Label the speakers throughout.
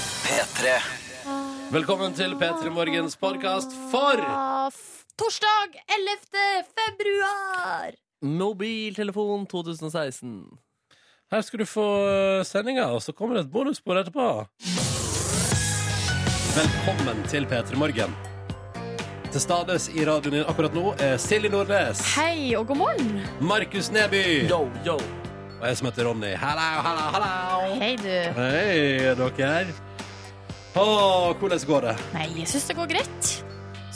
Speaker 1: P3.
Speaker 2: Velkommen til P3 Morgens podkast for
Speaker 3: Ah, f- Torsdag 11. februar!
Speaker 4: Mobiltelefon 2016.
Speaker 2: Her skal du få sendinga, og så kommer det et bonusspor etterpå. Velkommen til P3 Morgen. Til stades i radioen din akkurat nå er Silje Nordnes,
Speaker 3: Hei og god morgen.
Speaker 2: Markus Neby
Speaker 4: Yo, yo.
Speaker 2: og jeg som heter Ronny. Hallo, hallo, hallo.
Speaker 3: Hei, du.
Speaker 2: Hei, dere. Å, hvordan går det?
Speaker 3: Nei, jeg syns det går greit.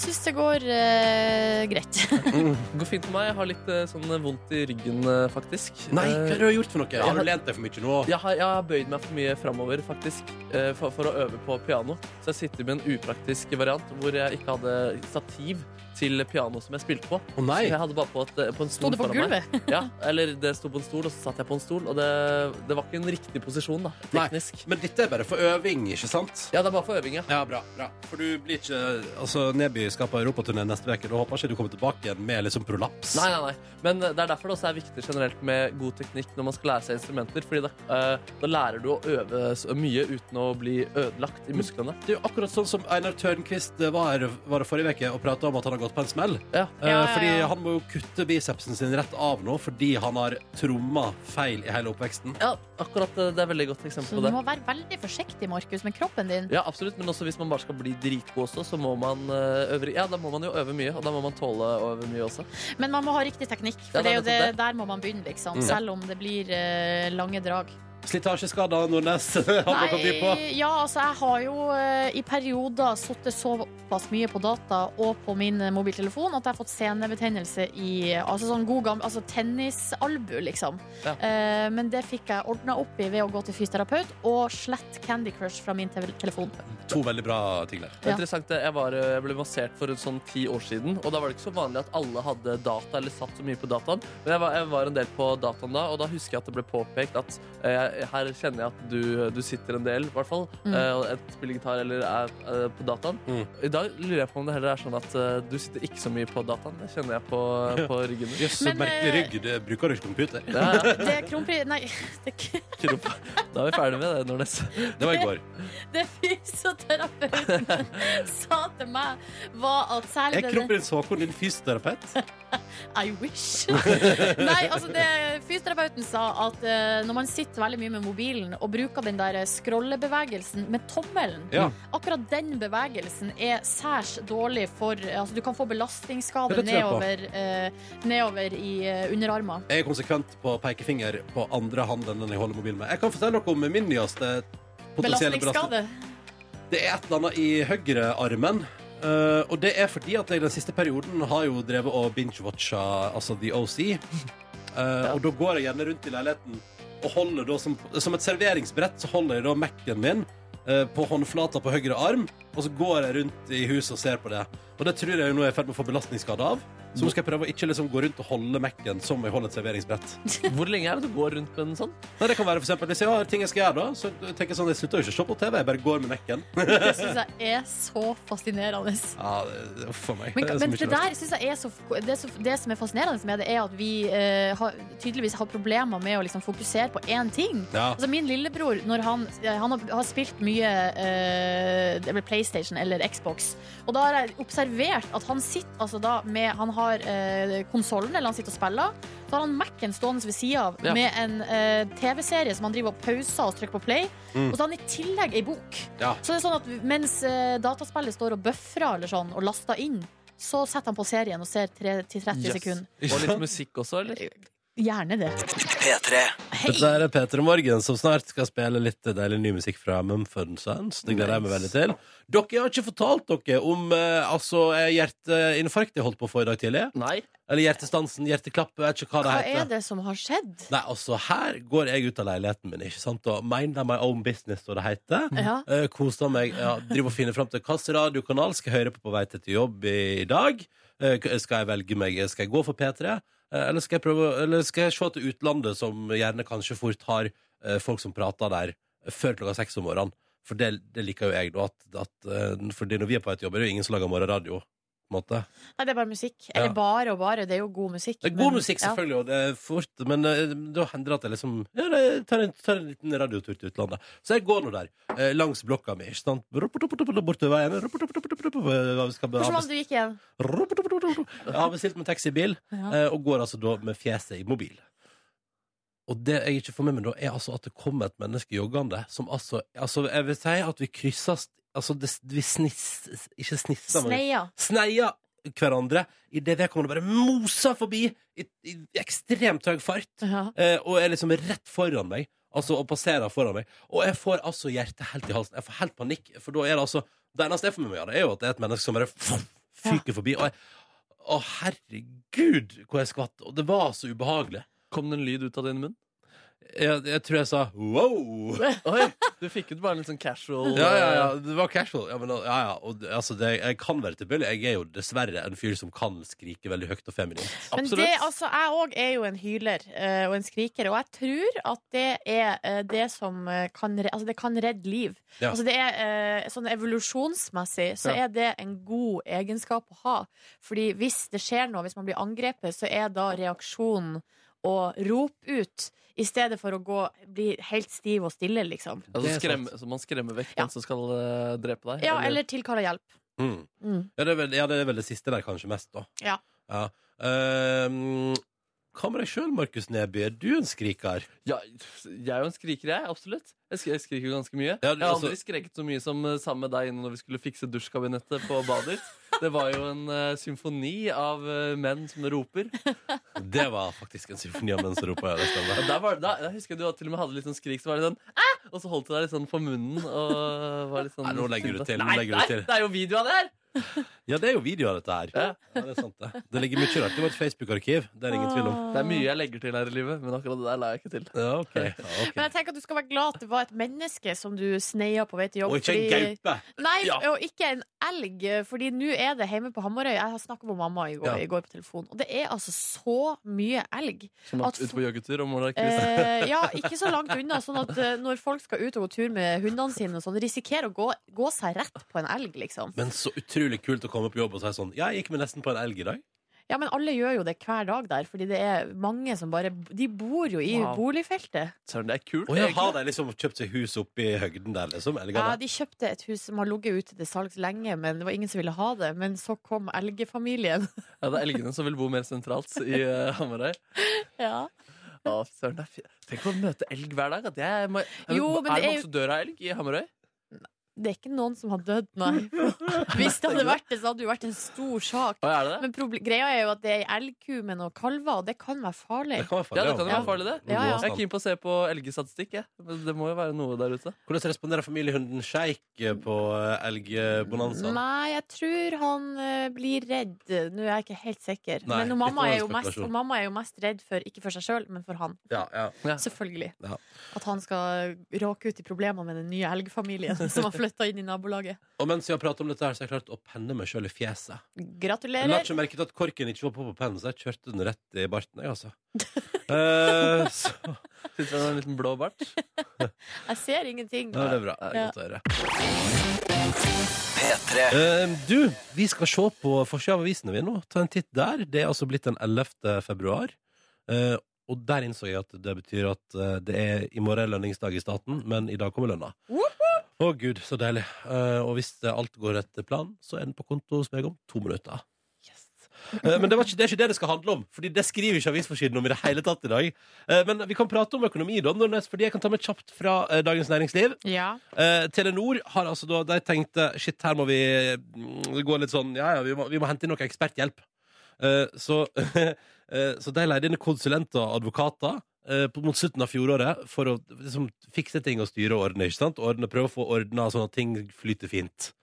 Speaker 3: Syns det går eh, greit.
Speaker 4: Går fint med meg. Jeg har litt eh, sånn eh, vondt i ryggen, eh, faktisk.
Speaker 2: Nei, hva
Speaker 4: Eh,
Speaker 2: har du gjort for noe? Har
Speaker 4: har-
Speaker 2: du lent deg for mye nå?
Speaker 4: jeg har, jeg har bøyd meg for mye framover faktisk, eh, for, for å øve på piano. Så jeg sitter med en upraktisk variant hvor jeg ikke hadde stativ til pianoet som jeg spilte på.
Speaker 2: Å nei.
Speaker 4: Så jeg hadde bare på, et, eh, på en
Speaker 3: Sto
Speaker 4: stol
Speaker 3: det på
Speaker 4: foran meg.
Speaker 3: gulvet?
Speaker 4: Ja, eller det sto på en stol, og så satt jeg på en stol. Og det, det var ikke en riktig posisjon, da.
Speaker 2: Nei.
Speaker 4: Teknisk.
Speaker 2: Men dette er bare for øving, ikke sant?
Speaker 4: Ja, det er bare for øving, ja.
Speaker 2: Ja, bra, bra. For du blir ikke Altså, Neby skal på europaturné neste uke. Da håper jeg ikke du kommer tilbake igjen med liksom prolaps.
Speaker 4: Nei, nei, nei. Men eh, det er derfor det også er viktig generelt med god teknikk når man skal lære seg instrumenter. Fordi da, eh, da lærer du å øve så mye uten å bli ødelagt i musklene.
Speaker 2: Det er jo akkurat sånn som Einar Tørnquist eh, var her var det forrige uke og prata om at han har gått på en smell.
Speaker 4: Ja.
Speaker 2: Eh,
Speaker 3: Ja, ja, ja.
Speaker 2: Fordi han må jo kutte bicepsen sin rett av nå fordi han har tromma feil i hele oppveksten.
Speaker 4: ja, akkurat eh, det er et veldig godt
Speaker 3: Så
Speaker 4: eksempel
Speaker 3: du
Speaker 4: på det.
Speaker 3: må være veldig forsiktig, Markus, med kroppen din.
Speaker 4: Ja, absolutt, Men også hvis man bare skal bli dritgod også, så må man, eh, øve, ja, da må man jo øve mye. Og da må man tåle å øve mye også.
Speaker 3: Men man må ha riktig teknikk,
Speaker 4: Ja,
Speaker 3: for det er jo
Speaker 4: det
Speaker 3: det,
Speaker 4: er nettopp
Speaker 3: der må man begynne, liksom.
Speaker 2: Mm.
Speaker 3: Selv om det blir eh, lange drag.
Speaker 2: Slitasjeskader, Nordnes. Har noe å by på.
Speaker 3: ja, altså, jeg har jo eh, i perioder sittet såpass mye på data og på min eh, mobiltelefon at jeg har fått senebetennelse i eh, altså sånn god gammel altså tennisalbu, liksom.
Speaker 4: Ja.
Speaker 3: Eh, men det fikk jeg ordna opp i ved å gå til fysioterapeut og slette Candy Crush fra min te telefon.
Speaker 2: To veldig bra ting der.
Speaker 4: Det er
Speaker 3: Ja.
Speaker 4: interessant, det. Jeg, var, jeg ble massert for sånn ti år siden, og da var det ikke så vanlig at alle hadde data eller satt så mye på dataen. Men jeg var, jeg var en del på dataen da, og da husker jeg at det ble påpekt at eh, her kjenner jeg at du, du sitter en del, i hvert fall,
Speaker 3: Mm.
Speaker 4: eh, og et- spiller gitar eller er eh, på dataen. I dag lurer jeg på om det heller er sånn at eh, du sitter ikke så mye på dataen. Det kjenner jeg på, på ryggen. min.
Speaker 2: Jøss, så
Speaker 3: Men,
Speaker 2: merkelig
Speaker 3: eh,
Speaker 2: rygg. Det bruker du ikke computer.
Speaker 4: Ja, ja,
Speaker 3: Det kronpri... Nei, det,
Speaker 4: krop. Da er vi ferdig med det, Nordnes.
Speaker 2: Det var i går.
Speaker 3: det fysioterapeuten sa til meg, var at særlig
Speaker 2: Er
Speaker 3: det-
Speaker 2: kronprins Haakon din fysioterapeut?
Speaker 3: I wish. Nei, altså det, fysioterapeuten sa at eh, når man sitter veldig mye med mobilen og bruker den der eh, scrollebevegelsen med tommelen,
Speaker 2: Ja.
Speaker 3: akkurat den bevegelsen er særs dårlig for eh, altså Du kan få belastningsskade
Speaker 2: Det tror jeg på.
Speaker 3: nedover, eh, nedover i eh, underarmer.
Speaker 2: Jeg er konsekvent på pekefinger på andre hand enn den jeg holder mobilen med. Jeg kan fortelle dere om min nyeste potensielle belastning.
Speaker 3: Belastningsskade.
Speaker 2: Det er et eller annet i høyrearmen. eh, og det er fordi at jeg den siste perioden har jo drevet og binge-watcha altså The OC. Eh, Og da går jeg gjerne rundt i leiligheten og holder da som, som et serveringsbrett så holder jeg da Mac-en min eh, på håndflata på høyre arm, og så går jeg rundt i huset og ser på det. Og det tror jeg jo nå er i ferd med å få belastningsskade av. Så nå skal jeg prøve å ikke liksom gå rundt og holde Mac-en som jeg holder et serveringsbrett.
Speaker 4: Hvor lenge er det du går rundt med den sånn?
Speaker 2: Nei, det kan være for eksempel, Hvis jeg har ting jeg skal gjøre, da, så tenker jeg sånn, jeg slutter jo ikke å se på TV. Jeg bare går med mekken.
Speaker 3: Det syns jeg er så fascinerende.
Speaker 2: Ja, det- uff a meg.
Speaker 3: Men,
Speaker 2: Det er så
Speaker 3: men
Speaker 2: mye
Speaker 3: det
Speaker 2: rart.
Speaker 3: der synes jeg er så, det, som- det som er fascinerende med det, er at vi eh, har, tydeligvis har problemer med å liksom fokusere på én ting.
Speaker 2: Ja.
Speaker 3: Altså Min lillebror, når han, han har, har spilt mye eh, det er vel PlayStation eller Xbox, og da har jeg observert at han sitter altså da med Han har uh, konsollen, eller han sitter og spiller. Så har han Mac-en stående ved sida av
Speaker 4: Ja.
Speaker 3: med en eh, TV-serie som han driver og pauser og trykker på play.
Speaker 2: Mm.
Speaker 3: Og så har han i tillegg ei bok.
Speaker 2: Ja.
Speaker 3: Så det er sånn at mens eh, dataspillet står og bøfrer eller sånn, og laster inn, så setter han på serien og ser 30
Speaker 4: Yes.
Speaker 3: sekunder.
Speaker 4: Og litt musikk også, eller?
Speaker 3: Gjerne det.
Speaker 1: P3.
Speaker 3: Hei!
Speaker 2: Dette er Peter og Morgen, som snart skal spille litt deilig ny musikk fra Mumford Sons. Det gleder jeg meg veldig til. Dere jeg har ikke fortalt dere om eh, altså, eh, hjerteinfarkt jeg holdt på å få i dag tidlig.
Speaker 4: Nei.
Speaker 2: Eller hjertestansen, hjerteklapp, jeg vet ikke hva det
Speaker 3: Hva
Speaker 2: heter.
Speaker 3: er det som har skjedd?
Speaker 2: Nei, altså, her går jeg ut av leiligheten min, ikke sant? Og mind my own business, som det heter.
Speaker 3: Ja.
Speaker 2: Eh, koser meg. Ja, driver og finner fram til hvilken radiokanal skal jeg høre på på vei til til jobb i, i dag. Eh, k- skal jeg velge meg Skal jeg gå for P3? Eh, eller, skal jeg prøve, å- eller skal jeg se til utlandet, som gjerne kanskje fort har eh, folk som prater der før klokka seks om morgenen? For det, det liker jo jeg, da. At, at, eh, fordi når vi er på vei til jobb, er det jo ingen som lager morgenradio. på en på en måte.
Speaker 3: Nei, det er bare musikk.
Speaker 2: Ja.
Speaker 3: Eller bare og bare, det er jo god musikk.
Speaker 2: Det er god
Speaker 3: men-
Speaker 2: musikk,
Speaker 3: ja.
Speaker 2: selvfølgelig, og det er fort, men eh, da hender det at jeg liksom ja, jeg tar, en, tar en liten radiotur til utlandet. Så jeg går nå der, eh, langs blokka mi, ikke sant? Bortover veien. eh, Hva vi skal be-
Speaker 3: Hvordan var det du gikk igjen?
Speaker 2: Jeg har bestilt meg taxibil,
Speaker 3: Ja.
Speaker 2: eh, og går altså da med fjeset i mobil. Og det jeg ikke får med meg da, er altså at det kommer et menneske joggende som altså, altså Jeg vil si at vi krysses Altså, det, vi sniss... Ikke snisser, men
Speaker 3: Sneia.
Speaker 2: sneia hverandre idet vedkommende bare moser forbi i, i ekstremt høy fart
Speaker 3: Ja.
Speaker 2: eh, og er liksom rett foran meg. Altså, og passerer foran meg. Og jeg får altså hjertet helt i halsen. Jeg får helt panikk. For da er det altså Det eneste jeg får med meg av det, er jo at det er et menneske som bare fyker forbi. Og jeg Å, herregud, hvor jeg skvatt. Og det var så ubehagelig.
Speaker 4: Kom det en lyd ut av din munn?
Speaker 2: Jeg, jeg tror jeg sa wow.
Speaker 4: Oi, Du fikk ut bare en litt sånn casual
Speaker 2: Ja, ja, ja.
Speaker 4: eh,
Speaker 2: Det var casual. Ja, men, ja, ja. Og, det- altså, det, jeg kan være tilbøyelig. Jeg er jo dessverre en fyr som kan skrike veldig høyt og feminint.
Speaker 3: Men
Speaker 4: Absolutt.
Speaker 3: det, altså, jeg òg er jo en hyler eh, og en skriker, og jeg tror at det er eh, det som eh, kan, re altså, det kan redde liv.
Speaker 2: Ja.
Speaker 3: Altså, det er, eh, sånn evolusjonsmessig så
Speaker 4: Ja.
Speaker 3: er det en god egenskap å ha. Fordi hvis det skjer noe, hvis man blir angrepet, så er da reaksjonen å rope ut i stedet for å gå, bli helt stiv og stille, liksom.
Speaker 4: altså,
Speaker 2: Det er sant.
Speaker 4: skremme, Så man skremmer vekk
Speaker 3: Ja.
Speaker 4: den som skal eh, drepe deg?
Speaker 3: Ja, eller tilkalle hjelp.
Speaker 2: Mm.
Speaker 3: Mm.
Speaker 2: Ja, det er vel, ja, det er vel det siste der kanskje mest, da.
Speaker 3: Ja.
Speaker 2: Ehm, hva med deg sjøl, Markus Neby? Er du en skriker?
Speaker 4: Ja, jeg er jo en skriker, jeg. Absolutt. Jeg, sk jeg skriker jo ganske mye.
Speaker 2: Ja, du-
Speaker 4: jeg har
Speaker 2: altså-
Speaker 4: aldri skreket så mye som eh, sammen med deg inne når vi skulle fikse dusjkabinettet på badet ditt. Det var jo en eh, symfoni av eh, menn som roper.
Speaker 2: Det var faktisk en symfoni om den som roper. Ja, det
Speaker 4: Og
Speaker 2: stemmer.
Speaker 4: der, var, det- da, jeg husker jeg du til og med hadde litt sånn skrik, så var det sånn ah! Og så holdt du deg litt sånn for munnen og var litt sånn
Speaker 2: Nei, nå legger du til, nå
Speaker 4: Nei,
Speaker 2: legger du
Speaker 4: nei,
Speaker 2: til.
Speaker 4: det er jo video av det her!
Speaker 2: Ja, det er jo video av dette her.
Speaker 4: Ja.
Speaker 2: det er sant, det. Det ligger mye rart i vårt Facebook-arkiv. Det er det ingen tvil om.
Speaker 4: Det er mye jeg legger til her i livet, men akkurat det der la jeg ikke til.
Speaker 2: Ja, ok. Ja, ok.
Speaker 3: Men jeg tenker at du skal være glad at det var et menneske som du sneia på vei til jobb.
Speaker 2: Og ikke en
Speaker 3: fordi-
Speaker 2: gaupe!
Speaker 3: Nei,
Speaker 2: Ja.
Speaker 3: og ikke en elg, fordi nå er det hjemme på Hamarøy. Jeg har snakka med mamma i går,
Speaker 2: Ja.
Speaker 3: i går på telefon, og det er altså så mye elg.
Speaker 4: Som
Speaker 3: At
Speaker 4: at ute på joggetur og måler kryss.
Speaker 3: Eh, ja, ikke så langt unna, sånn at eh, når folk skal ut og gå tur med hundene sine, og sånn, risikerer å gå, gå seg rett på en elg, liksom.
Speaker 2: Men så utrolig kult å komme på jobb og si sånn Ja, jeg gikk med nesten på en elg i dag.
Speaker 3: Ja, men alle gjør jo det hver dag der, fordi det er mange som bare De bor jo i
Speaker 4: Wow.
Speaker 3: boligfeltet.
Speaker 4: Søren, det er kult.
Speaker 2: Og jeg
Speaker 4: egentlig.
Speaker 2: har de liksom kjøpt seg hus oppe i høgden der, liksom?
Speaker 3: Ja,
Speaker 2: Elgene.
Speaker 3: de kjøpte et hus som har ligget ute til salgs lenge, men det var ingen som ville ha det. Men så kom elgefamilien.
Speaker 4: Ja, det er elgene som vil bo mer sentralt i eh, Hamarøy.
Speaker 3: Ja.
Speaker 4: Å, søren, det er fint. Tenk å møte elg hver dag. At jeg må,
Speaker 3: Jo, men
Speaker 4: er
Speaker 3: det
Speaker 4: det
Speaker 3: er
Speaker 4: noen
Speaker 3: jo-
Speaker 4: som dør av elg i Hamarøy?
Speaker 3: Det er ikke noen som har dødd, nei. Hvis det hadde vært det, så hadde det jo vært en stor sak.
Speaker 4: Å, er det det?
Speaker 3: Men proble- greia er jo at det er ei elgku med noen kalver, og det kan være farlig.
Speaker 2: Det kan være farlig.
Speaker 4: Ja, det kan jo være farlig, det.
Speaker 3: Ja, ja.
Speaker 4: Jeg er keen på å se på elgestatistikk. jeg. Men Det må jo være noe der ute.
Speaker 2: Hvordan responderer familiehunden Sjeik på eh, elgbonanzaen?
Speaker 3: Nei, jeg tror han eh, blir redd. Nå er jeg ikke helt sikker.
Speaker 2: Nei,
Speaker 3: men
Speaker 2: litt
Speaker 3: hun mamma,
Speaker 2: mer
Speaker 3: er jo mest,
Speaker 2: spekulasjon.
Speaker 3: hun mamma er jo mest redd for ikke for seg sjøl, men for han.
Speaker 2: Ja, ja.
Speaker 3: Selvfølgelig.
Speaker 2: Ja.
Speaker 3: At han skal råke ut i problemer med den nye elgfamilien som har flytta inn i nabolaget.
Speaker 2: Og mens vi har pratet om dette, her, så har jeg klart å penne meg sjøl i fjeset. Jeg la
Speaker 3: Gratulerer.
Speaker 2: ikke merke til at korken ikke var på på pennen, så jeg kjørte den rett i barten. Jeg, altså. Eh, så
Speaker 4: Syns du det er en liten blå bart?
Speaker 3: Jeg ser ingenting.
Speaker 2: Nei, det er bra. Det er
Speaker 3: Ja.
Speaker 2: Godt å høre. Eh, du, vi skal se på forsida av avisene vi nå. Ta en titt der. Det er altså blitt den 11. februar. Eh, og der innså jeg at det betyr at eh, det er i morgen lønningsdag i staten, men i dag kommer lønna. Å
Speaker 3: Woop
Speaker 2: gud, så deilig. Eh, og hvis det- alt går etter planen, så er den på konto hos meg om to minutter. Eh, Men det, var ikke, det er ikke det det skal handle om, Fordi det skriver ikke avisforsiden om i det hele tatt i dag. Eh, Men vi kan prate om økonomi, da, Nordnes, fordi jeg kan ta med kjapt fra eh, Dagens Næringsliv.
Speaker 3: Ja.
Speaker 2: Eh, Telenor har altså da De tenkte shit, her må vi mm, gå litt sånn Ja, ja, vi må, vi må hente inn noe eksperthjelp. Eh, så, eh, så de leide inn konsulenter og advokater eh, på- mot slutten av fjoråret for å liksom, fikse ting og styre og ordne. ikke sant? Ordne, prøve å få ordna sånn at ting flyter fint.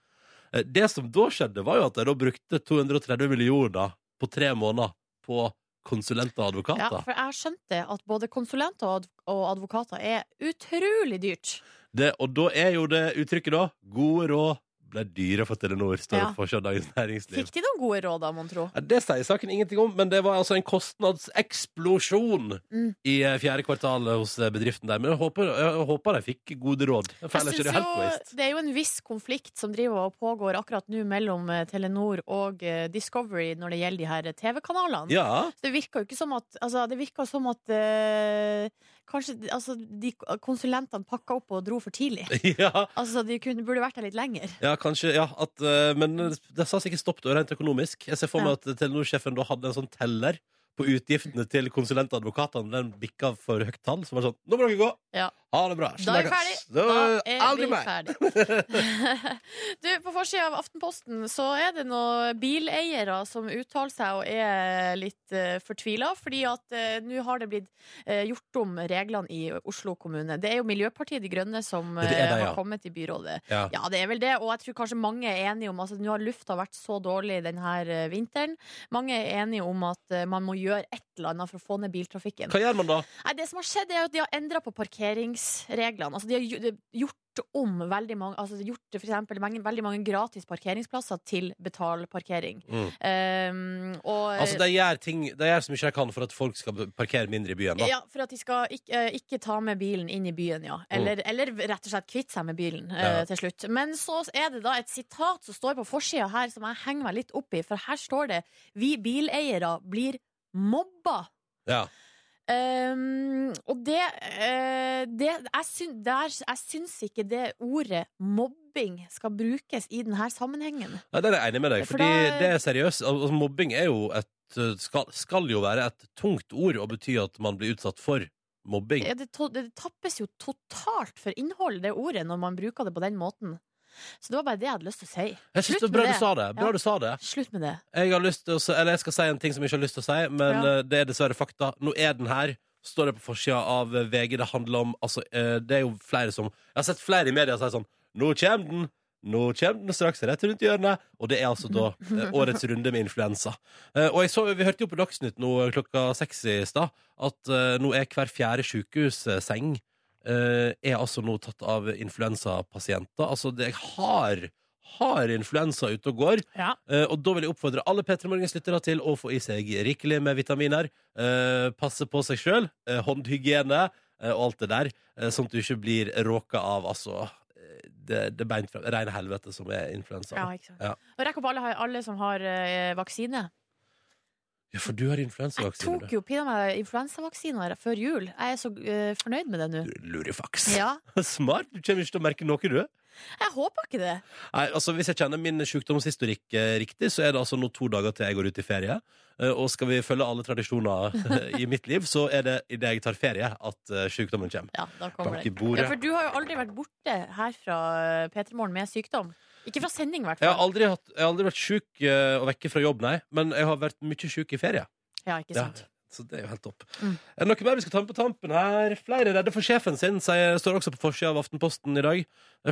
Speaker 2: Eh, det som da skjedde, var jo at de da brukte 230 millioner på tre måneder på konsulenter og
Speaker 3: ja,
Speaker 2: advokater.
Speaker 3: for jeg har skjønt det at både konsulenter og adv- og advokater er utrolig dyrt.
Speaker 2: Det, og da er jo det uttrykket, da. Gode råd ble dyre for Telenor, står
Speaker 3: Ja.
Speaker 2: det på fra Dagens Næringsliv.
Speaker 3: Fikk de noen gode råd da, mon tro?
Speaker 2: Ja, Det sier saken ingenting om, men det var altså en kostnadseksplosjon
Speaker 3: Mm.
Speaker 2: i eh, fjerde kvartal hos eh, bedriften der. Men jeg håper, jeg håper de fikk gode råd. For
Speaker 3: Jeg
Speaker 2: ellers er
Speaker 3: synes
Speaker 2: det helt waste.
Speaker 3: jo, det er jo en viss konflikt som driver og pågår akkurat nå mellom eh, Telenor og eh, Discovery når det gjelder de her eh, TV-kanalene.
Speaker 2: Ja.
Speaker 3: Så Det virker jo ikke som at altså, Det virker som at eh, Kanskje altså, de konsulentene pakka opp og dro for tidlig.
Speaker 2: ja.
Speaker 3: Altså, De kunne, burde vært der litt lenger.
Speaker 2: Ja, kanskje, ja at, eh, Men det sa sikkert stopp da, rent økonomisk. Jeg ser for meg at Telenor-sjefen da hadde en sånn teller på utgiftene til konsulentadvokatene. Den bikka for høyt tall. Så var det sånn Nå må dere gå!
Speaker 3: Ja.
Speaker 2: Ha det bra!
Speaker 3: Da er vi
Speaker 2: Snakkes!»
Speaker 3: ferdig Da
Speaker 2: Da-
Speaker 3: er
Speaker 2: aldri
Speaker 3: vi
Speaker 2: mer!
Speaker 3: ferdig Du, På forsida av Aftenposten så er det noen bileiere som uttaler seg og er litt uh, fortvila, fordi at eh, nå har det blitt eh, gjort om reglene i Oslo kommune. Det er jo Miljøpartiet De Grønne som
Speaker 2: Det er det,
Speaker 3: eh,
Speaker 2: ja.
Speaker 3: har kommet i byrådet.
Speaker 2: Ja.
Speaker 3: Ja, det er vel det, og jeg tror kanskje mange er enige om altså, Nå har lufta vært så dårlig denne eh, vinteren. Mange er enige om at eh, man må gjøre et eller annet for å få ned biltrafikken.
Speaker 2: Hva gjør man da?
Speaker 3: Nei, det som har skjedd er jo at de har endret på parkeringsreglene. Altså, de har gj- gjort om veldig mange, altså, de har gjort for eksempel mange, veldig mange gratis parkeringsplasser til betalparkering.
Speaker 2: Mm.
Speaker 3: Um, og,
Speaker 2: Altså, de gjør, ting, de gjør så mye de kan for at folk skal parkere mindre i byen. Da.
Speaker 3: ja, for at de skal ikke, eh, ikke ta med bilen inn i byen, ja. Eller, eller rett og slett kvitte seg med bilen eh,
Speaker 2: Mm. Ja.
Speaker 3: til slutt. Men så er det da et sitat som står på forsida her, som jeg henger meg litt opp i. For her står det 'Vi bileiere blir mobba'.
Speaker 2: Ja.
Speaker 3: Ehm, og det, eh, det jeg, syn, der, jeg syns ikke det ordet mobbing skal brukes i denne sammenhengen.
Speaker 2: Nei, der er jeg enig med deg,
Speaker 3: For
Speaker 2: fordi
Speaker 3: da-
Speaker 2: det er seriøst. Al- Altså, mobbing er jo et, eh, skal, skal jo være et tungt ord og bety at man blir utsatt for mobbing.
Speaker 3: Det, to- det tappes jo totalt for innhold, det ordet, når man bruker det på den måten. Så det var bare det jeg hadde lyst til å si.
Speaker 2: Jeg synes
Speaker 3: slutt
Speaker 2: det er bra
Speaker 3: med
Speaker 2: du
Speaker 3: det.
Speaker 2: sa det. Bra
Speaker 3: Ja.
Speaker 2: du sa det.
Speaker 3: Slutt med det.
Speaker 2: Jeg har lyst til å, si- eller jeg skal si en ting som jeg ikke har lyst til å si, men
Speaker 3: Ja.
Speaker 2: eh, det er dessverre fakta. Nå er den her, står det på forsida av eh, VG. Det handler om altså, eh, Det er jo flere som Jeg har sett flere i media si sånn Nå kommer den! Nå kommer den straks rett rundt hjørnet. Og det er altså da eh, årets runde med influensa. Eh, og jeg så, vi hørte jo på Dagsnytt nå eh, klokka seks i stad at eh, nå er hver fjerde sykehusseng eh, er altså nå tatt av influensapasienter. Altså, det har, har influensa ute og går.
Speaker 3: Ja.
Speaker 2: Eh, og da vil jeg oppfordre alle P3 Morgens lyttere til å få i seg rikelig med vitaminer. eh, passe på seg sjøl, håndhygiene eh, og alt det der, eh, sånn at du ikke blir råka av altså, eh, det, det beint fra rene helvete som er influensa.
Speaker 3: Ja,
Speaker 2: Ja.
Speaker 3: ikke sant. Og rekk opp alle, alle som har eh, vaksine.
Speaker 2: for du har
Speaker 3: Jeg
Speaker 2: influensavaksine,
Speaker 3: tok
Speaker 2: du.
Speaker 3: jo pinadø meg influensavaksiner før jul. Jeg er så eh, fornøyd med det nå.
Speaker 2: Du er Lurifaks.
Speaker 3: Ja.
Speaker 2: Smart! Du kommer ikke til å merke noe, du.
Speaker 3: Jeg håper ikke det.
Speaker 2: Nei, altså Hvis jeg kjenner min sykdomshistorikk eh, riktig, så er det altså nå to dager til jeg går ut i ferie. Eh, og skal vi følge alle tradisjoner eh, i mitt liv, så er det idet jeg tar ferie, at eh, sykdommen kommer.
Speaker 3: Ja, da kommer
Speaker 2: Bank i
Speaker 3: det.
Speaker 2: bordet.
Speaker 3: Ja, for du har jo aldri vært borte her fra eh, P3 Morgen med sykdom. Ikke fra sending, i hvert
Speaker 2: Jeg har
Speaker 3: fall.
Speaker 2: aldri, hatt, jeg har aldri vært sjuk eh, og vekke fra jobb, nei. Men jeg har vært mye sjuk i ferie.
Speaker 3: Ja, ikke
Speaker 2: Ja,
Speaker 3: sant.
Speaker 2: så det er jo helt topp.
Speaker 3: Mm.
Speaker 2: Er det noe mer vi skal ta med på tampen her? Flere er redde for sjefen sin, sier, står også på forsida av Aftenposten i dag.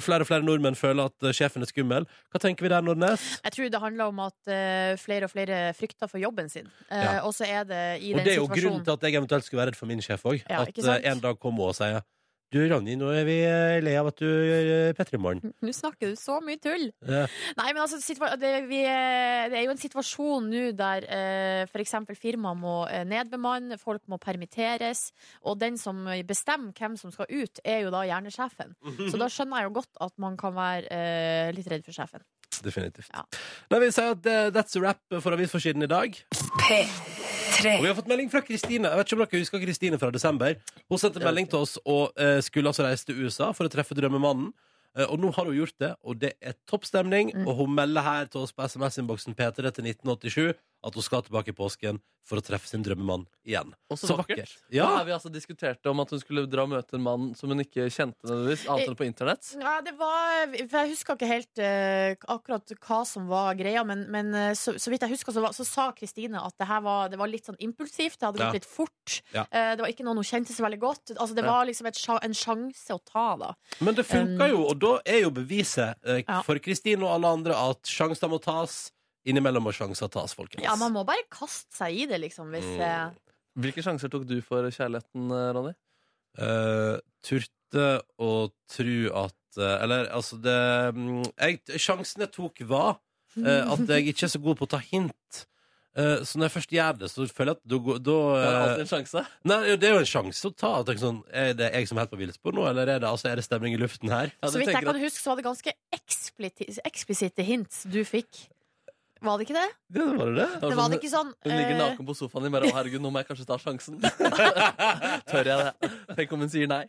Speaker 2: Flere og flere nordmenn føler at eh, sjefen er skummel. Hva tenker vi der, Nordnes?
Speaker 3: Jeg tror det handler om at eh, flere og flere frykter for jobben sin. Eh,
Speaker 2: Ja.
Speaker 3: Og så er det i
Speaker 2: Og
Speaker 3: den
Speaker 2: det er jo grunnen
Speaker 3: situasjonen
Speaker 2: til at jeg eventuelt skulle være redd for min sjef òg.
Speaker 3: Ja,
Speaker 2: at
Speaker 3: ikke sant?
Speaker 2: eh, en dag kommer hun og sier du, Ronny, nå er vi eh, lei av at du gjør eh, P3 Morgen.
Speaker 3: Nå snakker du så mye tull!
Speaker 2: Eh,
Speaker 3: Nei, men altså, situa- det, vi, eh, det er jo en situasjon nå der eh, for eksempel firmaer må eh, nedbemanne, folk må permitteres, og den som bestemmer hvem som skal ut, er jo da gjerne sjefen. Så da skjønner jeg jo godt at man kan være eh, litt redd for sjefen.
Speaker 2: Definitivt.
Speaker 3: Ja.
Speaker 2: Nei, vi sier at eh, that's a wrap for avisforsiden i dag. Og vi har fått melding fra Kristine. Jeg vet ikke om dere husker Kristine fra desember. Hun sendte melding til oss og eh, skulle altså reise til USA for å treffe drømmemannen. Eh, Og nå har hun gjort det, og det er topp stemning.
Speaker 3: Mm.
Speaker 2: Og hun melder her til oss på SMS-innboksen P3 til 1987 at hun skal tilbake i påsken for å treffe sin drømmemann igjen.
Speaker 4: Og så vakkert. Ja.
Speaker 2: Ja.
Speaker 4: Her vi altså diskuterte om at hun skulle dra og møte en mann som hun ikke kjente nødvendigvis,
Speaker 3: Eh,
Speaker 4: annet enn på internett.
Speaker 3: Ja, det var For jeg husker ikke helt eh, akkurat hva som var greia, men, men eh, så, så vidt jeg husker, så, var, så sa Kristine at det her var, det var litt sånn impulsivt. Det hadde gått
Speaker 2: Ja.
Speaker 3: litt fort.
Speaker 2: Ja.
Speaker 3: Eh, det var ikke noen hun kjente så veldig godt. Altså, det
Speaker 2: Ja.
Speaker 3: var liksom et, sja- en sjanse å ta, da.
Speaker 2: Men det funka jo, og da er jo beviset eh,
Speaker 3: Um, Ja.
Speaker 2: for Kristine og alle andre at sjanser må tas. Innimellom må sjanser tas, folkens.
Speaker 3: Ja, man må bare kaste seg i det, liksom, hvis
Speaker 2: Mm.
Speaker 3: eh,
Speaker 4: Hvilke sjanser tok du eh, for kjærligheten, Ronny?
Speaker 2: Eh, turte å tro at eh, Eller altså det mm, jeg, Sjansen jeg tok, var eh, at jeg ikke er så god på å ta hint. Eh, Så når jeg først gjør det, så føler jeg at da går- da
Speaker 4: Det er
Speaker 2: eh,
Speaker 4: alltid en sjanse.
Speaker 2: Nei, jo, det er jo en sjanse å ta. At jeg, sånn, er det jeg som er helt på villspor nå, eller er det, altså, er det stemning i luften her?
Speaker 4: Ja, du
Speaker 3: Så vidt jeg
Speaker 4: tenker
Speaker 3: kan
Speaker 4: at-
Speaker 3: huske, så var det ganske ekspliti- eksplisitte hints du fikk. Var det ikke det?
Speaker 2: Ja, det var det det.
Speaker 3: Det var det ikke sånn
Speaker 4: Hun Altså, ligger
Speaker 3: eh,
Speaker 4: naken på sofaen din bare Å, herregud, nå må jeg kanskje ta sjansen. Tør jeg det? Tenk om hun sier nei.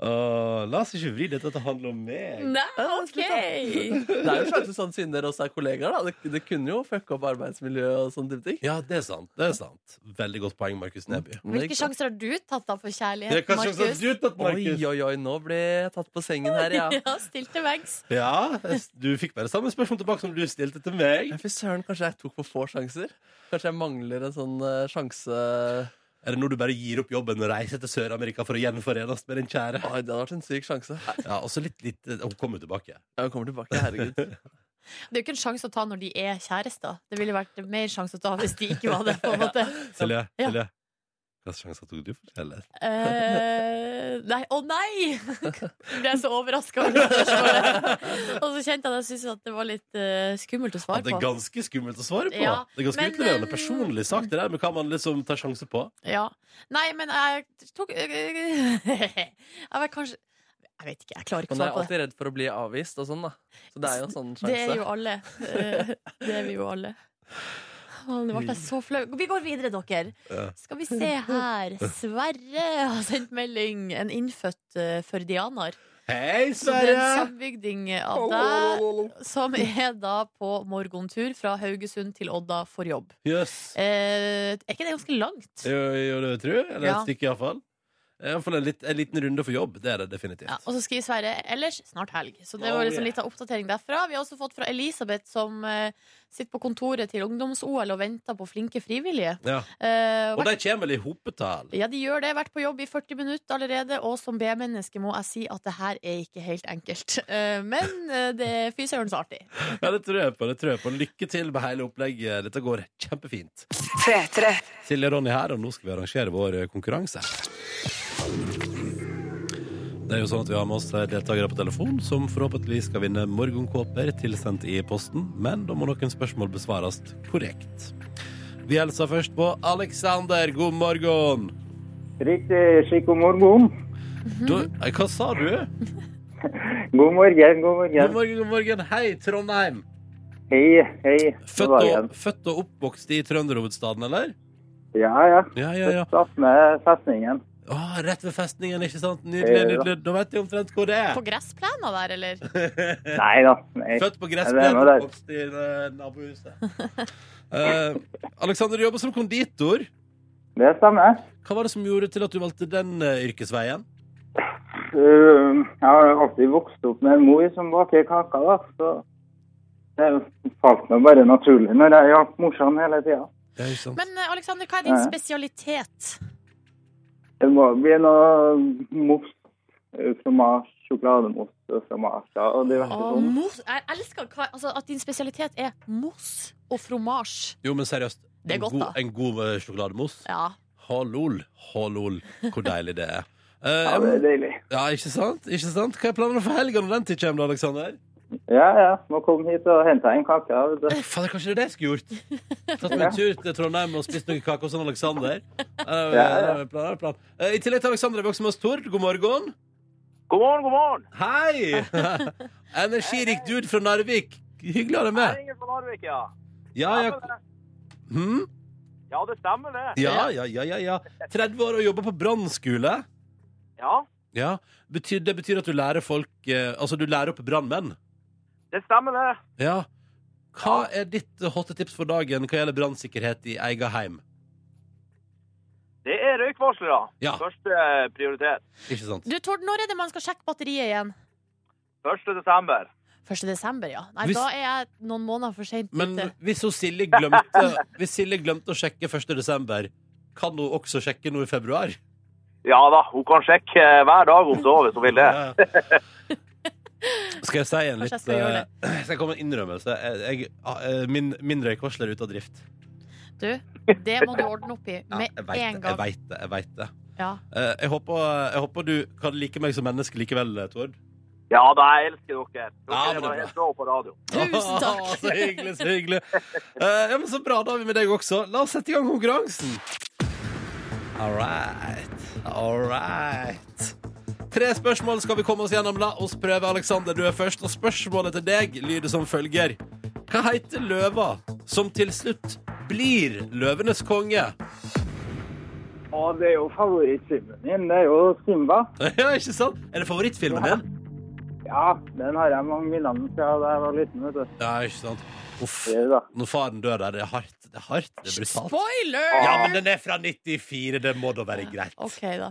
Speaker 2: Åh, la oss ikke vri dette til å handle om meg.
Speaker 3: Nei, OK!
Speaker 4: Det er jo sjansen sånn siden dere også er kollegaer. da Det, det kunne jo fucke opp arbeidsmiljø og sånne type ting.
Speaker 2: Ja, det er sant. det er sant Veldig godt poeng, Markus Neby.
Speaker 3: Hvilke sjanser har du tatt da for
Speaker 2: Ja,
Speaker 3: kjærlighet,
Speaker 2: hva slags har
Speaker 4: sånn
Speaker 3: Mm. Markus?
Speaker 2: du tatt,
Speaker 4: Oi,
Speaker 2: Markus?
Speaker 4: oi, oi, nå ble jeg tatt på sengen her, ja.
Speaker 3: Ja, stilt til veggs.
Speaker 2: Ja, du fikk bare samme spørsmål tilbake som du stilte til meg.
Speaker 4: Ja, Fy søren, kanskje jeg tok for få sjanser? Kanskje jeg mangler en sånn eh, sjanse
Speaker 2: Er det nå du bare gir opp jobben og reiser til Sør-Amerika for å gjenforenes med din kjære?
Speaker 4: Oi, det hadde vært en syk sjanse. Nei,
Speaker 2: Ja, og så litt, litt eh, Hun kommer jo tilbake.
Speaker 4: Jeg kommer tilbake, herregud.
Speaker 3: Det er jo ikke en sjanse å ta når de er kjærester. Det ville vært mer sjanse å ta hvis de ikke var det. på en måte
Speaker 2: Silje,
Speaker 3: Ja.
Speaker 2: Silje. Hva slags sjanser tok du for kjærlighet?
Speaker 3: Eh, Nei, å nei! Ble jeg så overraska over det spørsmålet. Og så kjente jeg at jeg syntes at det var litt eh, skummelt å
Speaker 2: Ja,
Speaker 3: svare
Speaker 2: det er
Speaker 3: på.
Speaker 2: ganske skummelt å svare på.
Speaker 3: Ja,
Speaker 2: det er ganske
Speaker 3: men,
Speaker 2: utleverende
Speaker 3: eh,
Speaker 2: personlig sagt, det der med hva man liksom tar sjanse på.
Speaker 3: Ja. Nei, men jeg tok Jeg var kanskje Jeg vet ikke, jeg klarer ikke å
Speaker 4: Men jeg
Speaker 3: svare
Speaker 4: er
Speaker 3: på det.
Speaker 4: alltid redd for å bli avvist og sånn, da. Så det er jo en sånn
Speaker 3: Det er
Speaker 4: sjanse.
Speaker 3: jo alle. Eh, Det er vi jo alle. Å, nå ble jeg så flau. Vi går videre, dere.
Speaker 2: Ja.
Speaker 3: Skal vi se her. Sverre har sendt melding. En innfødt eh, førdianer.
Speaker 2: Hei,
Speaker 3: Så det er en
Speaker 2: Sverre!
Speaker 3: sambygding av deg som er da på morgentur fra Haugesund til Odda for jobb.
Speaker 2: Jøss.
Speaker 3: Eh, er ikke det ganske langt?
Speaker 2: Jo, jo, det tror jeg. Eller
Speaker 3: Ja.
Speaker 2: et stykke, iallfall. Iallfall en, litt- en liten runde for jobb. Det er det definitivt.
Speaker 3: Ja, og så skriver Sverre ellers snart helg. Så det var
Speaker 2: Oh,
Speaker 3: liksom
Speaker 2: yeah.
Speaker 3: litt av oppdatering derfra. Vi har også fått fra Elisabeth, som eh, sitter på kontoret til ungdoms-OL og venter på flinke frivillige.
Speaker 2: Ja.
Speaker 3: Eh,
Speaker 2: Og de kommer vel i hopetall.
Speaker 3: Ja, de gjør det. Vært på jobb i 40 minutter allerede. Og som B-menneske må jeg si at det her er ikke helt enkelt. Eh, Men eh, det er fy søren så artig.
Speaker 2: Ja, det tror jeg på. det tror jeg på Lykke til med hele opplegget. Dette går kjempefint. Silje og Ronny her, og nå skal vi arrangere vår eh, konkurranse. Det er jo sånn at Vi har med oss eh, deltakere på telefon som forhåpentligvis skal vinne morgenkåper tilsendt i posten, men da må noen spørsmål besvares korrekt. Vi hilser først på Aleksander. God morgen.
Speaker 1: Riktig. Skikk god morgen.
Speaker 2: Du, eh, hva sa du?
Speaker 1: God morgen, god
Speaker 2: God
Speaker 1: morgen.
Speaker 2: morgen, god morgen. Hei, Trondheim.
Speaker 1: Hei, hei. Det
Speaker 2: Født
Speaker 1: var
Speaker 2: og,
Speaker 1: igjen.
Speaker 2: født og oppvokst i trønderhovedstaden, eller?
Speaker 1: Ja, ja.
Speaker 2: Ja, ja, ja.
Speaker 1: Satt med festningen.
Speaker 2: Åh, rett ved festningen, ikke sant? Nydelig,
Speaker 1: Ja.
Speaker 2: nydelig. Da vet jeg omtrent hvor det er.
Speaker 3: På gressplena der, eller?
Speaker 1: Nei da. Nei.
Speaker 2: Født på
Speaker 1: Ja, det
Speaker 2: gressplenen,
Speaker 1: var der.
Speaker 2: oppvokst i eh, nabohuset. Eh, Alexander, du jobber som konditor.
Speaker 1: Det stemmer.
Speaker 2: Hva var det som gjorde til at du valgte den eh, yrkesveien?
Speaker 1: Uh, Jeg har alltid vokst opp med en mor som baker kaker, da. Så det falt meg bare naturlig når jeg hjalp morsan hele tida.
Speaker 2: Ja, ikke sant?
Speaker 3: Men eh, Alexander, hva er din
Speaker 1: Ja.
Speaker 3: spesialitet?
Speaker 1: Det må bli noe mos. eh, Fromage, sjokolademos og fromasjer og diverse
Speaker 3: Å,
Speaker 1: sånn.
Speaker 3: mos. Jeg elsker hva, altså, at din spesialitet er mos og fromasj.
Speaker 2: Jo, men seriøst.
Speaker 3: Det er godt,
Speaker 2: en god,
Speaker 3: da.
Speaker 2: En god eh, sjokolademos.
Speaker 3: Ja.
Speaker 2: Hallol, hallol. Hvor deilig det er. Eh,
Speaker 1: Ja, det er deilig.
Speaker 2: ja, ikke sant? Ikke sant? Hva er planene for helga når den tid kommer, da, Alexander?
Speaker 1: Ja, ja. Må komme hit og hente en kake. da, vet du.
Speaker 2: Fader, kanskje det er det jeg skulle gjort? Tatt meg en tur til Trondheim og spist noen kaker hos han Aleksander.
Speaker 1: Ja, ja.
Speaker 2: Eh, I tillegg til Aleksander er vi også med oss Tord. God morgen.
Speaker 5: God morgen, god morgen.
Speaker 2: Hei! Energirik dude fra Narvik. Hyggelig å ha deg
Speaker 5: Jeg
Speaker 2: med.
Speaker 5: ringer fra Narvik, ja.
Speaker 2: Ja, ja.
Speaker 5: Stemmer det.
Speaker 2: Hm?
Speaker 5: Ja, det stemmer det.
Speaker 2: ja, ja, ja, ja, ja. 30 år og jobber på brannskole.
Speaker 5: Ja,
Speaker 2: Ja. Betyr, det betyr at du lærer folk eh, Altså, du lærer opp brannmenn.
Speaker 5: det stemmer det.
Speaker 2: Ja. Hva er ditt hotte tips for dagen hva gjelder brannsikkerhet i eget heim?
Speaker 5: Det er røykvarslere.
Speaker 2: Ja.
Speaker 5: Første prioritet.
Speaker 2: Ikke sant?
Speaker 3: Du, Tord, når er det man skal sjekke batteriet igjen?
Speaker 5: 1. desember.
Speaker 3: 1. desember, ja. Nei,
Speaker 2: Hvis-
Speaker 3: da er jeg noen måneder for seint
Speaker 2: Men
Speaker 3: ute.
Speaker 2: hvis hun Silje glemte Hvis Silje glemte å sjekke 1. desember Kan hun også sjekke nå i februar?
Speaker 5: Ja da, hun kan sjekke eh, hver dag om så, hvis hun vil det.
Speaker 2: Ja. Skal jeg si en
Speaker 3: Kanskje
Speaker 2: litt
Speaker 3: jeg skal gjøre det.
Speaker 2: eh, Skal jeg komme med en innrømmelse? Jeg, jeg, min min røykvarsler er ute av drift.
Speaker 3: Du, det må du ordne opp i
Speaker 2: Ja,
Speaker 3: med
Speaker 2: jeg vet det.
Speaker 3: en
Speaker 2: Jeg
Speaker 3: gang.
Speaker 2: vet det, jeg vet det.
Speaker 3: Ja.
Speaker 2: Eh, Jeg håper, jeg håper du kan like meg som menneske likevel, Tord.
Speaker 5: Ja da, jeg elsker dere. Dere
Speaker 2: Ja, men det er
Speaker 5: var
Speaker 2: bra.
Speaker 5: helt rå på radio.
Speaker 3: Tusen takk.
Speaker 2: så Altså, hyggelig, så hyggelig. Eh, ja, men så bra, da er vi med deg også. La oss sette i gang konkurransen. All right. All right. Tre spørsmål skal vi komme oss gjennom. La oss prøve, Aleksander. Du er først. Og spørsmålet til deg lyder som følger. Hva heter løva som til slutt blir løvenes konge?
Speaker 1: Og det er jo favorittfilmen min. Det er jo Simba.
Speaker 2: Ja, ikke sant? Er det favorittfilmen din?
Speaker 1: Ja, den har jeg mange minner om fra da jeg var liten, vet du.
Speaker 2: Ja, ikke sant. Uff.
Speaker 1: Det er det da.
Speaker 2: Når faren dør der, det er hardt. Det er hardt, det er brutalt.
Speaker 3: Spoiler!
Speaker 2: Ja, men den er fra 94. Det må da være greit.
Speaker 3: OK, da.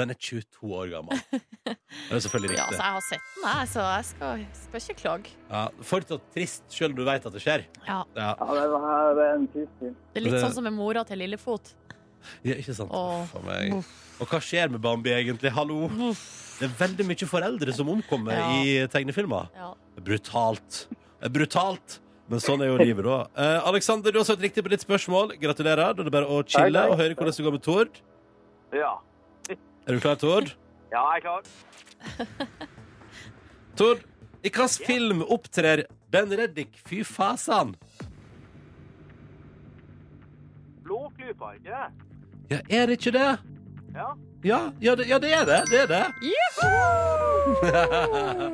Speaker 2: Den er 22 år gammel. Det er selvfølgelig
Speaker 3: Ja, altså,
Speaker 2: riktig.
Speaker 3: jeg har sett den, jeg, så jeg skal, skal ikke klage.
Speaker 2: Ja, fortsatt trist, sjøl om du veit at det skjer.
Speaker 3: Ja,
Speaker 2: Ja,
Speaker 1: Ja, det, var, det er en trist film.
Speaker 3: det er litt
Speaker 2: Det-
Speaker 3: sånn som med mora til Lillefot.
Speaker 2: ja ikke sant?
Speaker 3: Åh.
Speaker 2: Faen meg. Og hva skjer med Bambi, egentlig? Hallo? Det er veldig mye foreldre som omkommer
Speaker 3: Ja.
Speaker 2: i tegnefilmer.
Speaker 3: Ja.
Speaker 2: Brutalt. Det er Brutalt! Men sånn er jo livet, da. Eh, Aleksander, du har svart riktig på ditt spørsmål. Gratulerer. Da er det bare å chille
Speaker 1: Takk, takk.
Speaker 2: og høre hvordan det går med Tord.
Speaker 5: Ja.
Speaker 2: Er du klar, Tord?
Speaker 5: ja, jeg er klar.
Speaker 2: Tord, i hvilken film opptrer Ben Reddik? Fy fasan!
Speaker 5: Blåklypa, ikke det?
Speaker 2: Ja, er det ikke det?
Speaker 5: Ja.
Speaker 2: Ja, ja, det, ja, det er det. Det er det.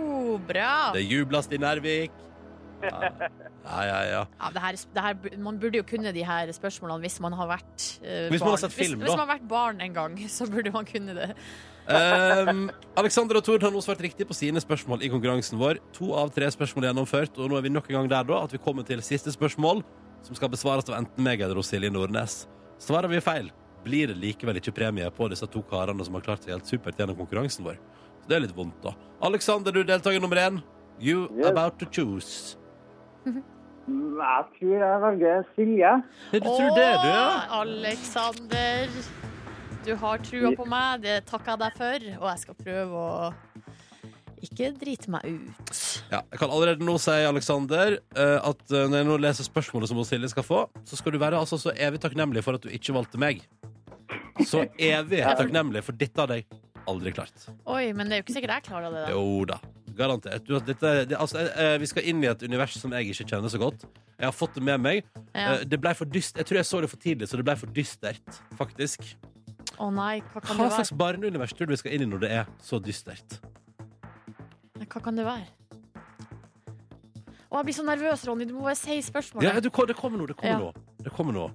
Speaker 3: Oh, bra!
Speaker 2: Det jubles i Nervik. Ja, ja, ja.
Speaker 3: Ja, det her, det her, bu- man burde jo kunne de her spørsmålene hvis man har vært eh,
Speaker 2: Hvis man
Speaker 3: barn.
Speaker 2: har sett film,
Speaker 3: hvis,
Speaker 2: da.
Speaker 3: hvis man har vært barn en gang, så burde man kunne det.
Speaker 2: Um, Alexander og Tord har nå svart riktig på sine spørsmål i konkurransen vår. To av tre spørsmål er gjennomført, og nå er vi nok en gang der da at vi kommer til siste spørsmål, som skal besvares av enten meg eller hos Silje Nordnes. Svarer vi feil, blir det likevel ikke premie på disse to karene som har klart seg helt supert gjennom konkurransen vår. Så det er litt vondt, da. Alexander, du er deltaker nummer én. You
Speaker 1: Yes.
Speaker 2: about to choose.
Speaker 1: Mm, Jeg tror jeg velger Silje.
Speaker 2: Du tror det, du, ja?
Speaker 3: Åh, Alexander, du har trua på meg. Det takker jeg deg for, og jeg skal prøve å ikke drite meg ut.
Speaker 2: Ja, jeg kan allerede nå si, Alexander, eh, at eh, når jeg nå leser spørsmålet som hun Silje skal få, så skal du være altså så evig takknemlig for at du ikke valgte meg. Så evig takknemlig, for dette hadde jeg aldri klart.
Speaker 3: Oi, men det er jo ikke sikkert jeg klarer det. da
Speaker 2: Jo da. Garantert. Du, dette, det, altså, eh, vi skal inn i et univers som jeg ikke kjenner så godt. Jeg har fått det med meg.
Speaker 3: Ja.
Speaker 2: Eh, det ble for dyst. Jeg tror jeg så det for tidlig, så det ble for dystert, faktisk.
Speaker 3: Å nei, hva kan
Speaker 2: Hva
Speaker 3: det
Speaker 2: slags
Speaker 3: være?
Speaker 2: barneunivers tror du vi skal inn i når det er så dystert?
Speaker 3: Hva kan det være? Å, jeg blir så nervøs, Ronny. Du må bare si
Speaker 2: Ja,
Speaker 3: spørsmålet.
Speaker 2: du, det kommer nå, det kommer
Speaker 3: Ja.
Speaker 2: nå. Det kommer nå.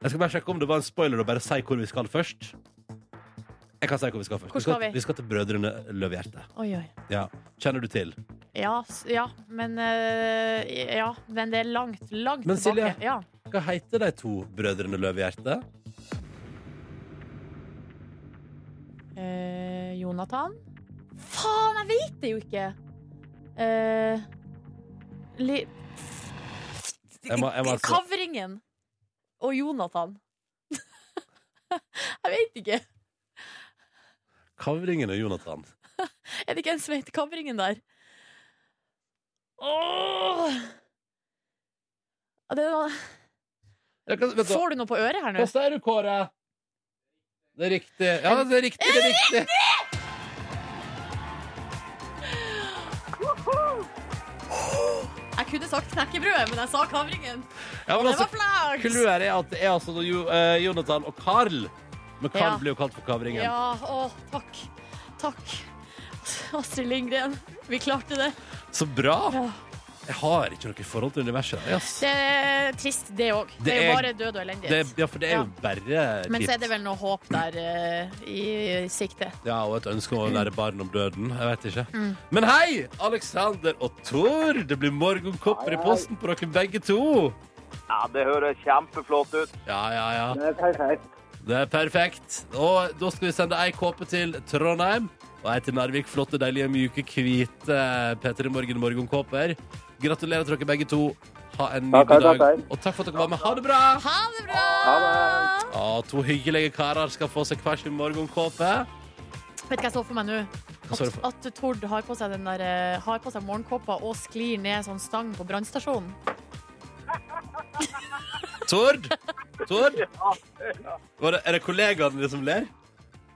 Speaker 2: Jeg skal bare sjekke om det var en spoiler og bare si hvor vi skal først. Jeg kan si hvor vi skal først.
Speaker 3: Hvor skal vi?
Speaker 2: vi skal til Brødrene Løvhjerte.
Speaker 3: Oi, oi.
Speaker 2: Ja. Kjenner du til?
Speaker 3: Ja, s- ja, men eh, Ja, men det er langt, langt
Speaker 2: Men Silje-
Speaker 3: tilbake. Ja.
Speaker 2: Hva heter de to Brødrene Løvhjerte?
Speaker 3: Eh, Jonathan? Faen, jeg vet det jo ikke! Eh, li...
Speaker 2: Jeg må- jeg må altså-
Speaker 3: Kavringen og Jonathan. jeg vet ikke.
Speaker 2: Kavringen og Jonathan.
Speaker 3: Er det ikke en som heter Kavringen der? Åh! Ja, Det er noe...
Speaker 2: Ja, hva- vent da.
Speaker 3: Får du noe på øret her nå?
Speaker 2: Hva sier du, Kåre? Det er riktig. Ja, det er riktig, det er riktig.
Speaker 3: Jeg kunne sagt knekkebrød, men jeg sa Kavringen.
Speaker 2: Ja, men
Speaker 3: Det
Speaker 2: altså,
Speaker 3: var flaks!
Speaker 2: Clouet er at det er altså Jo- eh, Jonathan og Carl. Men Carl
Speaker 3: Ja.
Speaker 2: blir jo kalt for Kavringen.
Speaker 3: Ja, å, takk. Takk. Astrid Lindgren, vi klarte det.
Speaker 2: Så bra!
Speaker 3: Ja.
Speaker 2: Jeg har ikke noe forhold til universet. Yes.
Speaker 3: Det er trist, det òg. Det,
Speaker 2: Det
Speaker 3: er
Speaker 2: er-
Speaker 3: jo bare død og elendighet.
Speaker 2: Det, ja, for det er jo
Speaker 3: Ja.
Speaker 2: bare tips.
Speaker 3: Men så er det vel noe håp der eh, i, i sikte.
Speaker 2: Ja, og et ønske om å lære barn om døden. Jeg vet ikke.
Speaker 3: Mm.
Speaker 2: Men hei, Alexander og Tor! Det blir morgenkopper i posten på dere begge to.
Speaker 5: ja, det høres kjempeflott ut.
Speaker 2: Ja, ja, ja.
Speaker 1: Det er perfekt.
Speaker 2: Det er perfekt. Og da skal vi sende ei kåpe til Trondheim og ei til Narvik. Flotte, deilige, myke, hvite P3 Morgen morgenkåper. Gratulerer til dere begge to. Ha en
Speaker 1: Takk,
Speaker 2: nydelig
Speaker 1: takk,
Speaker 2: dag.
Speaker 1: takk.
Speaker 2: Og takk for at dere var med. Ha det bra!
Speaker 3: Ha det bra!
Speaker 1: Ha
Speaker 2: Ja, to hyggelige karer skal få seg hver sin morgenkåpe.
Speaker 3: Vet du hva jeg så for meg nå?
Speaker 2: Hva så du
Speaker 3: At,
Speaker 2: for-
Speaker 3: at Tord har på seg, den der, eh, har på seg morgenkåpa og sklir ned sånn stang på brannstasjonen.
Speaker 2: Tord? Tord? Var det, er det kollegaene dine som ler?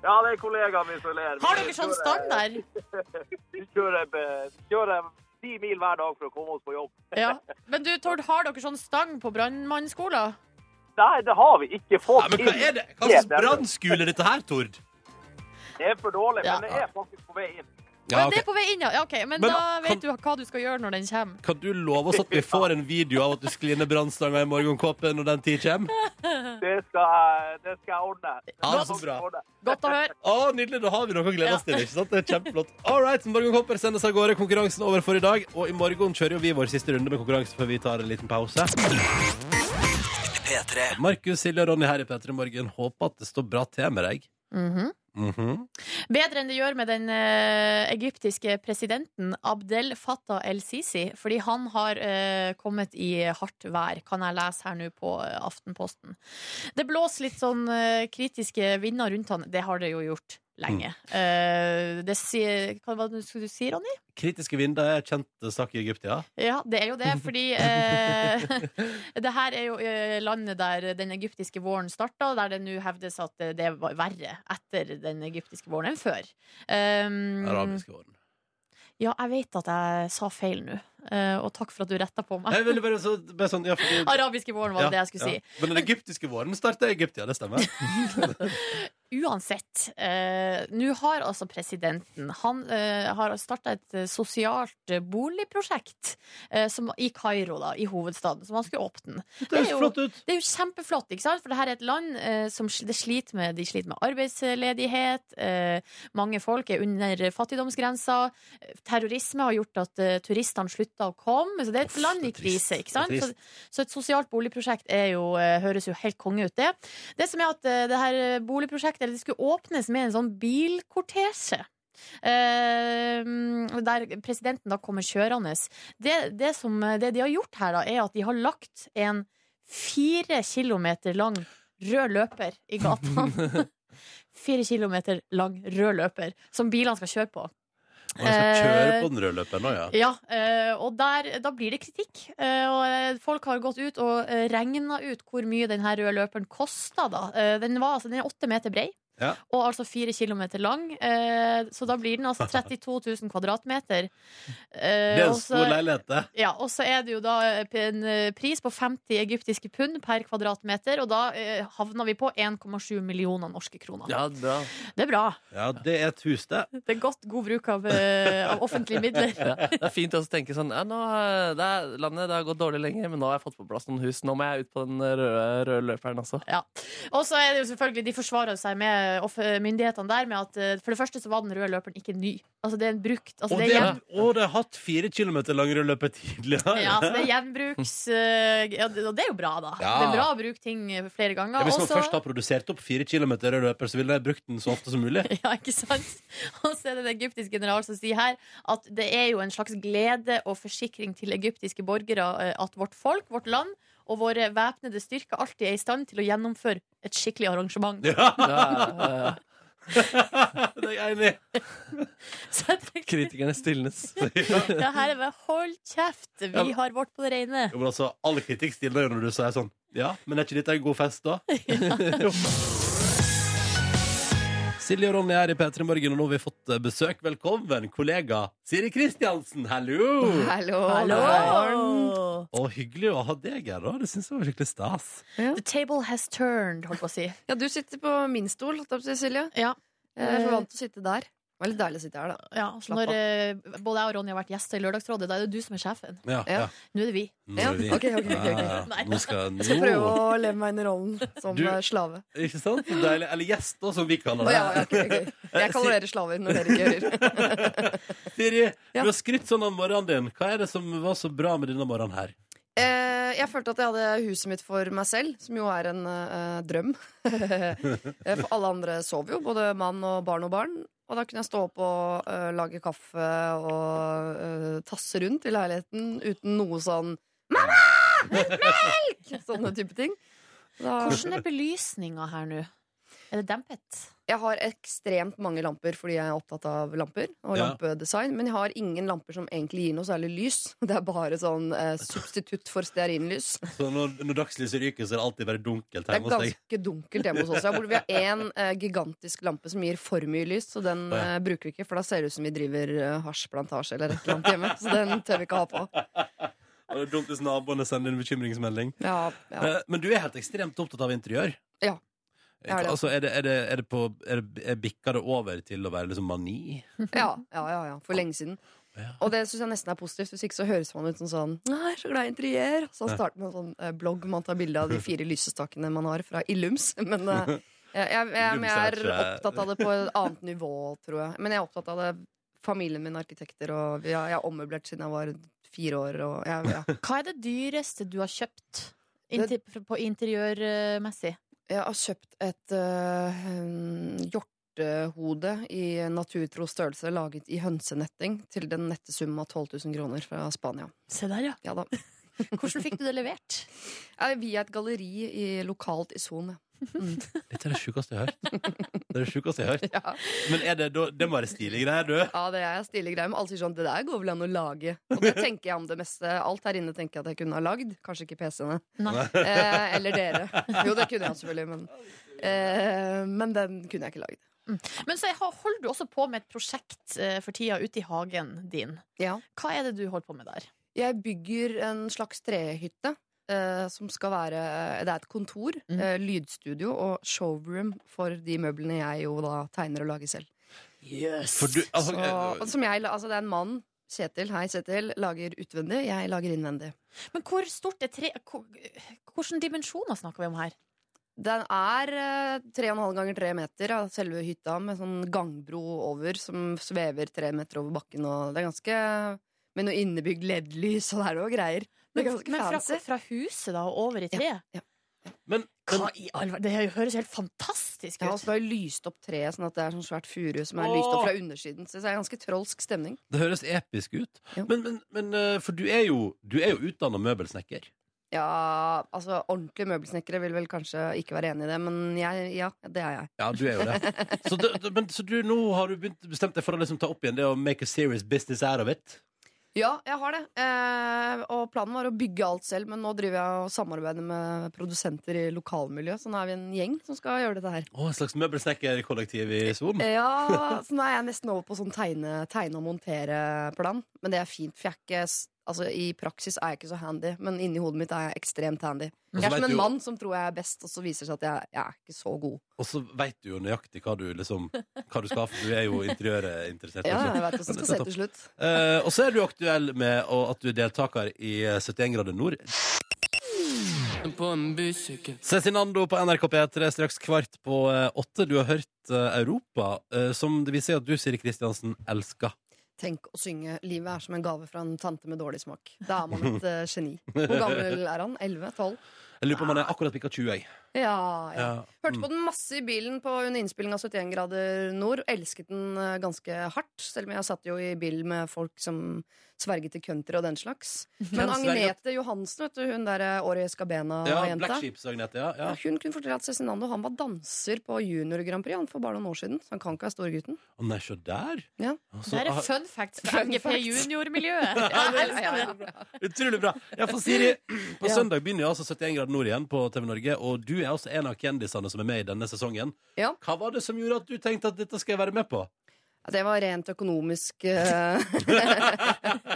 Speaker 5: Ja, det er kollegaen min som ler.
Speaker 3: Har dere sånn standard?
Speaker 5: Vi kjører, eh, vi kjører ti mil hver dag for å komme oss på jobb.
Speaker 3: Ja. Men du, Tord, har dere sånn stang på brannmannsskolen?
Speaker 5: Nei, det har vi ikke
Speaker 2: Nei,
Speaker 5: fått
Speaker 2: men hva
Speaker 5: inn.
Speaker 2: er det? Hva slags brannskole er dette her, Tord?
Speaker 5: Det er for dårlig,
Speaker 3: Ja.
Speaker 5: men det er faktisk på vei inn.
Speaker 2: Ja,
Speaker 3: Men det
Speaker 2: ok.
Speaker 3: er på vei inn, ja. ja ok. Men,
Speaker 2: Men
Speaker 3: da
Speaker 2: kan-
Speaker 3: vet du hva du skal gjøre når den kommer.
Speaker 2: Kan du love oss at vi får en video av at du sklir ned brannstanga i morgenkåpen når den tid kommer?
Speaker 5: Det skal, jeg- det skal jeg ordne.
Speaker 2: Ja, så bra.
Speaker 5: Ordne.
Speaker 3: Godt å høre.
Speaker 2: Å, Nydelig, da har vi noe å glede oss
Speaker 3: Ja.
Speaker 2: til. ikke sant? Det er Kjempeflott. All right, morgenkåper sendes av gårde. Konkurransen er over for i dag. Og i morgen kjører jo vi vår siste runde med konkurranse før vi tar en liten pause. Markus, Silje og Ronny her i P3 Morgen. Håper at det står bra til med deg.
Speaker 3: Mhm.
Speaker 2: Mhm.
Speaker 3: Bedre enn det gjør med den eh, egyptiske presidenten Abdel Fattah el-Sisi, fordi han har eh, kommet i hardt vær, kan jeg lese her nå på eh, Aftenposten. Det blåser litt sånn eh, kritiske vinder rundt han. Det har det jo gjort lenge. Eh, det sier Hva var det skulle du si, Ronny?
Speaker 2: Kritiske vinder er kjent sak i Egypt, ja.
Speaker 3: Ja, det er jo det, fordi eh, det her er jo eh, landet der den egyptiske våren starta, og der det nå hevdes at eh, det var verre etter den egyptiske våren enn før. Um,
Speaker 2: Arabiske våren.
Speaker 3: Ja, jeg vet at jeg sa feil nå, eh, og takk for at du retta på meg.
Speaker 2: Jeg ville bare, så, bare sånn, ja, fordi,
Speaker 3: Arabiske våren var det jeg skulle
Speaker 2: ja. Men den egyptiske våren starter i Egypt, ja. Det stemmer.
Speaker 3: si. Uansett, eh, nå har altså presidenten Han eh, har starta et eh, sosialt eh, boligprosjekt eh, som, i Kairo, da, i hovedstaden, som han skulle åpne.
Speaker 2: Det
Speaker 3: er
Speaker 2: høres
Speaker 3: jo-
Speaker 2: flott ut.
Speaker 3: Det er jo kjempeflott, ikke sant? For det her er et land eh, som sl- det sliter med De sliter med arbeidsledighet. Eh, mange folk er under fattigdomsgrensa. eh, Terrorisme har gjort at eh, turistene slutta å komme. Så det er et
Speaker 2: Uff,
Speaker 3: land
Speaker 2: det
Speaker 3: i
Speaker 2: er trist,
Speaker 3: krise, ikke
Speaker 2: det er
Speaker 3: sant? Så, så et sosialt boligprosjekt er jo, eh, høres jo helt konge ut, det. Det som er at eh, det her boligprosjektet eller det skulle åpnes med en sånn bilkortesje. Eh, der presidenten da kommer kjørende. Det, det, som, eh, det de har gjort her, da, er at de har lagt en fire kilometer lang rød løper i gata. fire kilometer lang rød løper som bilene skal kjøre på.
Speaker 2: Og jeg skal kjøre på den røde løperen nå, ja.
Speaker 3: Ja, eh, og der, da blir det kritikk. Eh, og eh, folk har gått ut og eh, regna ut hvor mye den her røde løperen kosta, da. Eh, den, var, altså, den er åtte meter brei.
Speaker 2: Ja.
Speaker 3: Og altså fire kilometer lang, eh, så da blir den altså 32 000 kvadratmeter. Eh,
Speaker 2: Det er en
Speaker 3: og så-
Speaker 2: stor leilighet, det.
Speaker 3: ja, og så er det jo da en eh, pris på 50 egyptiske pund per kvadratmeter, og da eh, havner vi på 1,7 millioner norske kroner.
Speaker 4: Ja, bra.
Speaker 3: Det er bra.
Speaker 2: Ja, det er et hus, det.
Speaker 3: Det er godt god bruk av, eh, av offentlige midler.
Speaker 4: Ja. Det er fint også å tenke sånn ja, nå, eh, det er, Landet det har gått dårlig lenge, men nå har jeg fått på plass noen hus. Nå må jeg ut på den røde, røde løperen også.
Speaker 3: Og så er det jo selvfølgelig, de forsvarer seg med off- myndighetene der med at eh, for det første så var den røde løperen ikke ny. Altså det er en brukt. Altså,
Speaker 2: Og
Speaker 3: det
Speaker 2: det,
Speaker 3: er
Speaker 2: er,
Speaker 3: jevn,
Speaker 2: og det har hatt fire kilometer lang rødløper tidligere.
Speaker 3: ja, så det er gjenbruks... eh, ja, det- og det er jo bra, da.
Speaker 2: Ja.
Speaker 3: Det er bra å bruke ting eh, flere
Speaker 2: Ja,
Speaker 3: ganger.
Speaker 2: Hvis man
Speaker 3: Også-
Speaker 2: først har produsert opp fire kilometer rødløper, så ville jeg brukt den så ofte som mulig.
Speaker 3: Ja, ikke sant? Og så er det en egyptisk general som sier her at det er jo en slags glede og forsikring til egyptiske borgere eh, at vårt folk, vårt land og våre væpnede styrker alltid er i stand til å gjennomføre et skikkelig arrangement.
Speaker 2: Ja,
Speaker 4: Ja, ja, eh, ja.
Speaker 2: det er jeg enig i.
Speaker 3: Så jeg tenker,
Speaker 4: Kritikerne stilnes.
Speaker 3: det her er bare hold kjeft, vi har vårt på det rene.
Speaker 2: Jo, men altså, All kritikk stiller jo når du sier sånn Ja, men er ikke dette en god fest, da? Jo. Silje og Ronny er i P3 Morgen, og nå har vi fått eh, besøk. Velkommen, kollega Siri Kristiansen. Hallo!
Speaker 6: Hallo.
Speaker 3: Hallo.
Speaker 2: Og hyggelig å ha deg her, da. Det syns jeg var skikkelig stas.
Speaker 3: The table has turned, holdt på å si.
Speaker 6: Ja, du sitter på min stol, holdt jeg på å si, Silje. Eh,
Speaker 3: Ja. Eh.
Speaker 6: Jeg er så vant til å sitte der. Det var litt deilig å sitte her, da.
Speaker 3: Ja,
Speaker 6: Slapp
Speaker 3: når eh, både jeg og Ronny har vært gjester i Lørdagsrådet, da er det du som er sjefen.
Speaker 2: Ja,
Speaker 6: Ja.
Speaker 2: ja.
Speaker 3: Nå er det vi.
Speaker 2: Nå
Speaker 6: Ja,
Speaker 2: er vi-
Speaker 6: ok, ok, ok, ok.
Speaker 2: Ja,
Speaker 3: Nei.
Speaker 2: Nå skal
Speaker 6: Jeg skal prøve
Speaker 2: nå.
Speaker 6: å leve meg inn i rollen som
Speaker 2: Du-
Speaker 6: eh, slave.
Speaker 2: Ikke sant? Så Deilig. Eller gjest, da, som vi kaller
Speaker 6: Å, ja, ja,
Speaker 2: det.
Speaker 6: ok, ok. Jeg kaller dere slaver når dere ikke hører.
Speaker 2: Siri,
Speaker 6: Ja.
Speaker 2: du har skrytt sånn av morgenen din. Hva er det som var så bra med denne morgenen her?
Speaker 6: Eh, Jeg følte at jeg hadde huset mitt for meg selv, som jo er en eh, drøm. Eh, For alle andre sover jo, både mann og barn og barn. Og da kunne jeg stå opp og eh, lage kaffe og eh, tasse rundt i leiligheten uten noe sånn 'Mamma! Litt melk!' Sånne type ting. Da,
Speaker 3: Hvordan er belysninga her nå? Er det dempet?
Speaker 6: Jeg har ekstremt mange lamper fordi jeg er opptatt av lamper og
Speaker 2: Ja.
Speaker 6: lampedesign. Men jeg har ingen lamper som egentlig gir noe særlig lys. Det er bare sånn eh, substitutt for stearinlys.
Speaker 2: Så når, når dagslyset ryker, så er det alltid bare dunkelt
Speaker 6: Det er
Speaker 2: hjemme hos deg.
Speaker 6: ganske dunkelt hjemme hos oss. Jeg bor- Vi har én eh, gigantisk lampe som gir for mye lys, så den
Speaker 2: Å, ja.
Speaker 6: eh, bruker vi ikke. For da ser det ut som vi driver eh, hasjplantasje eller et eller annet hjemme. Så den tør vi ikke ha på.
Speaker 2: Og det er dumt hvis naboene sender en bekymringsmelding.
Speaker 6: Ja, ja.
Speaker 2: Eh, Men du er helt ekstremt opptatt av interiør.
Speaker 6: Ja, jeg er det.
Speaker 2: Altså, er det, er det, er det på er det, er Bikker det over til å være liksom mani?
Speaker 6: Ja, ja, ja, ja. For lenge siden.
Speaker 2: Ja.
Speaker 6: Og det syns jeg nesten er positivt. Hvis ikke så høres man ut som sånn Nei, jeg er så glad i interiør. Så han starter med en sånn eh, blogg man tar bilde av de fire lysestakene man har fra Illums. Men eh, jeg, jeg, jeg,
Speaker 2: Illums
Speaker 6: jeg
Speaker 2: er
Speaker 6: er
Speaker 2: ikke-
Speaker 6: opptatt av det på et annet nivå, tror jeg. Men jeg er opptatt av det. Familien min er arkitekter, og vi har, jeg har ommøblert siden jeg var fire år. Og jeg, ja.
Speaker 3: Hva er det dyreste du har kjøpt Inter på interiørmessig?
Speaker 6: jeg har kjøpt et eh, hjortehode i naturtro størrelse laget i hønsenetting til den nette sum av 12 000 kroner fra Spania.
Speaker 3: Se der, ja.
Speaker 6: Ja da.
Speaker 3: Hvordan fikk du det levert?
Speaker 6: Ja, via et galleri i, lokalt i Son.
Speaker 2: Dette er det sjukeste jeg har hørt. Det er det sjukeste jeg har hørt.
Speaker 6: Ja.
Speaker 2: Men er det, da- det må være stilige greier, du.
Speaker 6: ja, det er stilige greier. Men alle sier sånn Det der går vel an å lage? Og det tenker jeg om det meste. Alt her inne tenker jeg at jeg kunne ha lagd. Kanskje ikke PC-ene.
Speaker 3: Nei.
Speaker 6: Eh, eller dere. Jo, det kunne jeg selvfølgelig, men eh, Men den kunne jeg ikke lagd.
Speaker 3: Men så har- holder du også på med et prosjekt eh, for tida ute i hagen din.
Speaker 6: Ja.
Speaker 3: Hva er det du holder på med der?
Speaker 6: Jeg bygger en slags trehytte. eh, som skal være Det er et kontor,
Speaker 3: Mm.
Speaker 6: eh, lydstudio og showroom for de møblene jeg jo da tegner og lager selv.
Speaker 2: For du altså,
Speaker 6: Så,
Speaker 2: eh,
Speaker 6: og som jeg, la- altså det er en mann, Kjetil, hei Kjetil, lager utvendig, jeg lager innvendig.
Speaker 3: Men hvor stort er tre... hvor- Hvilke dimensjoner snakker vi om her?
Speaker 6: Den er eh, tre og en halv ganger tre meter av selve hytta, med sånn gangbro over som svever tre meter over bakken. Og det er ganske Med noe innebygd LED-lys, og det er noe greier. Det er
Speaker 3: Men,
Speaker 6: ganske
Speaker 3: men fra,
Speaker 6: fancy.
Speaker 3: fra huset da og over i treet?
Speaker 6: ja.
Speaker 2: men, men
Speaker 3: Hva i all verden? Det høres helt fantastisk
Speaker 6: Jeg har
Speaker 3: ut.
Speaker 6: også bare lyst opp treet, sånn at det er sånn svært furu som er lyst opp fra undersiden. Så det er ganske trolsk stemning.
Speaker 2: det høres episk ut.
Speaker 6: Jo.
Speaker 2: Men, men, men eh, for du er jo, du er jo utdanna møbelsnekker.
Speaker 6: Ja, altså ordentlige møbelsnekkere vil vel kanskje ikke være enig i det, men jeg, ja, det er jeg.
Speaker 2: Ja, du er jo det. Så, det, det- men, så du, nå har du begynt, bestemt deg for å liksom ta opp igjen det å make a serious business out of it?
Speaker 6: Ja, jeg har det. Eh, og planen var å bygge alt selv, men nå driver jeg og samarbeider med produsenter i lokalmiljøet, så nå er vi en gjeng som skal gjøre dette her.
Speaker 2: Å, et slags møbelsnekkerkollektiv i Son?
Speaker 6: Eh, Ja, så nå er jeg nesten over på sånn tegne, tegne og montere-plan, men det er fint, for jeg er ikke s- Altså, I praksis er jeg ikke så handy, men inni hodet mitt er jeg ekstremt handy.
Speaker 2: Og så
Speaker 6: Jeg er som
Speaker 2: vet
Speaker 6: en
Speaker 2: du-
Speaker 6: mann som tror jeg er best, og så viser det seg at jeg, jeg er ikke så god.
Speaker 2: Og så veit du jo nøyaktig hva du, liksom, hva du skal ha, for du er jo interiørinteressert.
Speaker 6: Ja,
Speaker 2: også.
Speaker 6: jeg vet hvordan det skal se til slutt.
Speaker 2: Eh, og så er du aktuell med å, at du er deltaker i eh, 71 grader nord.
Speaker 4: På en bussyke.
Speaker 2: Cezinando på NRK P3 straks kvart på eh, åtte. Du har hørt eh, Europa, eh, som det viser at du, Siri Kristiansen, elsker.
Speaker 6: Tenk å synge 'Livet er som en gave fra en tante med dårlig smak'. Da er man et eh, geni. Hvor gammel er han? 11-12?
Speaker 2: Jeg lurer på om han er akkurat pikka 20, jeg.
Speaker 6: Ja, ja.
Speaker 2: Ja,
Speaker 6: Hørte på den masse i bilen på under innspilling av 71 grader nord. Elsket den eh, ganske hardt, selv om jeg satt jo i bil med folk som sverget til country og den slags. Men
Speaker 2: Hvem sverget?
Speaker 6: Agnete Johansen, vet du, hun der eh,
Speaker 2: Mm. ja
Speaker 6: Året Escabena-jenta.
Speaker 2: Black Sheeps, Agnete. Ja, ja.
Speaker 6: Ja, hun kunne fortelle at Cezinando han var danser på junior Grand Prix han for bare noen år siden. Så han kan ikke være storgutten.
Speaker 2: Å nei, se der!
Speaker 6: Ja.
Speaker 2: Altså,
Speaker 3: Det her er
Speaker 2: ah,
Speaker 3: fun facts fra
Speaker 6: Fun
Speaker 3: MGP
Speaker 6: facts.
Speaker 3: junior-miljøet. Jeg elsker det.
Speaker 2: utrolig bra! Ja, for Siri, på
Speaker 6: Ja.
Speaker 2: søndag begynner jo altså 71 grader nord igjen på TV Norge, og du er altså en av kjendisene som er med i denne sesongen.
Speaker 6: Ja.
Speaker 2: Hva var det som gjorde at du tenkte at dette skal jeg være med på?
Speaker 6: Ja, Det var rent økonomisk eh,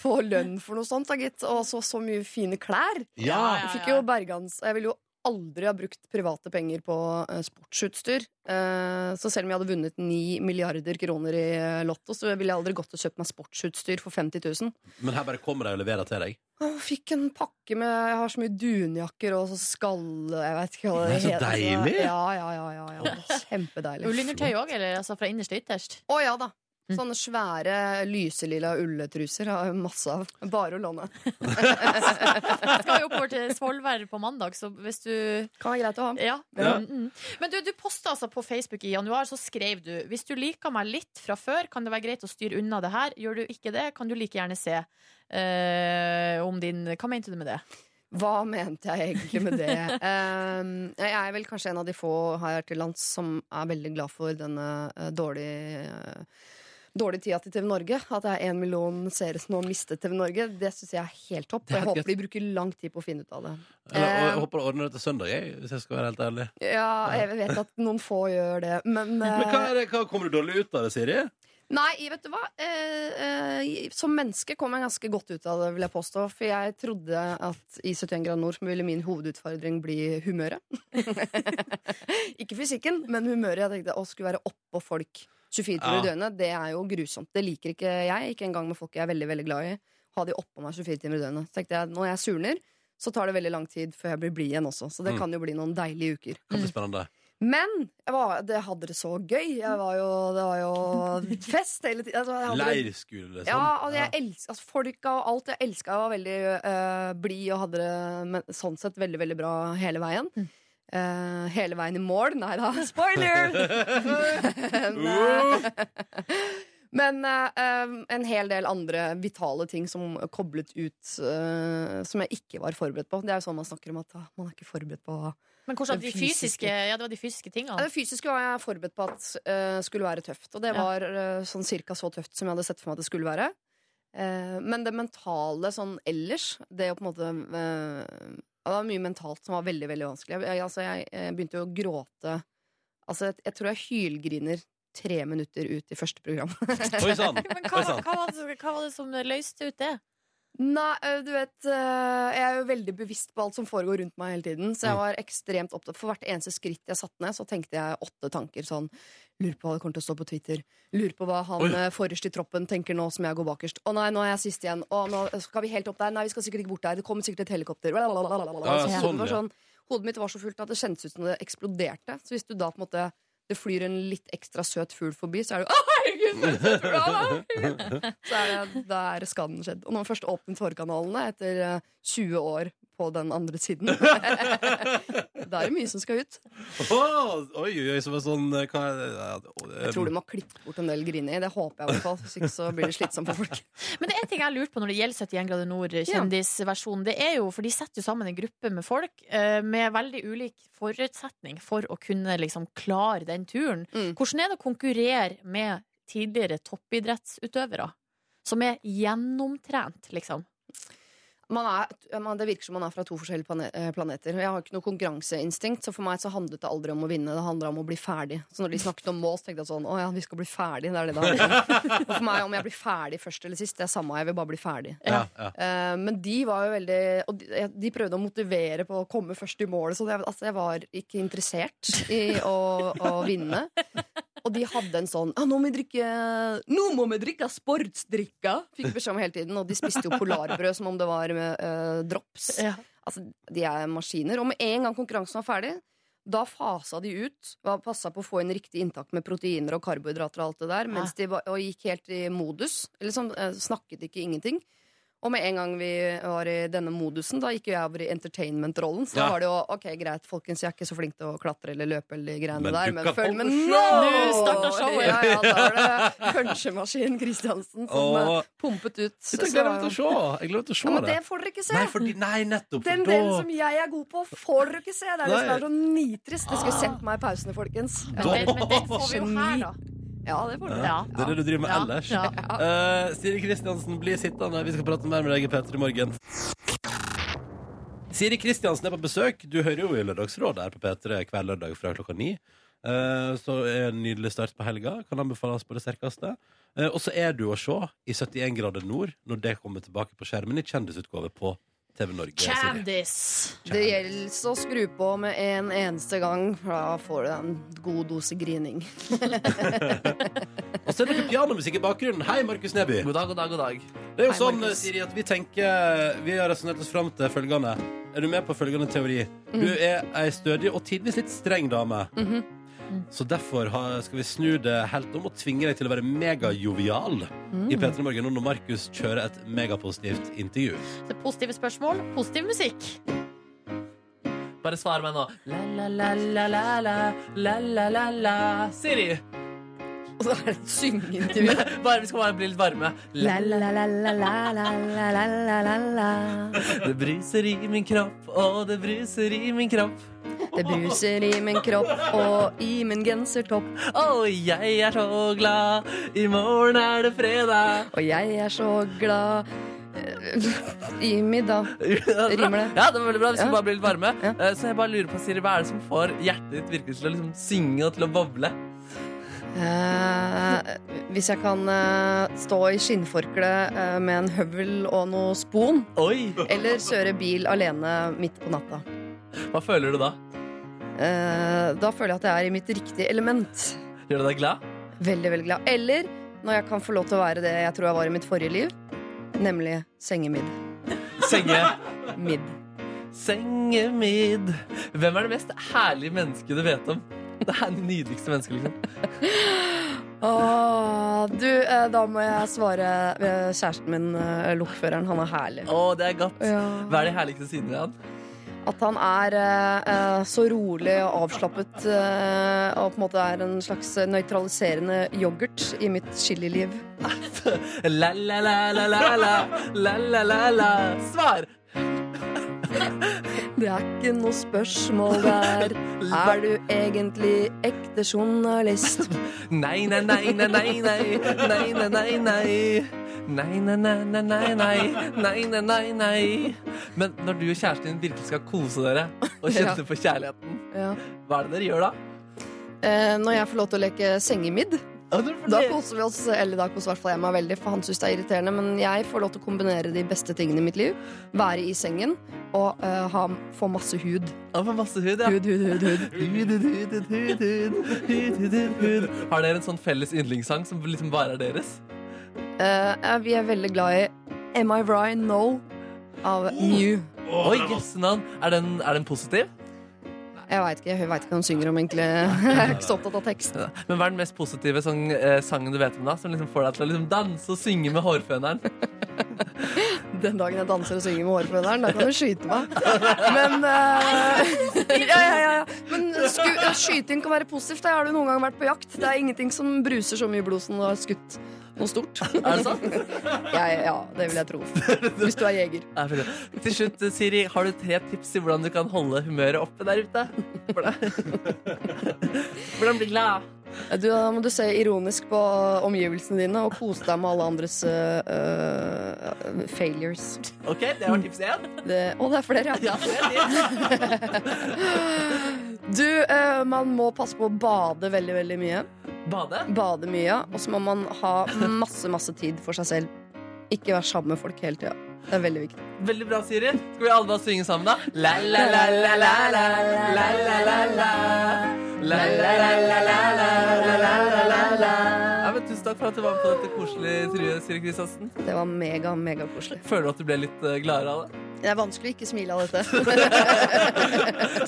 Speaker 6: Få lønn for noe sånt, da, gitt. Og så så mye fine klær.
Speaker 3: Ja,
Speaker 6: Jeg fikk jo bergans Jeg ville jo aldri ha brukt private penger på eh, sportsutstyr. Eh, Så selv om jeg hadde vunnet 9 milliarder kroner i eh, lotto, så ville jeg aldri gått og kjøpt meg sportsutstyr for 50 000.
Speaker 2: Men her bare kommer de og leverer til deg.
Speaker 6: Jeg fikk en pakke med Jeg har så mye dunjakker og så skall... Jeg vet ikke hva
Speaker 2: Det
Speaker 6: det
Speaker 2: er så deilig.
Speaker 6: Ja, ja, ja. ja, ja. Det er Kjempedeilig.
Speaker 3: Ullundertøy òg, eller altså fra innerst til ytterst?
Speaker 6: Å ja da. Sånne svære lyselilla ulletruser har jeg masse av. Bare å låne.
Speaker 3: Jeg skal jo oppover til Svolvær på mandag, så hvis du
Speaker 6: Kan være greit å ha.
Speaker 3: Ja.
Speaker 2: Ja.
Speaker 3: Mm, mm. Men du, du posta altså på Facebook i januar, så skrev du Hvis du liker meg litt fra før, kan det være greit å styre unna det her. Gjør du ikke det, kan du like gjerne se eh, om din Hva mente du med det?
Speaker 6: Hva mente jeg egentlig med det? Ehm, jeg er vel kanskje en av de få her til lands som er veldig glad for denne eh, dårlige uh, Dårlig tida til TV Norge. At det er én million seere som nå har mistet TV Norge. Det syns jeg er helt topp. Og jeg håper de bruker lang tid på å finne ut av det.
Speaker 2: Eller, og
Speaker 6: Eh,
Speaker 2: jeg håper å ordne det til søndag, jeg, hvis jeg skal være helt ærlig.
Speaker 6: Ja, jeg vet at noen få gjør det, men,
Speaker 2: Men hva,
Speaker 6: eh,
Speaker 2: er det, hva kommer du dårlig ut av det, Siri?
Speaker 6: Nei, vet du hva? Eh, eh, som menneske kom jeg ganske godt ut av det, vil jeg påstå. For jeg trodde at i 71 grad nord så ville min hovedutfordring bli humøret. Ikke fysikken, men humøret. Jeg tenkte å skulle være oppå folk 24 timer i
Speaker 2: Ja.
Speaker 6: døgnet. Det er jo grusomt. Det liker ikke jeg. Ikke engang med folk jeg er veldig veldig glad i. Ha de oppå meg 24 timer i døgnet. Så tenkte jeg, Når jeg surner, så tar det veldig lang tid før jeg blir blid igjen også. Så det
Speaker 2: Mm.
Speaker 6: kan jo bli noen deilige uker.
Speaker 2: Kan bli spennende.
Speaker 6: Men jeg var, det hadde det så gøy. Jeg var jo, det var jo fest hele tiden. Altså, jeg hadde det-
Speaker 2: Leirskole, liksom.
Speaker 6: Ja, altså, jeg elsk, altså, folka og alt. Jeg elska jeg var veldig eh, blid og hadde det men, sånn sett veldig, veldig bra hele veien. Eh, hele veien i mål? Nei da, spoiler! Men,
Speaker 2: Uh!
Speaker 6: eh, Men eh, eh, en hel del andre vitale ting som koblet ut eh, som jeg ikke var forberedt på. Det er jo sånn man snakker om at ah, man er ikke forberedt på
Speaker 3: Men hvordan
Speaker 6: Den
Speaker 3: de fysiske,
Speaker 6: fysiske.
Speaker 3: ja, det var de fysiske
Speaker 6: ja,
Speaker 3: tingene.
Speaker 6: det fysiske var jeg forberedt på at eh, skulle være tøft. Og det
Speaker 3: Ja.
Speaker 6: var eh, sånn cirka så tøft som jeg hadde sett for meg at det skulle være. Eh, men det mentale sånn ellers, det å på en måte eh, ja, Det var mye mentalt som var veldig, veldig vanskelig. Jeg, jeg, altså, jeg, eh, begynte jo å gråte Altså, jeg, jeg tror jeg hylgriner tre minutter ut i første program.
Speaker 2: Oi sann!
Speaker 3: Men
Speaker 2: Oi,
Speaker 3: hva,
Speaker 2: sant.
Speaker 3: hva, var det, som- hva var det som løste ut det?
Speaker 6: Nei, eh, du vet eh, Jeg er jo veldig bevisst på alt som foregår rundt meg hele tiden.
Speaker 2: Mm.
Speaker 6: Så jeg var ekstremt opptatt For hvert eneste skritt jeg satte ned, så tenkte jeg åtte tanker sånn Lurer på hva det kommer til å stå på Twitter. Lurer på hva han
Speaker 2: Oi.
Speaker 6: eh, forrest i troppen tenker nå som jeg går bakerst. Å nei, nå er jeg sist igjen. Å, nå skal vi helt opp der. Nei, vi skal sikkert ikke bort der. Det kommer sikkert et helikopter.
Speaker 2: Ja,
Speaker 6: Så
Speaker 2: sånn,
Speaker 6: hodet, var
Speaker 2: ja.
Speaker 6: sånn, hodet mitt var så fullt at det kjentes ut som det eksploderte. Så hvis du da på en måte det flyr en litt ekstra søt fugl forbi, så er du Å, herregud, så søt fugl! Å, herregud!» Så er det, da er skaden skjedd. Og når man først åpner tårekanalene etter eh, 20 år på den andre siden Da er det mye som skal ut.
Speaker 2: Åh, oi, oi, oi, som en sånn eh, hva er det? Ja, eh,
Speaker 6: Jeg tror du må klippe bort en del grining. Det håper jeg i hvert fall. Hvis ikke så blir det slitsomt for folk.
Speaker 3: Men det er en ting jeg har lurt på når det gjelder 71 grader nord, kjendisversjonen. Det er jo, for de setter jo sammen en gruppe med folk eh, med veldig ulik forutsetning for å kunne liksom klare den turen.
Speaker 6: Mm.
Speaker 3: Hvordan er det å konkurrere med tidligere toppidrettsutøvere? Som er gjennomtrent, liksom.
Speaker 6: Man er, man, det virker som man er fra to forskjellige plane- eh, planeter. Og Jeg har ikke noe konkurranseinstinkt, så for meg så handlet det aldri om å vinne. Det handla om å bli ferdig. Så når de snakket om mål, så tenkte jeg sånn Å ja, vi skal bli ferdig. Det er det det handler om. Og for meg, om jeg blir ferdig først eller sist, det er samme. Jeg vil bare bli ferdig.
Speaker 2: ja, ja.
Speaker 6: Eh, men de var jo veldig Og de, eh, de prøvde å motivere på å komme først i mål. Så det, altså, jeg var ikke interessert i å, å vinne. Og de hadde en sånn «Ah, 'Nå må vi drikke Nå må vi drikke sportsdrikka!' Fikk beskjed om hele tiden. Og de spiste jo polarbrød som om det var eh, drops. Altså, de er maskiner. Og med en gang konkurransen var ferdig, da fasa de ut. var- Passa på å få inn riktig inntak med proteiner og karbohydrater og alt det der. Mens de var, og gikk helt i modus. Eller sånn, eh, snakket ikke ingenting. Og med en gang vi var i denne modusen, da gikk jo jeg over i entertainment-rollen. Så da
Speaker 2: Ja.
Speaker 6: var det jo ok, greit, folkens, jeg er ikke så flink til å klatre eller løpe eller de greiene
Speaker 2: Men
Speaker 6: der,
Speaker 2: du
Speaker 6: men
Speaker 2: kan
Speaker 6: følg
Speaker 2: holde
Speaker 6: med
Speaker 2: show!
Speaker 6: nå!
Speaker 3: Nå starter showet.
Speaker 6: Ja, ja, da var det punsjemaskin Kristiansen som
Speaker 2: Åh.
Speaker 6: eh, pumpet ut.
Speaker 2: Dette gleder jeg meg til å se! Jeg gleder meg til å se
Speaker 6: Ja, men
Speaker 2: det.
Speaker 6: det får dere ikke se!
Speaker 2: Nei, fordi, nei, nettopp!
Speaker 6: Den
Speaker 2: For
Speaker 6: delen som
Speaker 2: da,
Speaker 6: jeg er god på, får dere ikke se. Det er det
Speaker 2: Nei.
Speaker 6: som er så nitrist. Det skulle sett meg i pausene, folkens.
Speaker 3: Men det, men det får vi jo her, da.
Speaker 6: Ja, det får dere.
Speaker 3: Ja.
Speaker 2: det er det du driver med
Speaker 3: Ja,
Speaker 2: ellers.
Speaker 3: ja.
Speaker 2: Eh, Siri Kristiansen, bli sittende. Vi skal prate mer med deg i P3 Morgen. Siri Kristiansen er på besøk. Du hører jo i Lørdagsrådet her på P3 hver lørdag fra klokka ni. Eh, så er en nydelig start på helga. Kan anbefales på det sterkeste. Eh, og så er du å se i 71 grader nord når det kommer tilbake på skjermen i kjendisutgave på TV Norge. Siri.
Speaker 3: Candice!
Speaker 6: Det gjelder å skru på med en eneste gang, for da får du en god dose grining.
Speaker 2: Og så er det noe pianomusikk i bakgrunnen. Hei, Markus Neby.
Speaker 4: God dag, god dag, god dag.
Speaker 2: Det er jo
Speaker 6: Hei,
Speaker 2: sånn,
Speaker 6: Markus.
Speaker 2: Siri, at vi tenker Vi har resonnert oss fram til følgende. Er du med på følgende teori?
Speaker 6: Mhm.
Speaker 2: Du er ei stødig og tidvis litt streng dame. Så derfor har, skal vi snu det helt om og tvinge deg til å være megajovial
Speaker 6: Mhm.
Speaker 2: i P3 Morgen nå når Markus kjører et megapositivt intervju.
Speaker 3: Det er positive spørsmål, positiv musikk.
Speaker 4: Bare svar meg nå. La, la, la, la, la, la, la, la, la, la. Siri.
Speaker 6: Og så er det et syngeintervju.
Speaker 4: Bare vi skal bare bli litt varme. La, la, la, la, la, la, la, la, la, la, la. Det bruser i min kropp, og det bruser i min kropp.
Speaker 6: Det bruser i min kropp og i min gensertopp.
Speaker 4: Og jeg er så glad, i morgen er det fredag.
Speaker 6: Og jeg er så glad eh, i middag. Rimer det?
Speaker 4: Ja, det var veldig bra. Vi skal
Speaker 6: Ja.
Speaker 4: bare bli litt varme.
Speaker 6: Ja.
Speaker 4: Eh, Så jeg bare lurer på, Siri, hva er det som får hjertet ditt virkelig til å liksom synge og til å boble?
Speaker 6: Eh, hvis jeg kan eh, stå i skinnforkle eh, med en høvel og noe spon,
Speaker 4: Oi!
Speaker 6: eller kjøre bil alene midt på natta.
Speaker 4: Hva føler du da?
Speaker 6: Eh, da føler jeg at jeg er i mitt riktige element.
Speaker 4: Gjør det deg glad?
Speaker 6: Veldig, veldig glad. Eller når jeg kan få lov til å være det jeg tror jeg var i mitt forrige liv, nemlig sengemidd.
Speaker 4: Senge,
Speaker 6: Midd.
Speaker 4: sengemidd. Hvem er det mest herlige mennesket du vet om? Det er det nydeligste mennesket, liksom.
Speaker 6: Åh, du, eh, da må jeg svare eh, kjæresten min, eh, lokføreren. Han er herlig.
Speaker 4: Å, det er godt. Hva er de herligste sidene ved han?
Speaker 6: At han er eh, eh, så rolig og avslappet eh, og på en måte er en slags nøytraliserende yoghurt i mitt chililiv.
Speaker 4: La, la, la, la, la, la, la, la, la, la. Svar!
Speaker 6: Det er ikke noe spørsmål der. Er du egentlig ekte journalist?
Speaker 4: Nei, nei, nei, nei, nei, nei, nei, nei, nei, nei. Nei, nei, nei, nei, nei, nei, nei, nei, nei, nei. Men når du og kjæresten din virkelig skal kose dere og kjenne
Speaker 6: Ja.
Speaker 4: på kjærligheten,
Speaker 6: Ja.
Speaker 4: hva er det dere gjør da?
Speaker 6: Eh, når jeg får lov til å leke sengemidd,
Speaker 4: Ja, du får
Speaker 6: da
Speaker 4: le-
Speaker 6: koser vi oss. Eller da koser i hvert fall jeg meg veldig, for han syns det er irriterende. Men jeg får lov til å kombinere de beste tingene i mitt liv. Være i sengen og eh, ha, få masse hud.
Speaker 4: Ja, men masse hud, ja.
Speaker 6: Hud, hud, hud, hud.
Speaker 4: Hud, hud, hud, hud, hud, hud, hud, hud, hud, hud. Har dere en sånn felles yndlingssang som liksom bare er deres?
Speaker 6: Eh, eh, vi er veldig glad i Am I Right No av Mew.
Speaker 4: Oi, jøssenavn. Er, den- er den positiv?
Speaker 6: Jeg veit ikke, jeg vet ikke hva hun synger om, egentlig. Jeg er ikke så opptatt av tekst.
Speaker 4: Ja. Men hva er den mest positive sånn, eh, sangen du vet om da, som liksom får deg til å liksom danse og synge med hårføneren?
Speaker 6: Den dagen jeg danser og synger med hårføneren, da kan du skyte meg. Men eh, ja, ja, ja, ja. Men sku, skyting kan være positivt. Da har du noen gang vært på jakt. Det er ingenting som bruser så mye blod som du har skutt noe stort.
Speaker 4: Er det sant?
Speaker 6: Ja, ja, ja, det vil jeg tro. Hvis du er jeger.
Speaker 4: Ja, veldig bra. Til slutt, Siri, har du tre tips til hvordan du kan holde humøret oppe der ute? Hvordan, hvordan bli glad?
Speaker 6: Du, da må du se ironisk på omgivelsene dine og kose deg med alle andres eh, eh, failures.
Speaker 4: Ok, det var tips én.
Speaker 6: Det, å, det er flere, ja.
Speaker 4: Ja, det er det.
Speaker 6: Du, eh, man må passe på å bade veldig, veldig mye.
Speaker 4: Bade.
Speaker 6: Bade mye, ja. og så må man ha masse, masse tid for seg selv. Ikke være sammen med folk hele tida. Det er veldig viktig.
Speaker 4: Veldig bra, Siri. Skal vi alle bare synge sammen, da? La, la, la, la, la, la, la, la, la, la. La, la, la, la, la, la, la, la, la, la, la. Ja, men tusen takk for at du var med på dette koselige tryet, Siri Kristiansen.
Speaker 6: Det var mega, mega koselig.
Speaker 4: Føler du at du ble litt eh, gladere av det?
Speaker 6: Det er vanskelig å ikke smile av dette.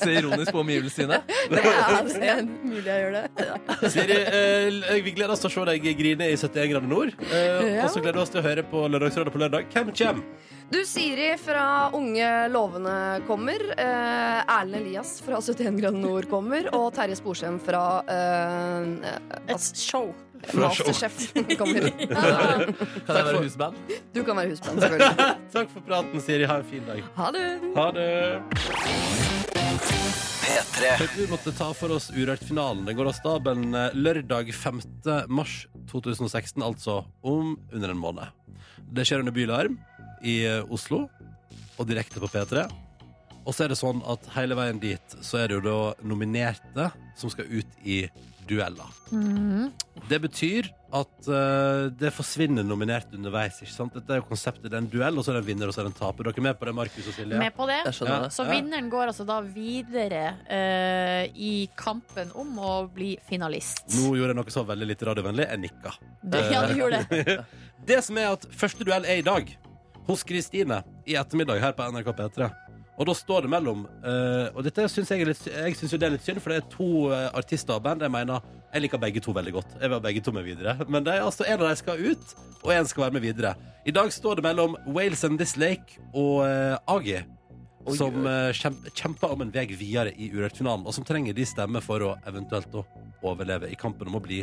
Speaker 4: Så ironisk på omgivelsene dine.
Speaker 6: Det er, det er mulig jeg gjør det.
Speaker 2: Siri, eh, l- vi gleder oss til å se deg grine i 71 grader nord. Eh,
Speaker 6: Ja.
Speaker 2: Og så gleder vi oss til å høre på Lørdagsrådet på lørdag. Hvem kommer?
Speaker 6: Du, Siri fra Unge lovende kommer. Eh, Erlend Elias fra 71 grader nord kommer. Og Terje Sporsem fra eh,
Speaker 3: Et show.
Speaker 6: Masterchef kommer.
Speaker 4: Kan jeg være husband?
Speaker 6: Du kan være husband, selvfølgelig.
Speaker 2: Takk for praten, Siri. Ha en fin dag.
Speaker 6: Ha det!
Speaker 2: Ha det. Tenkte Vi måtte ta for oss Urørt-finalen. Den går av stabelen eh, lørdag 5. mars 2016, altså om under en måned. Det skjer under Bylarm i eh, Oslo, og direkte på P3. Og så er det sånn at hele veien dit så er det jo da nominerte som skal ut i dueller. Mm. Det betyr at eh, det forsvinner nominert underveis. ikke sant? Dette er jo konseptet. Det er en duell, og så er det en vinner, og så er det en taper. Dere er med på det, Markus og Silje?
Speaker 3: Med på det?
Speaker 4: Jeg skjønner det.
Speaker 3: Så vinneren går altså da videre eh, i kampen om å bli finalist.
Speaker 2: Nå gjorde jeg noe så veldig lite radiovennlig. Jeg nikka.
Speaker 3: Du, ja, du gjorde det.
Speaker 2: Det som er at første duell er i dag hos Kristine i ettermiddag her på NRK P3. Og da står det mellom eh, Og dette synes jeg, er litt, jeg synes jo det er litt synd, for det er to eh, artister og band jeg mener Jeg liker begge to veldig godt. Jeg vil ha begge to med videre. Men det er altså en av dem skal ut, og en skal være med videre. I dag står det mellom Wales and This Lake og eh, Agi. Som eh, kjemp, kjemper om en vei videre i Urørt-finalen, og som trenger de stemmer for å eventuelt å overleve i kampen om å bli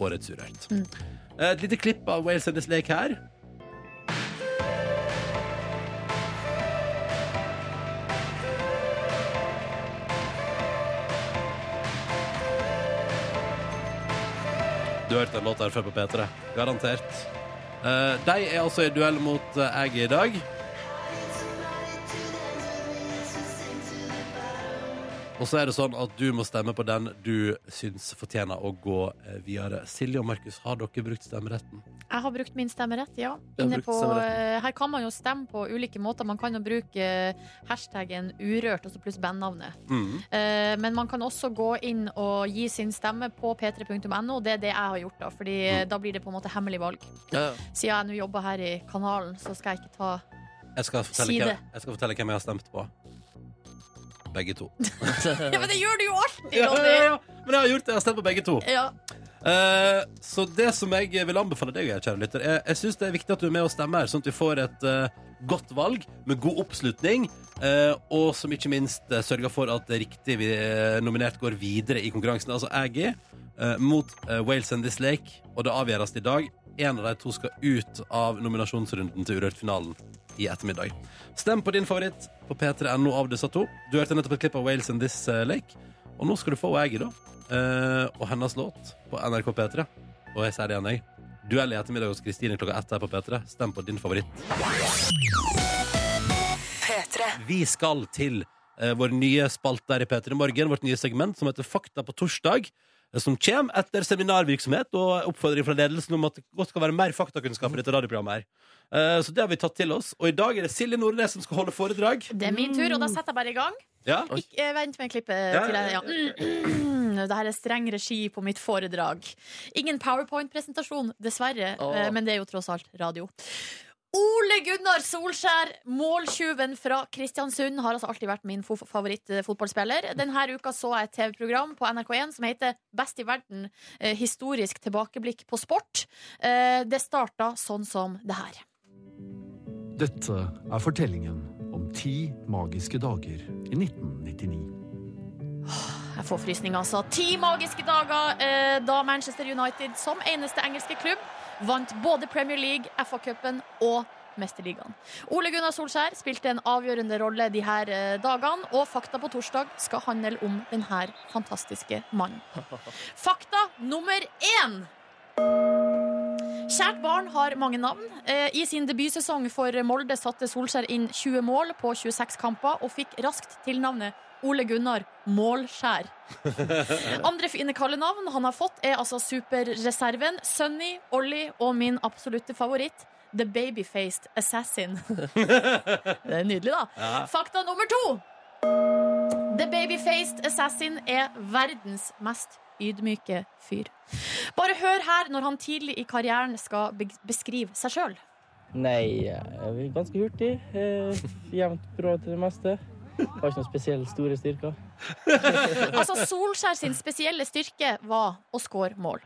Speaker 2: årets Urørt. Eh,
Speaker 3: Mm.
Speaker 2: Et lite klipp av Wales Enders lek her. Du har hørt den låta her før på P3. Garantert. Eh, de er altså i duell mot uh, Aggie i dag. Og så er det sånn at du må stemme på den du syns fortjener å gå eh, videre. Silje og Markus, har dere brukt stemmeretten?
Speaker 3: Jeg har brukt min stemmerett, ja.
Speaker 4: Du har
Speaker 3: Inne
Speaker 4: brukt
Speaker 3: på,
Speaker 4: stemmeretten.
Speaker 3: eh, her kan man jo stemme på ulike måter. Man kan jo bruke eh, hashtaggen urørt, og så pluss bandnavnet.
Speaker 2: Mm.
Speaker 3: Eh, Men man kan også gå inn og gi sin stemme på p3.no, og det er det jeg har gjort da. Fordi eh, da blir det på en måte hemmelig valg.
Speaker 4: Ja, ja.
Speaker 3: Siden jeg nå jobber her i kanalen, så skal jeg ikke ta
Speaker 2: Jeg, skal fortelle
Speaker 3: Si det.
Speaker 2: hvem, jeg skal fortelle hvem jeg har stemt på. Begge to.
Speaker 3: Ja, men det gjør du jo alltid,
Speaker 2: Ja, ja,
Speaker 3: Ronny!
Speaker 2: ja. Men jeg har gjort det. Jeg har stemt på begge to.
Speaker 3: Ja.
Speaker 2: Eh, så det som jeg vil anbefale deg, å gjøre, kjære lytter, er, jeg syns det er viktig at du er med og stemmer, her, sånn at vi får et eh, godt valg med god oppslutning, eh, og som ikke minst eh, sørger for at det riktig vi, eh, nominert går videre i konkurransen. Altså Aggie eh, mot eh, Wales and This Lake, og det avgjøres i dag. En av de to skal ut av nominasjonsrunden til Urørt-finalen i ettermiddag. Stem på din favoritt på p3.no av disse to. Du hørte nettopp et klipp av Wales and This eh, Lake, og nå skal du få Aggie, da. Eh, og hennes låt på NRK P3. Og jeg sier det igjen, jeg. Duell i ettermiddag hos Kristine klokka ett her på P3. Stem på din favoritt. Vi skal til eh, vår nye spalte her i P3 Morgen, vårt nye segment som heter Fakta på torsdag. eh, Som kommer etter seminarvirksomhet og oppfordring fra ledelsen om at det godt skal være mer faktakunnskap i dette radioprogrammet. her. Eh, Så det har vi tatt til oss. Og i dag er det Silje Nordnes som skal holde foredrag.
Speaker 3: Det er min tur, og da setter jeg bare i gang.
Speaker 2: Ja.
Speaker 4: Oi.
Speaker 3: Ikk- eh, vent med klippet
Speaker 2: Ja,
Speaker 3: til jeg
Speaker 2: ja,
Speaker 3: ja. Det her er streng regi på mitt foredrag. Ingen PowerPoint-presentasjon, dessverre,
Speaker 4: Åh.
Speaker 3: eh, men det er jo tross alt radio. Ole Gunnar Solskjær, måltjuven fra Kristiansund, har altså alltid vært min fo- eh, favorittfotballspiller. Denne uka så jeg et TV-program på NRK1 som heter Best i verden. eh, Historisk tilbakeblikk på sport. Eh, Det starta sånn som det her.
Speaker 7: Dette er fortellingen om ti magiske dager i 1999.
Speaker 3: Jeg får frysning, altså. Ti magiske dager eh, da Manchester United som eneste engelske klubb vant både Premier League, FA-cupen og Mesterligaen. Ole Gunnar Solskjær spilte en avgjørende rolle de her eh, dagene, og Fakta på torsdag skal handle om denne fantastiske mannen. Fakta nummer én. Kjært barn har mange navn. Eh, I sin debutsesong for Molde satte Solskjær inn 20 mål på 26 kamper og fikk raskt tilnavnet Ole Gunnar Målskjær. Andre fine kallenavn han har fått, er altså Superreserven, Sunny, Ollie og min absolutte favoritt. The Babyfaced Assassin. Det er nydelig, da. Fakta nummer to. The Babyfaced Assassin er verdens mest ydmyke fyr. Bare hør her når han tidlig i karrieren skal be beskrive seg sjøl.
Speaker 8: Nei, jeg er ganske hurtig. Eh, jevnt bra til det meste. Har ikke noen spesielt store styrker.
Speaker 3: Altså, Solskjær sin spesielle styrke var å score mål.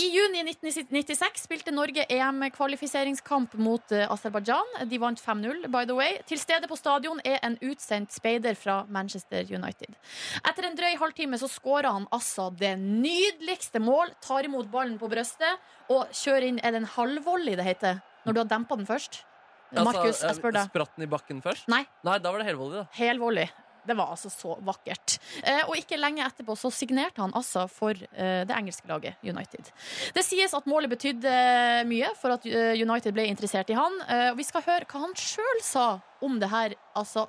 Speaker 3: I juni 1996 spilte Norge EM-kvalifiseringskamp mot eh, Aserbajdsjan. De vant 5-0, by the way. Til stede på stadion er en utsendt speider fra Manchester United. Etter en drøy halvtime så skårer han altså det nydeligste mål, tar imot ballen på brøstet og kjører inn Er det en halvvolley det heter? Når du har dempa den først?
Speaker 4: Altså,
Speaker 3: Markus, jeg spør deg.
Speaker 4: eh, Spratt den i bakken først?
Speaker 3: Nei.
Speaker 4: Nei, da var det helvolley, da.
Speaker 3: Helvolley. Det var altså så vakkert. Eh, og ikke lenge etterpå så signerte han altså for eh, det engelske laget United. Det sies at målet betydde eh, mye for at eh, United ble interessert i han. Eh, og vi skal høre hva han sjøl sa om det her altså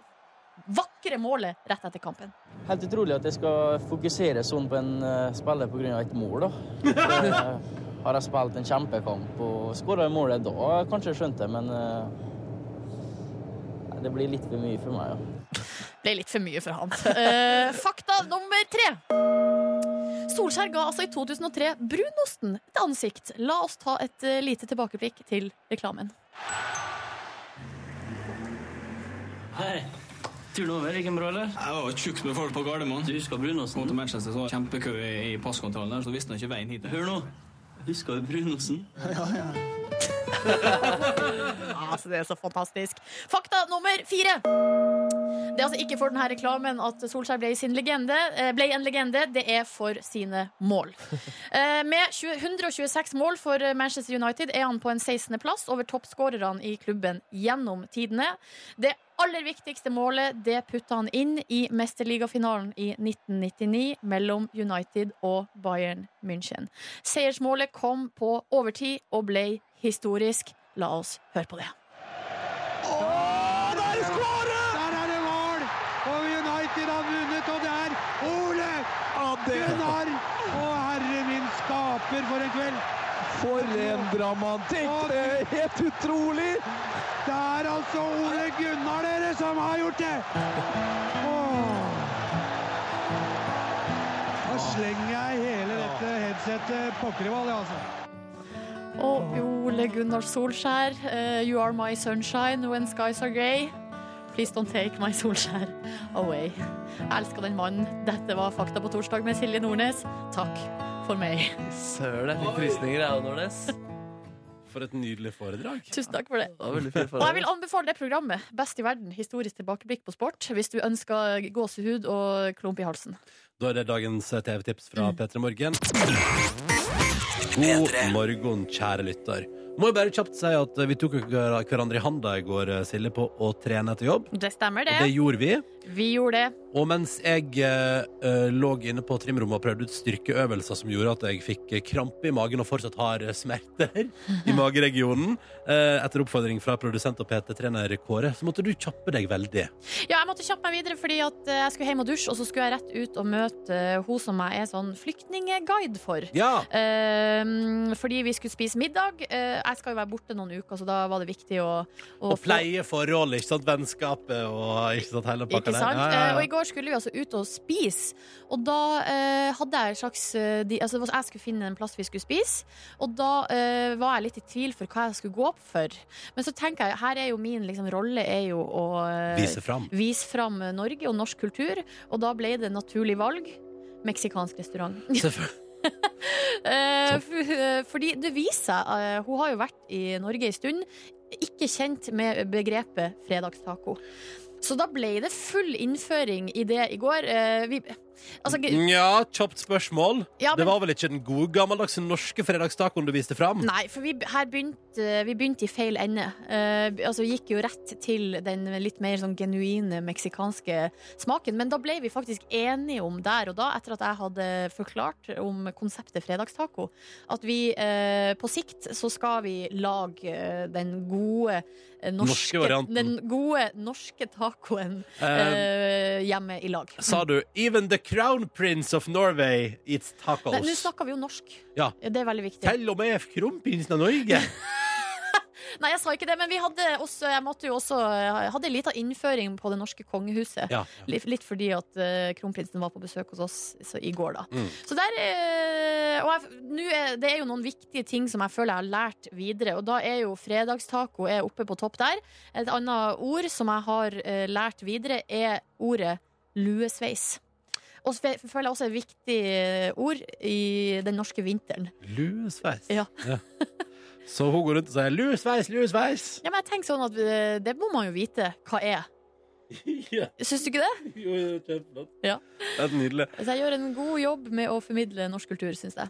Speaker 3: vakre målet rett etter kampen.
Speaker 8: Helt utrolig at jeg skal fokusere sånn på en eh, spiller pga. et mål, da. Eh, Har jeg spilt en kjempekamp og skåra målet da, har jeg kanskje skjønt det, men eh, nei, det blir litt for mye for meg. Ja.
Speaker 3: ble litt for mye for han. Eh, fakta nummer tre. Solskjær ga altså i 2003 brunosten et ansikt. La oss ta et eh, lite tilbakeblikk til reklamen.
Speaker 1: Hei. Turen over gikk den bra, eller? Jeg var tjukk med folk på Gardermoen. Du husker Brunosen? Kom til Manchester, så var det kjempekø i, i passkontrollen der, så visste han ikke veien hit. Hør nå. Husker du Brunosen?
Speaker 3: Altså, det er så fantastisk. Fakta nummer fire. Det er altså ikke for denne reklamen at Solskjær ble, sin legende, eh, ble en legende, det er for sine mål. Eh, Med 20 126 mål for eh, Manchester United er han på en 16.-plass over toppskårerne i klubben gjennom tidene. Det aller viktigste målet det putta han inn i mesterligafinalen i 1999 mellom United og Bayern München. Seiersmålet kom på overtid og ble historisk. La oss høre på det.
Speaker 7: Der er det mål! Og United har vunnet, og det er Ole Gunnar! Å, herre min skaper, for en kveld! For en dramatikk! Det er helt utrolig! Det er altså Ole Gunnar, dere, som har gjort det! Åh. Da slenger jeg hele dette headsetet pokker i ball, jeg, altså.
Speaker 3: Og Ole Gunnar Solskjær, eh, You Are My Sunshine When Skies Are Grey. Please don't take my Solskjær away. Jeg elsker den mannen. Dette var Fakta på torsdag med Silje Nordnes. Takk for meg.
Speaker 4: Søren, jeg fikk frysninger, jeg òg, Nordnes.
Speaker 2: For et nydelig foredrag.
Speaker 3: Tusen takk for det.
Speaker 4: Det var veldig fint
Speaker 3: Og
Speaker 4: for
Speaker 3: jeg vil anbefale det programmet. Best i verden. Historisk tilbakeblikk på sport. Hvis du ønsker gåsehud og klump i halsen.
Speaker 2: Da er det dagens eh, TV-tips fra
Speaker 3: Mm.
Speaker 2: P3 Morgen. God morgen, kjære lytter. Må jo bare kjapt si at eh, vi tok jo hver- hverandre i handa i går, eh, Silje, på å trene etter jobb.
Speaker 3: Det stemmer,
Speaker 2: Og det
Speaker 3: det.
Speaker 2: gjorde vi.
Speaker 3: Vi gjorde det.
Speaker 2: Og mens jeg eh, eh, lå inne på trimrommet og prøvde ut styrkeøvelser som gjorde at jeg fikk eh, krampe i magen og fortsatt har eh, smerter i mageregionen, eh, etter oppfordring fra produsent og PT-trener Kåre, så måtte du kjappe deg veldig.
Speaker 3: Ja, jeg måtte kjappe meg videre fordi at eh, jeg skulle hjem og dusje, og så skulle jeg rett ut og møte eh, hun som jeg er sånn flyktningeguide for.
Speaker 2: Ja!
Speaker 3: Ehm, fordi vi skulle spise middag. Eh, jeg skal jo være borte noen uker, så da var det viktig å, å
Speaker 2: Og
Speaker 3: få-
Speaker 2: pleie forholdet, ikke sant? Vennskapet og ikke sant, hele pakka
Speaker 3: Ikke
Speaker 2: der.
Speaker 3: sant?
Speaker 2: Ja,
Speaker 3: Eh,
Speaker 2: ja,
Speaker 3: og i
Speaker 2: ja.
Speaker 3: går skulle vi altså ut og spise, og da eh, hadde jeg en slags eh, de, altså, det var- Jeg skulle finne en plass vi skulle spise, og da eh, var jeg litt i tvil for hva jeg skulle gå opp for. Men så tenker jeg, her er jo min liksom, rolle er jo å eh,
Speaker 2: Vise fram.
Speaker 3: vise fram Norge og norsk kultur, og da ble det naturlig valg. Meksikansk restaurant.
Speaker 2: Selvfølgelig.
Speaker 3: Eh, f- eh, fordi det viser seg eh, Hun har jo vært i Norge en stund Ikke kjent med begrepet fredagstaco Så da ble det full innføring i det i går Eh, vi, altså, g-
Speaker 2: Ja, kjapt spørsmål.
Speaker 3: ja,
Speaker 2: Mm, Det
Speaker 3: men,
Speaker 2: var vel ikke den gode gammeldagse norske fredagstacoen du viste fram?
Speaker 3: Nei, for vi, her begynte, vi begynte i feil ende Eh, Altså gikk jo rett til den litt mer sånn genuine meksikanske smaken Men da ble vi faktisk enige om der og da Etter at jeg hadde forklart om konseptet fredagstaco at vi eh, på sikt så skal vi lage eh, den gode eh, norske,
Speaker 2: Norske varianten.
Speaker 3: den gode norske tacoen
Speaker 2: Eh,
Speaker 3: eh, hjemme i lag.
Speaker 2: sa du 'Even the crown prince of Norway eats tacos'?
Speaker 3: Nei, Nå snakker vi jo norsk.
Speaker 2: Ja.
Speaker 3: Det er veldig viktig.
Speaker 2: Til og med kronprinsen av Norge.
Speaker 3: Nei, jeg sa ikke det, men vi hadde også, jeg måtte jo også jeg hadde en liten innføring på det norske kongehuset.
Speaker 2: Ja.
Speaker 3: Litt, litt fordi at eh, kronprinsen var på besøk hos oss så, i går, da.
Speaker 2: Mm.
Speaker 3: Så der eh, Og jeg, nå er, det er jo noen viktige ting som jeg føler jeg har lært videre, og da er jo fredagstaco er oppe på topp der. Et annet ord som jeg har eh, lært videre, er ordet luesveis. Og så fe- føler jeg også er et viktig eh, ord i den norske vinteren.
Speaker 2: Luesveis.
Speaker 3: Ja.
Speaker 2: Så hun går rundt og sier 'luesveis, luesveis'.
Speaker 3: Ja, men jeg tenker sånn at eh, det må man jo vite hva er.
Speaker 2: ja,
Speaker 3: Syns du ikke det?
Speaker 2: jo, jo, kjempeflott.
Speaker 3: Ja.
Speaker 2: Det er nydelig.
Speaker 3: Så Altså, jeg gjør en god jobb med å formidle norsk kultur, syns jeg.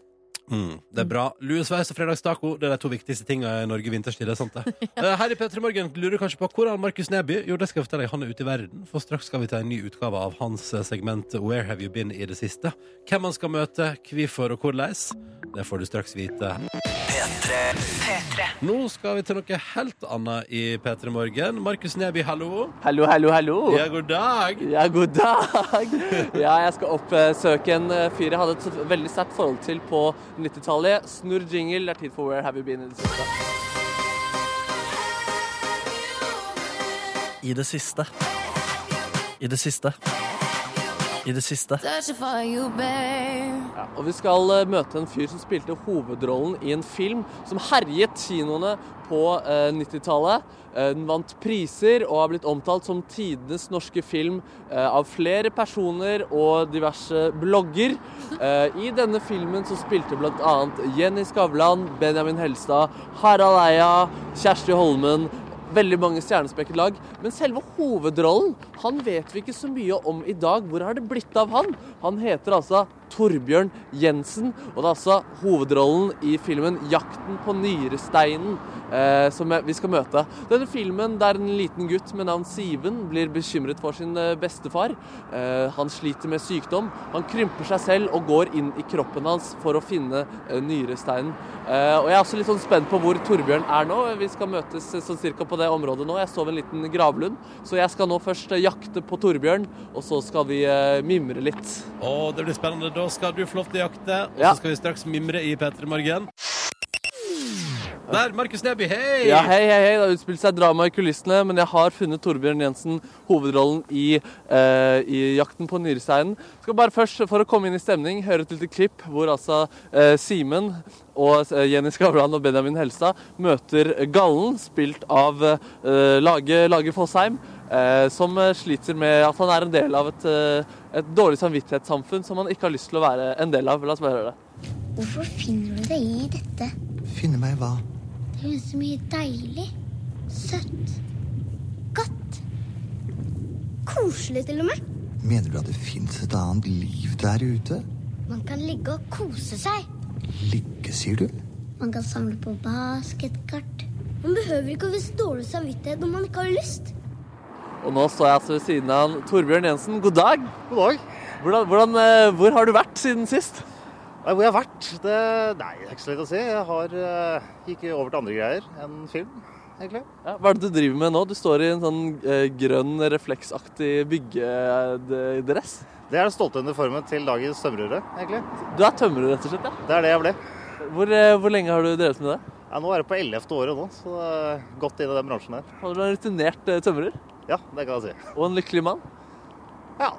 Speaker 2: Mm, det er bra. Luesveis og fredagstaco det er de to viktigste tinga i Norge vinterstid. det er sant det? Eh, Her i P3 Morgen lurer du kanskje på hvor er Markus Neby? Jo, det skal jeg fortelle deg. Han er ute i verden, for straks skal vi ta en ny utgave av hans eh, segment Where have you been i det siste? Hvem han skal møte, hvorfor og hvordan. Det får du straks vite. Nå skal vi til noe helt annet i P3 Morgen. Markus Neby, hallo.
Speaker 4: Hallo, hallo, hallo.
Speaker 2: Ja, god dag.
Speaker 4: Ja, god dag! Ja, jeg skal oppsøke en eh, fyr jeg hadde et så- veldig sterkt forhold til på 90-tallet. Snurr jingle, det er tid for Where have you been i det siste.
Speaker 9: I det siste. I det siste. I det siste.
Speaker 4: Ja, og vi skal eh, møte en fyr som spilte hovedrollen i en film som herjet kinoene på eh, 90-tallet. Eh, Den vant priser og har blitt omtalt som tidenes norske film eh, av flere personer og diverse blogger. Eh, I denne filmen så spilte bl.a. Jenny Skavlan, Benjamin Helstad, Harald Eia, Kjersti Holmen veldig mange stjernespekket lag. Men selve hovedrollen han vet vi ikke så mye om i dag. Hvor har det blitt av han? Han heter altså Torbjørn Jensen, og det er altså hovedrollen i filmen 'Jakten på nyresteinen' eh, som vi skal møte. Denne filmen der en liten gutt med navn Siven blir bekymret for sin eh, bestefar. Eh, han sliter med sykdom. Han krymper seg selv og går inn i kroppen hans for å finne eh, nyresteinen. Eh, og jeg er også litt sånn spent på hvor Torbjørn er nå. Vi skal møtes eh, sånn cirka på det området nå. Jeg så en liten gravlund, så jeg skal nå først eh, jakte på Torbjørn, og så skal vi eh, mimre litt.
Speaker 10: Å, det blir spennende. Da skal du få lov til å jakte, og
Speaker 4: Ja.
Speaker 10: så skal vi straks mimre i P3 Morgen. Der, Markus Neby, hei!
Speaker 4: Ja, hei, hei, hei. Det har utspilt seg drama i kulissene, men jeg har funnet Torbjørn Jensen hovedrollen i, eh, i 'Jakten på nyresteinen'. Skal bare først, for å komme inn i stemning, høre et lite klipp hvor altså eh, Simen og eh, Jenny Skavlan og Benjamin Helstad møter Gallen, spilt av eh, Lage, Lage Fosheim, eh, som eh, sliter med at han er en del av et, eh, et dårlig samvittighetssamfunn som han ikke har lyst til å være en del av. La oss bare høre det.
Speaker 11: Hvorfor finner du deg i dette?
Speaker 12: Finne meg hva?
Speaker 11: Det er jo så mye deilig. Søtt. Godt. Koselig til og med.
Speaker 12: Mener du at det fins et annet liv der ute?
Speaker 11: Man kan ligge og kose seg.
Speaker 12: Ligge, sier du?
Speaker 11: Man kan samle på basketkart. Man behøver ikke å vise dårlig samvittighet når man ikke har lyst.
Speaker 4: Og nå står jeg altså ved siden av han. Torbjørn Jensen, god dag. God dag. Hvordan, hvordan, eh, hvor har du vært siden sist?
Speaker 8: Nei, hvor jeg har vært? Det, nei, det er ikke så lett å si. Jeg har eh, gikk over til andre greier enn film, egentlig.
Speaker 4: Ja, hva er det du driver med nå? Du står i en sånn eh, grønn, refleksaktig byggedress.
Speaker 8: Det er den stolte uniformen til dagens tømrere, egentlig.
Speaker 4: Du er tømrer, rett og slett? ja?
Speaker 8: Det er det jeg ble.
Speaker 4: Hvor, eh, hvor lenge har du drevet med det?
Speaker 8: Ja, nå er det på 11. året nå, så det er godt inn i den bransjen her.
Speaker 4: Har du en rutinert eh, tømrer?
Speaker 8: Ja, det kan jeg si.
Speaker 4: Og en lykkelig mann?
Speaker 8: Ja.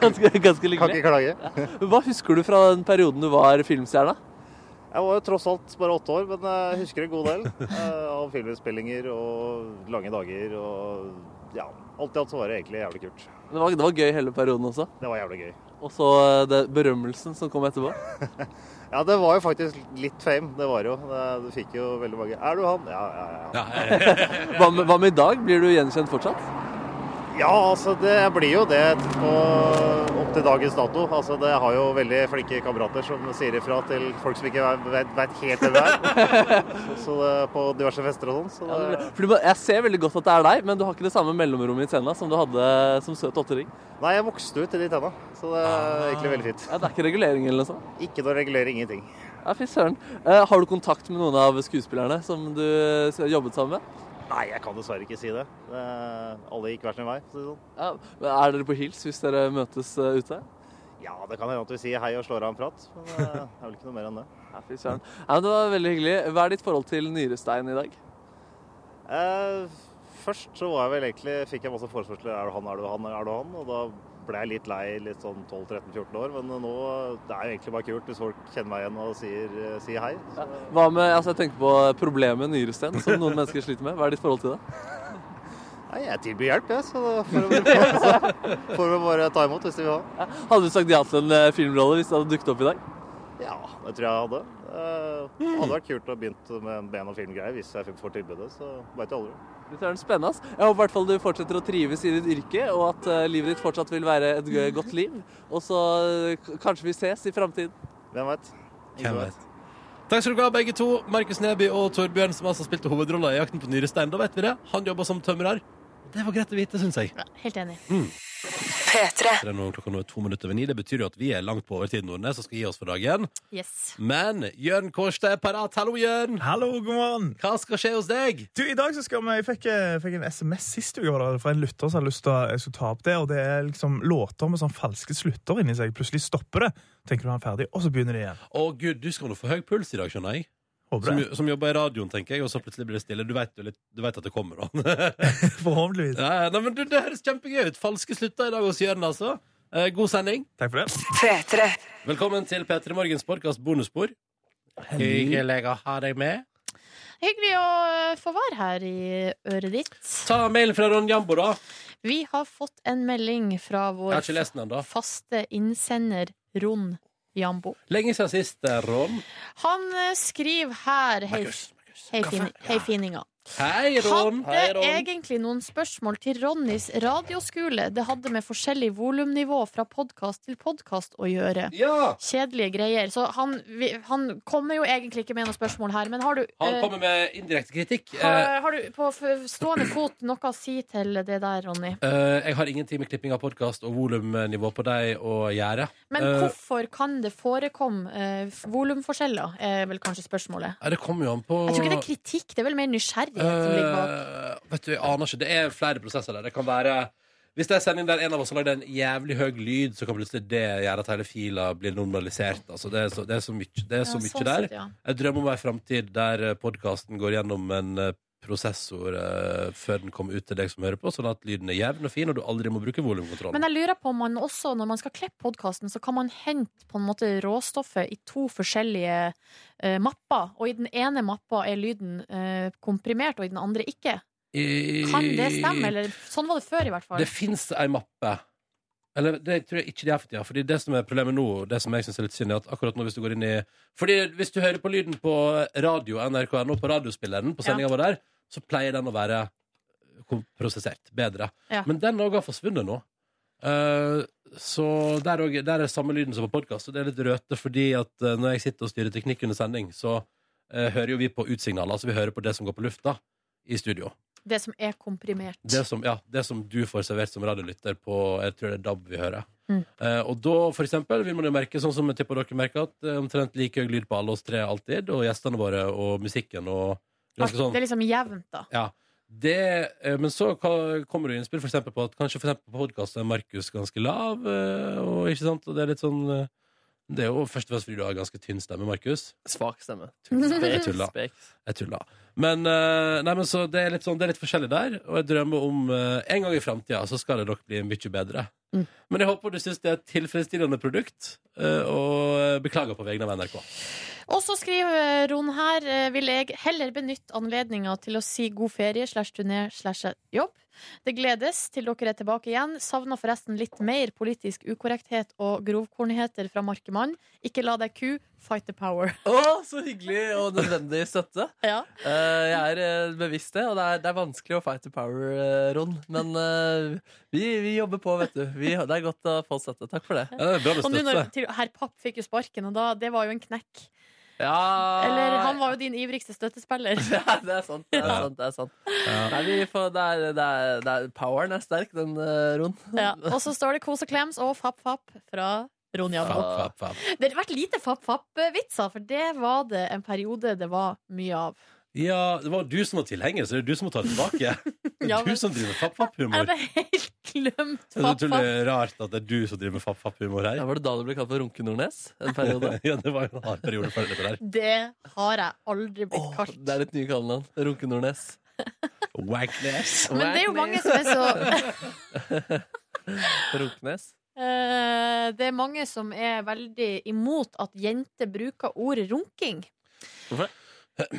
Speaker 4: Ganske, ganske lykkelig.
Speaker 8: Kan ikke klage.
Speaker 4: Ja. Hva husker du fra den perioden du var filmstjerne?
Speaker 8: Jeg var jo tross alt bare åtte år, men jeg husker en god del eh, av filminnspillinger og lange dager og ja. Alt i alt så var det egentlig jævlig kult.
Speaker 4: Det var, det var gøy hele perioden også.
Speaker 8: Det var jævlig gøy.
Speaker 4: Og så eh, det, berømmelsen som kom etterpå.
Speaker 8: Ja, det var jo faktisk litt fame, det var jo. Det- Du fikk jo veldig mange Er du han? Ja, ja, ja.
Speaker 4: hva, med, hva med i dag? Blir du gjenkjent fortsatt?
Speaker 8: Ja, altså det blir jo det på, opp til dagens dato. Altså det har jo veldig flinke kamerater som sier ifra til folk som ikke vet, vet helt hvem det er. Så det, på diverse fester og sånn. Så
Speaker 4: Ja, det
Speaker 8: det,
Speaker 4: blir- Fordi man- jeg ser veldig godt at det er deg, men du har ikke det samme mellomrommet i tenna som du hadde som søt åttering.
Speaker 8: nei, jeg vokste ut i de tenna, så det er
Speaker 4: Ah.
Speaker 8: egentlig veldig fint.
Speaker 4: Ja, det er ikke regulering eller noe sånt?
Speaker 8: Ikke noe regulering, ingenting.
Speaker 4: Ja, fy søren. Eh, har du kontakt med noen av skuespillerne som du s- jobbet sammen med?
Speaker 8: Nei, jeg kan dessverre ikke si det. det alle gikk hver sin vei, for å si det sånn.
Speaker 4: Ja, men er dere på hils hvis dere møtes eh, ute?
Speaker 8: Ja, det kan hende at vi sier hei og slår av en prat, men eh, det er vel ikke noe mer enn det.
Speaker 4: Ja, fy søren. Ja, men det var veldig hyggelig. Hva er ditt forhold til nyrestein i dag?
Speaker 8: Eh, først så var jeg vel egentlig, fikk jeg masse forespørsler er du han, er du han, er du han? Og da ble jeg litt lei litt sånn 12-13-14 år, men nå det er jo egentlig bare kult hvis folk kjenner meg igjen og sier, eh, sier hei. Så,
Speaker 4: Hva med, altså Jeg tenker på problemet nyrestein, som noen mennesker sliter med. Hva er ditt forhold til det?
Speaker 8: nei, jeg tilbyr hjelp, jeg, så da får vi bare, så får vi bare ta imot hvis de vil ha.
Speaker 4: Hadde du sagt ja til en eh, filmrolle hvis det hadde dukket opp i dag?
Speaker 8: Ja, det tror jeg jeg hadde. Eh, det hadde vært kult å begynne med ben- og filmgreier hvis jeg får tilbudet, så vet jeg aldri.
Speaker 4: Det er spennende. ass. Jeg håper i hvert fall du fortsetter å trives i ditt yrke, og at eh, livet ditt fortsatt vil være et gøy- godt liv. Og så eh, k- kanskje vi ses i framtiden.
Speaker 8: Hvem veit?
Speaker 10: Hvem vet? Takk skal du ha, begge to. Markus Neby og Torbjørn, som altså spilte hovedrolla i 'Jakten på nyrestein'. Da vet vi det. Han jobber som tømrer. Det var greit å vite, syns jeg.
Speaker 3: Helt enig.
Speaker 10: Mm. Det er nå klokka nå er to minutter over ni. Det betyr jo at vi er langt på overtid, Nordnes, og skal gi oss for dagen.
Speaker 3: Yes.
Speaker 10: Men Jørn Kårstad er parat. Hallo, Jørn.
Speaker 13: Hallo, god morgen.
Speaker 10: Hva skal skje hos deg?
Speaker 13: Du, i dag så skal vi, Jeg fikk, eh, fikk en SMS sist uke var det, fra en lytter som hadde lyst til å jeg skulle ta opp det. og Det er liksom låter med sånn falske slutter inni seg. Plutselig stopper det, tenker du han er ferdig, og så begynner det igjen.
Speaker 10: Å gud, du skal nå få høy puls i dag, skjønner jeg.
Speaker 13: Håper
Speaker 10: Som,
Speaker 13: det.
Speaker 10: som jobber i radioen, tenker jeg, og så plutselig blir det stille. Du vet, jo litt, du vet at det kommer, da.
Speaker 13: Forhåpentligvis.
Speaker 10: Ja, ja, nei, men du, det høres kjempegøy ut. Falske slutter i dag hos Jørn, altså. Eh, god sending.
Speaker 13: Takk for det.
Speaker 10: Velkommen til P3 Morgens podcast bonusbord. Hyggelig å ha deg med.
Speaker 3: Hyggelig å eh, få være her i øret ditt.
Speaker 10: Ta mailen fra Ron Jambo, da.
Speaker 3: Vi har fått en melding fra
Speaker 10: Jeg
Speaker 3: vår
Speaker 10: har ikke lest den ennå.
Speaker 3: faste innsender Ron Jambo.
Speaker 10: Lenge siden sist, eh, Ron.
Speaker 3: Han eh, skriver her Hei, hei, fini, hei fininga.
Speaker 2: Hei, Ron.
Speaker 3: Hadde egentlig noen spørsmål til Ronnys radioskole. Det hadde med forskjellig volumnivå fra podkast til podkast å gjøre.
Speaker 2: Ja.
Speaker 3: Kjedelige greier. Så han, vi, han kommer jo egentlig ikke med noen spørsmål her, men har du
Speaker 2: Han
Speaker 3: eh,
Speaker 2: kommer med indirekte kritikk. Eh,
Speaker 3: har, har du på f- stående fot noe å si til det der, Ronny?
Speaker 2: eh, jeg har ingenting med klipping av podkast og volumnivå på deg å gjøre.
Speaker 3: Men
Speaker 2: Eh,
Speaker 3: hvorfor kan det forekomme eh, f- volumforskjeller, er vel kanskje spørsmålet.
Speaker 2: nei, det kommer jo an på
Speaker 3: Jeg tror ikke det er kritikk, det er vel mer nysgjerrighet som ligger bak.
Speaker 2: Eh, vet du, jeg aner ikke. Det er flere prosesser der. Det kan være Hvis det er sending der en av oss har lagd en jævlig høy lyd, så kan plutselig det gjøre at hele fila blir normalisert. Altså, det, er så, det er så mye, det er så
Speaker 3: Ja,
Speaker 2: mye
Speaker 3: sånn
Speaker 2: der.
Speaker 3: sett, ja.
Speaker 2: Jeg drømmer om ei framtid der podkasten går gjennom en eh, prosessor eh, før den kommer ut til deg som hører på, sånn at lyden er jevn og fin, og du aldri må bruke volumkontroll.
Speaker 3: Men jeg lurer på om man også, når man skal klippe podkasten, så kan man hente på en måte råstoffet i to forskjellige eh, mapper. Og i den ene mappa er lyden eh, komprimert, og i den andre ikke. eh, Kan det stemme? Eller sånn var det før, i hvert fall.
Speaker 2: Det fins ei mappe. Eller det tror jeg ikke de har for tida. Fordi det som er problemet nå, det som jeg synes er litt synd, er at akkurat nå hvis du går inn i Fordi hvis du hører på lyden på radio NRK.no, på radiospilleren, på sendinga vår der, så pleier den å være kom- prosessert bedre.
Speaker 10: Ja.
Speaker 2: Men den òg har forsvunnet nå. Eh, så der, også, der er samme lyden som på podkast, og det er litt røte fordi at eh, når jeg sitter og styrer teknikk under sending, så eh, hører jo vi på utsignaler, altså vi hører på det som går på lufta i studio.
Speaker 3: Det som er komprimert.
Speaker 2: Det som, ja, det som du får servert som radiolytter på Jeg tror det er DAB vi hører.
Speaker 3: Mm.
Speaker 2: Eh, og da, for eksempel, vil man jo merke, sånn som jeg tipper dere merker, at eh, omtrent like høy lyd på alle oss tre alltid, og gjestene våre, og musikken, og ganske sånn.
Speaker 3: Det er liksom jevnt, da.
Speaker 2: Ja. Det, eh, men så ka- kommer det jo innspill for eksempel på at kanskje for eksempel på podkast er Markus ganske lav, eh, og ikke sant, og det er litt sånn eh, Det er jo først og fremst fordi du har ganske tynn stemme, Markus.
Speaker 4: Svak stemme.
Speaker 2: Jeg tulla. Jeg tulla. Men, eh, nei, men så det er litt sånn, det er litt forskjellig der, og jeg drømmer om eh, en gang i framtida så skal det nok bli mye bedre.
Speaker 3: Mm.
Speaker 2: Men jeg håper du syns det er et tilfredsstillende produkt, eh, og beklager på vegne av NRK.
Speaker 3: Og så skriver Ron her eh, vil jeg heller benytte anledninga til å si god ferie slash turné slash jobb. Det gledes til dere er tilbake igjen. Savner forresten litt mer politisk ukorrekthet og grovkornigheter fra Markemann. Ikke la deg ku, fight the power.
Speaker 4: Å, så hyggelig og nødvendig støtte. Eh, jeg er eh, bevisst det, og det er, det er vanskelig å fight the power, eh, Ron. Men eh, vi, vi jobber på, vet du. Vi, det er godt å få støtte. Takk for det.
Speaker 3: Og nå når til- herr Papp fikk jo sparken, og da, det var jo en knekk.
Speaker 2: Ah.
Speaker 4: Ja
Speaker 3: Eller han var jo din ivrigste støttespiller.
Speaker 4: Ja, det er sant. Det er
Speaker 3: Ja.
Speaker 4: sant, det er sant. Nei, vi får, det er, det er, det er, poweren er sterk, den eh, Ron.
Speaker 3: Ja. Og så står det kos og klems og fapp-fapp fra Ron Jabbo. Det har vært lite fapp-fapp-vitser, for det var det en periode det var mye av.
Speaker 2: Ja, det var du som var tilhenger, så det er du som må ta det tilbake. Det
Speaker 3: Ja,
Speaker 2: er
Speaker 3: men-
Speaker 2: du som driver med
Speaker 3: Jeg
Speaker 2: fapp-fapp-humor.
Speaker 3: hadde helt glemt
Speaker 2: Jeg tror det
Speaker 3: fapp-fapp.
Speaker 2: er rart at det er du som driver med fapp-fapp-humor her.
Speaker 4: Ja, var det da du ble kalt for Runke-Nordnes? En periode?
Speaker 2: ja, det var jo en hard periode for dette der.
Speaker 3: Det har jeg aldri blitt kalt.
Speaker 4: Det er ditt nye kallenavn. Runke-Nordnes.
Speaker 2: Wagness.
Speaker 3: Men det er jo mange som er så
Speaker 4: Runknes?
Speaker 3: Eh, Det er mange som er veldig imot at jenter bruker ordet runking.
Speaker 4: Hvorfor det?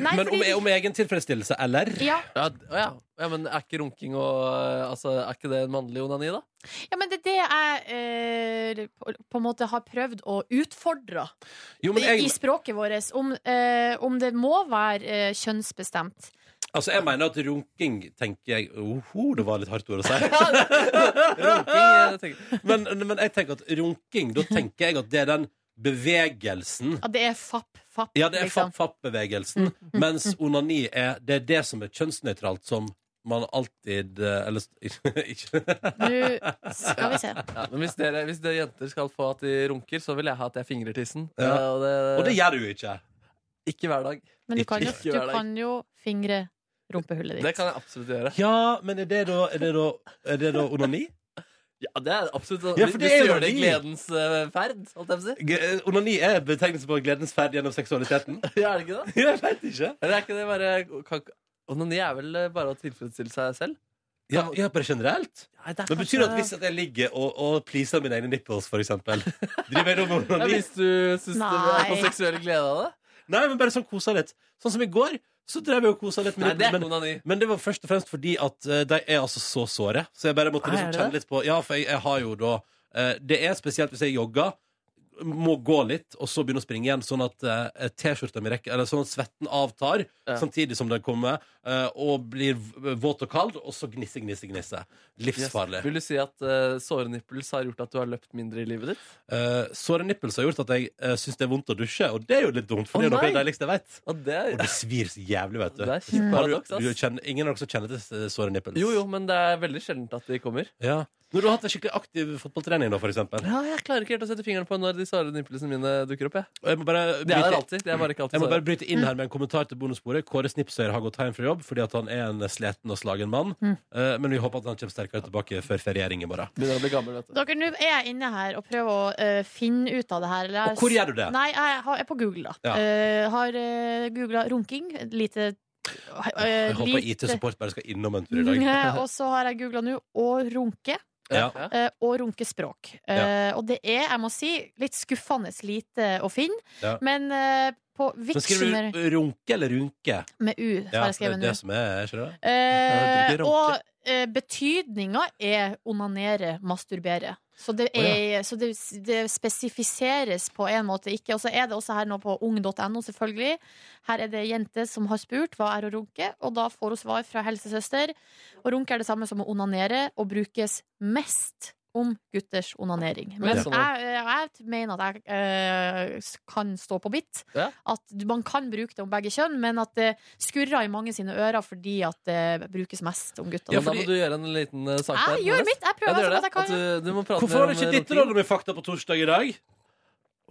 Speaker 3: Nei,
Speaker 2: Men om,
Speaker 3: fordi-
Speaker 2: om egen tilfredsstillelse, eller?
Speaker 3: Ja.
Speaker 4: Ja, d- å ja. ja, men er ikke runking og eh, altså, Er ikke det en mannlig onani, da?
Speaker 3: Ja, men det er det jeg eh, på- på en måte har prøvd å utfordre
Speaker 2: Jo, men
Speaker 3: i,
Speaker 2: jeg-
Speaker 3: i språket vårt, om, eh, om det må være eh, kjønnsbestemt.
Speaker 2: Altså, jeg mener at runking tenker jeg Oho, det var litt hardt ord å si.
Speaker 4: runking,
Speaker 2: men, men jeg tenker at runking, da tenker jeg at det er den bevegelsen
Speaker 3: Ja, det er fapp, fapp,
Speaker 2: Ja, det er
Speaker 3: liksom.
Speaker 2: fapp-fapp-bevegelsen. Mens onani er Det er det som er kjønnsnøytralt, som man alltid eh, Eller ikke
Speaker 3: Nå skal vi se.
Speaker 4: Ja, men hvis dere, hvis dere jenter skal få at de runker, så vil jeg ha at jeg fingrer tissen.
Speaker 2: Ja.
Speaker 4: Eh, Og, det,
Speaker 2: Og det gjør du jo ikke.
Speaker 4: Ikke hver dag.
Speaker 3: Men du kan jo,
Speaker 4: Ikke
Speaker 3: du
Speaker 4: hver dag.
Speaker 3: kan jo fingre rumpehullet ditt.
Speaker 4: Det kan jeg absolutt gjøre.
Speaker 2: Ja, men er det da, er det da, er det da onani?
Speaker 4: Ja, det er absolutt sånn.
Speaker 2: Ja, for det
Speaker 4: Hvis
Speaker 2: er
Speaker 4: du
Speaker 2: jo
Speaker 4: gjør det i
Speaker 2: onani.
Speaker 4: gledens eh, ferd, holdt jeg på å si.
Speaker 2: G- eh, Onani er betegnelse på gledens ferd gjennom seksualiteten.
Speaker 4: Ja, er det ikke det?
Speaker 2: Jeg vet ikke.
Speaker 4: Eller er ikke det bare kan, Onani er vel eh, bare å tilfredsstille seg selv?
Speaker 2: Ja, ja bare generelt.
Speaker 4: Nei, det er
Speaker 2: Men betyr det at
Speaker 4: kanskje-
Speaker 2: hvis at jeg ligger og, og pleaser mine egne nipples, for eksempel Driver jeg da med
Speaker 4: Ja,
Speaker 2: onani?
Speaker 4: hvis du syns det er
Speaker 2: Nei.
Speaker 4: på seksuell glede av det?
Speaker 2: Nei, men bare sånn kosa litt. Sånn som i går. Så drev jeg og kosa litt.
Speaker 4: Nei, det er ikke
Speaker 2: men, men det var først og fremst fordi at eh, de er altså så såre. Så jeg bare måtte
Speaker 4: Nei, Ah, er
Speaker 2: liksom
Speaker 4: det
Speaker 2: kjenne
Speaker 4: det?
Speaker 2: litt på Ja, for jeg, jeg har jo da eh, Det er spesielt hvis jeg jogger. må gå litt, og så begynne å springe igjen, sånn at eh, T-skjorta mi rekker Eller sånn at svetten avtar
Speaker 10: Ja.
Speaker 2: samtidig som den kommer, eh, og blir v- våt og kald, og så gnisse, gnisse, gnisse. Livsfarlig.
Speaker 4: Yes. Vil du si at uh, såre nipples har gjort at du har løpt mindre i livet ditt?
Speaker 2: Eh, såre nippels har gjort at jeg uh, syns det er vondt å dusje, og det er jo litt dumt, for det er jo noe av det deiligste jeg vet.
Speaker 4: Og det,
Speaker 2: Og det svir så jævlig, vet du.
Speaker 4: Det er kjipt
Speaker 2: Har du,
Speaker 4: paradoks, ass.
Speaker 2: du kjenner, ingen av dere som kjenner til eh, såre nippels?
Speaker 4: jo, jo, men det er veldig sjeldent at de kommer.
Speaker 2: Ja. Når du har hatt en skikkelig aktiv fotballtrening, da, for eksempel.
Speaker 4: Ja, jeg klarer ikke helt å sette fingeren på når de såre nipplesene mine dukker opp. Jeg.
Speaker 2: Og Jeg må bare
Speaker 4: Det er Mm. der alltid. Det er bare ikke alltid
Speaker 2: jeg må
Speaker 4: såret.
Speaker 2: bare bryte inn her med en kommentar til bonussporet. Kåre Snipsøyer har gått hjem fra jobb fordi at han er en sliten og slagen mann.
Speaker 3: Mm.
Speaker 2: Eh, Men vi håper at han kommer sterkere tilbake før feriering i morgen.
Speaker 4: Begynner å bli gammel, vet
Speaker 3: Dere, nå er jeg inne her og prøver å eh, finne ut av det her. Eller jeg-
Speaker 2: Og hvor gjør du det?
Speaker 3: Nei, jeg har- er på Google, da.
Speaker 2: Ja.
Speaker 3: Eh, har uh, googla runking. et Lite eh,
Speaker 2: Jeg håper
Speaker 3: lite-
Speaker 2: IT-support bare skal innom en tur i dag.
Speaker 3: og så har jeg googla nå 'å runke'.
Speaker 2: Ja.
Speaker 3: eh, og runkespråk. Eh, og det er, jeg må si, litt skuffende lite å finne.
Speaker 2: Ja.
Speaker 3: Men eh, på
Speaker 2: Så skriver
Speaker 3: Vitsjoner
Speaker 2: du runke eller runke?
Speaker 3: med U, har
Speaker 2: Ja, det
Speaker 3: jeg
Speaker 2: er
Speaker 3: skrevet nå.
Speaker 2: det som er, ikke det?
Speaker 3: Eh,
Speaker 2: Ja, det er
Speaker 3: og
Speaker 2: runke.
Speaker 3: eh, betydninga er onanere, masturbere. Så det, er, så det, det spesifiseres på en måte ikke. Og så er det også her nå på ung.no, selvfølgelig. Her er det ei jente som har spurt hva er å runke, og da får hun svar fra helsesøster. Å runke er det samme som å onanere, og brukes mest om gutters onanering. Men
Speaker 4: Ja.
Speaker 3: jeg, jeg mener at jeg eh, kan stå på mitt.
Speaker 4: Ja.
Speaker 3: At man kan bruke det om begge kjønn, men at det skurrer i mange sine ører fordi at det brukes mest om gutter.
Speaker 4: Ja, Da må du gjøre en liten uh, sak
Speaker 3: Jeg
Speaker 4: der,
Speaker 3: gjør
Speaker 4: Nordnes.
Speaker 3: mitt, jeg prøver
Speaker 4: Ja, du
Speaker 3: så
Speaker 4: gjør
Speaker 3: godt jeg kan.
Speaker 4: At Du, du må prate
Speaker 2: Hvorfor har du
Speaker 4: mer
Speaker 2: ikke
Speaker 4: om eh,
Speaker 2: ditt
Speaker 4: runking.
Speaker 2: råd med fakta på torsdag i dag?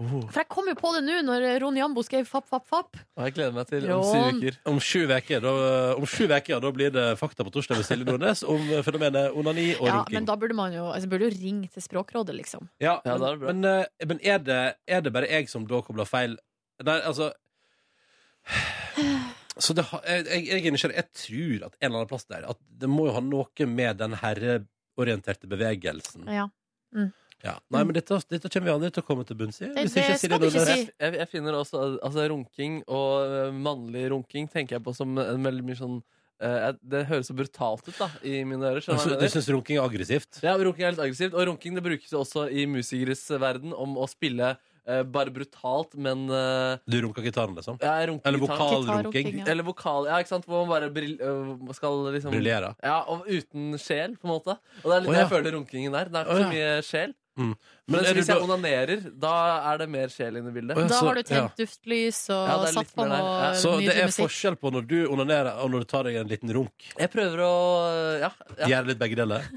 Speaker 3: For jeg kom jo på det nå når Ron Jambo skrev fapp, fapp, fapp.
Speaker 4: Og jeg gleder meg til om
Speaker 3: Ron.
Speaker 4: syv uker.
Speaker 2: Om sju uker, da, om sju veker, da blir det fakta på torsdag med Silje Nordnes om eh, fenomenet onani og
Speaker 3: Ja,
Speaker 2: runking.
Speaker 3: men da burde man jo, altså, burde jo ringe til Språkrådet, liksom.
Speaker 2: Ja,
Speaker 4: Ja, da er det
Speaker 2: men,
Speaker 4: bra.
Speaker 2: men, eh, men er, det, er det bare jeg som da kobler feil? Nei, altså Så det, har- jeg, jeg, jeg er nysgjerrig. Jeg tror at en eller annen plass der At det må jo ha noe med den herreorienterte bevegelsen
Speaker 3: Ja. Mm.
Speaker 2: Ja. Nei, men dette, dette kommer vi aldri til å komme til bunns i. Hvis
Speaker 3: det
Speaker 2: ikke
Speaker 3: skal
Speaker 2: Silje
Speaker 3: du ikke
Speaker 2: Nordnes
Speaker 3: si.
Speaker 4: Jeg, jeg finner også altså, runking og eh, mannlig runking tenker jeg på som en veldig mye sånn eh, jeg- Det høres så brutalt ut da i mine ører. skjønner du hva
Speaker 2: Altså,
Speaker 4: jeg
Speaker 2: Du
Speaker 4: mener?
Speaker 2: syns runking er aggressivt?
Speaker 4: Ja, runking er litt aggressivt. Og runking det brukes jo også i musikeres verden om å spille eh, bare brutalt, men eh,
Speaker 2: Du runker gitaren, liksom?
Speaker 4: ja, jeg runker
Speaker 2: Eller
Speaker 4: gitar.
Speaker 2: vokalrunking?
Speaker 3: ja.
Speaker 4: Eller vokal, ja, ikke sant? Hvor man bare brill, øh, skal liksom
Speaker 2: Briljere.
Speaker 4: Ja, og uten sjel, på en måte. Og det er
Speaker 2: Å,
Speaker 4: litt det
Speaker 2: ja.
Speaker 4: jeg føler runkingen der. Det er
Speaker 2: Å,
Speaker 4: ikke
Speaker 2: ja.
Speaker 4: så mye sjel.
Speaker 2: Mm.
Speaker 4: Men
Speaker 2: Men er du
Speaker 4: hvis jeg
Speaker 2: da-
Speaker 4: onanerer, da er det mer sjel inne i bildet.
Speaker 2: Å, ja,
Speaker 3: Da
Speaker 2: så-
Speaker 3: har du tent duftlys og
Speaker 4: Ja, det er
Speaker 3: satt
Speaker 4: litt
Speaker 3: på
Speaker 4: mer der.
Speaker 3: noe
Speaker 4: Ja.
Speaker 2: Så det
Speaker 3: nydelig
Speaker 2: er
Speaker 3: musikk.
Speaker 2: forskjell på når du onanerer, og når du tar deg en liten runk?
Speaker 4: Jeg prøver å ja, ja.
Speaker 2: Gjør litt begge deler?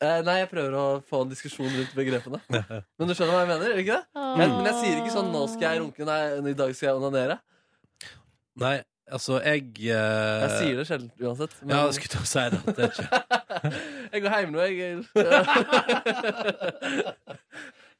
Speaker 4: Eh, Nei, jeg prøver å få en diskusjon rundt begrepene. Men du skjønner hva jeg mener? eller ikke det?
Speaker 3: Åh.
Speaker 4: Jeg, men jeg sier ikke sånn 'nå skal jeg runke', nei, 'i dag skal jeg onanere'.
Speaker 2: Nei, altså, jeg eh,
Speaker 4: Jeg sier det sjelden uansett. Men
Speaker 2: Ja, jeg skulle til å si det. det er ikke.
Speaker 4: jeg går hjem nå, jeg.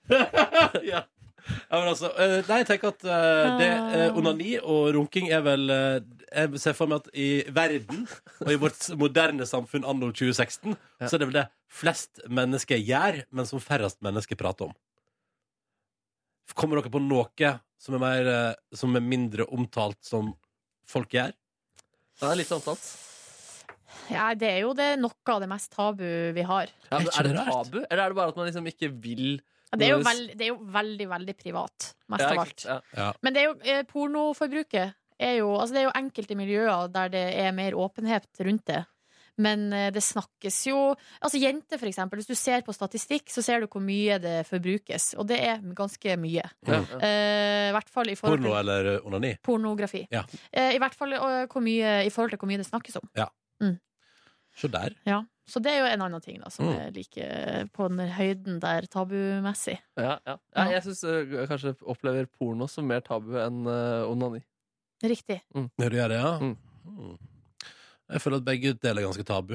Speaker 2: ja. ja, men altså eh, Nei, jeg tenker at eh, det, eh, onani og runking er vel eh, Jeg ser for meg at i verden og i vårt moderne samfunn anno 2016, så er det vel det flest mennesker gjør, men som færrest mennesker prater om. Kommer dere på noe som er, mer, eh, som er mindre omtalt som folk gjør?
Speaker 4: Det er litt omtalt.
Speaker 3: Ja, det er jo det, noe av det mest tabu vi har.
Speaker 4: Ja, men
Speaker 2: ikke
Speaker 4: er det
Speaker 2: det rart?
Speaker 4: tabu, eller er det bare at man liksom ikke vil
Speaker 3: Ja, Det er jo, veld, det er jo veldig, veldig privat, mest
Speaker 4: Ja,
Speaker 3: av
Speaker 4: ikke
Speaker 3: alt.
Speaker 4: sant? Ja.
Speaker 3: Men det er jo, eh, pornoforbruket er jo, altså det er jo enkelte miljøer der det er mer åpenhet rundt det. Men eh, det snakkes jo Altså jenter, for eksempel. Hvis du ser på statistikk, så ser du hvor mye det forbrukes. Og det er ganske mye.
Speaker 2: Ja,
Speaker 4: ja.
Speaker 3: Eh, I hvert fall i forhold
Speaker 2: Porno
Speaker 3: til
Speaker 2: eller eh, onani?
Speaker 3: pornografi.
Speaker 2: Ja.
Speaker 3: Eh, I hvert fall eh, hvor mye, i forhold til hvor mye det snakkes om.
Speaker 2: Se der.
Speaker 3: Ja. Så det er jo en annen ting da, som
Speaker 2: Mm.
Speaker 3: er like på den høyden der tabumessig.
Speaker 4: Ja, ja. ja, jeg syns jeg kanskje opplever porno som mer tabu enn eh, onani.
Speaker 3: Riktig.
Speaker 2: Ja, du gjør det, ja?
Speaker 4: Mm.
Speaker 2: Mm. Jeg føler at begge deler er ganske tabu.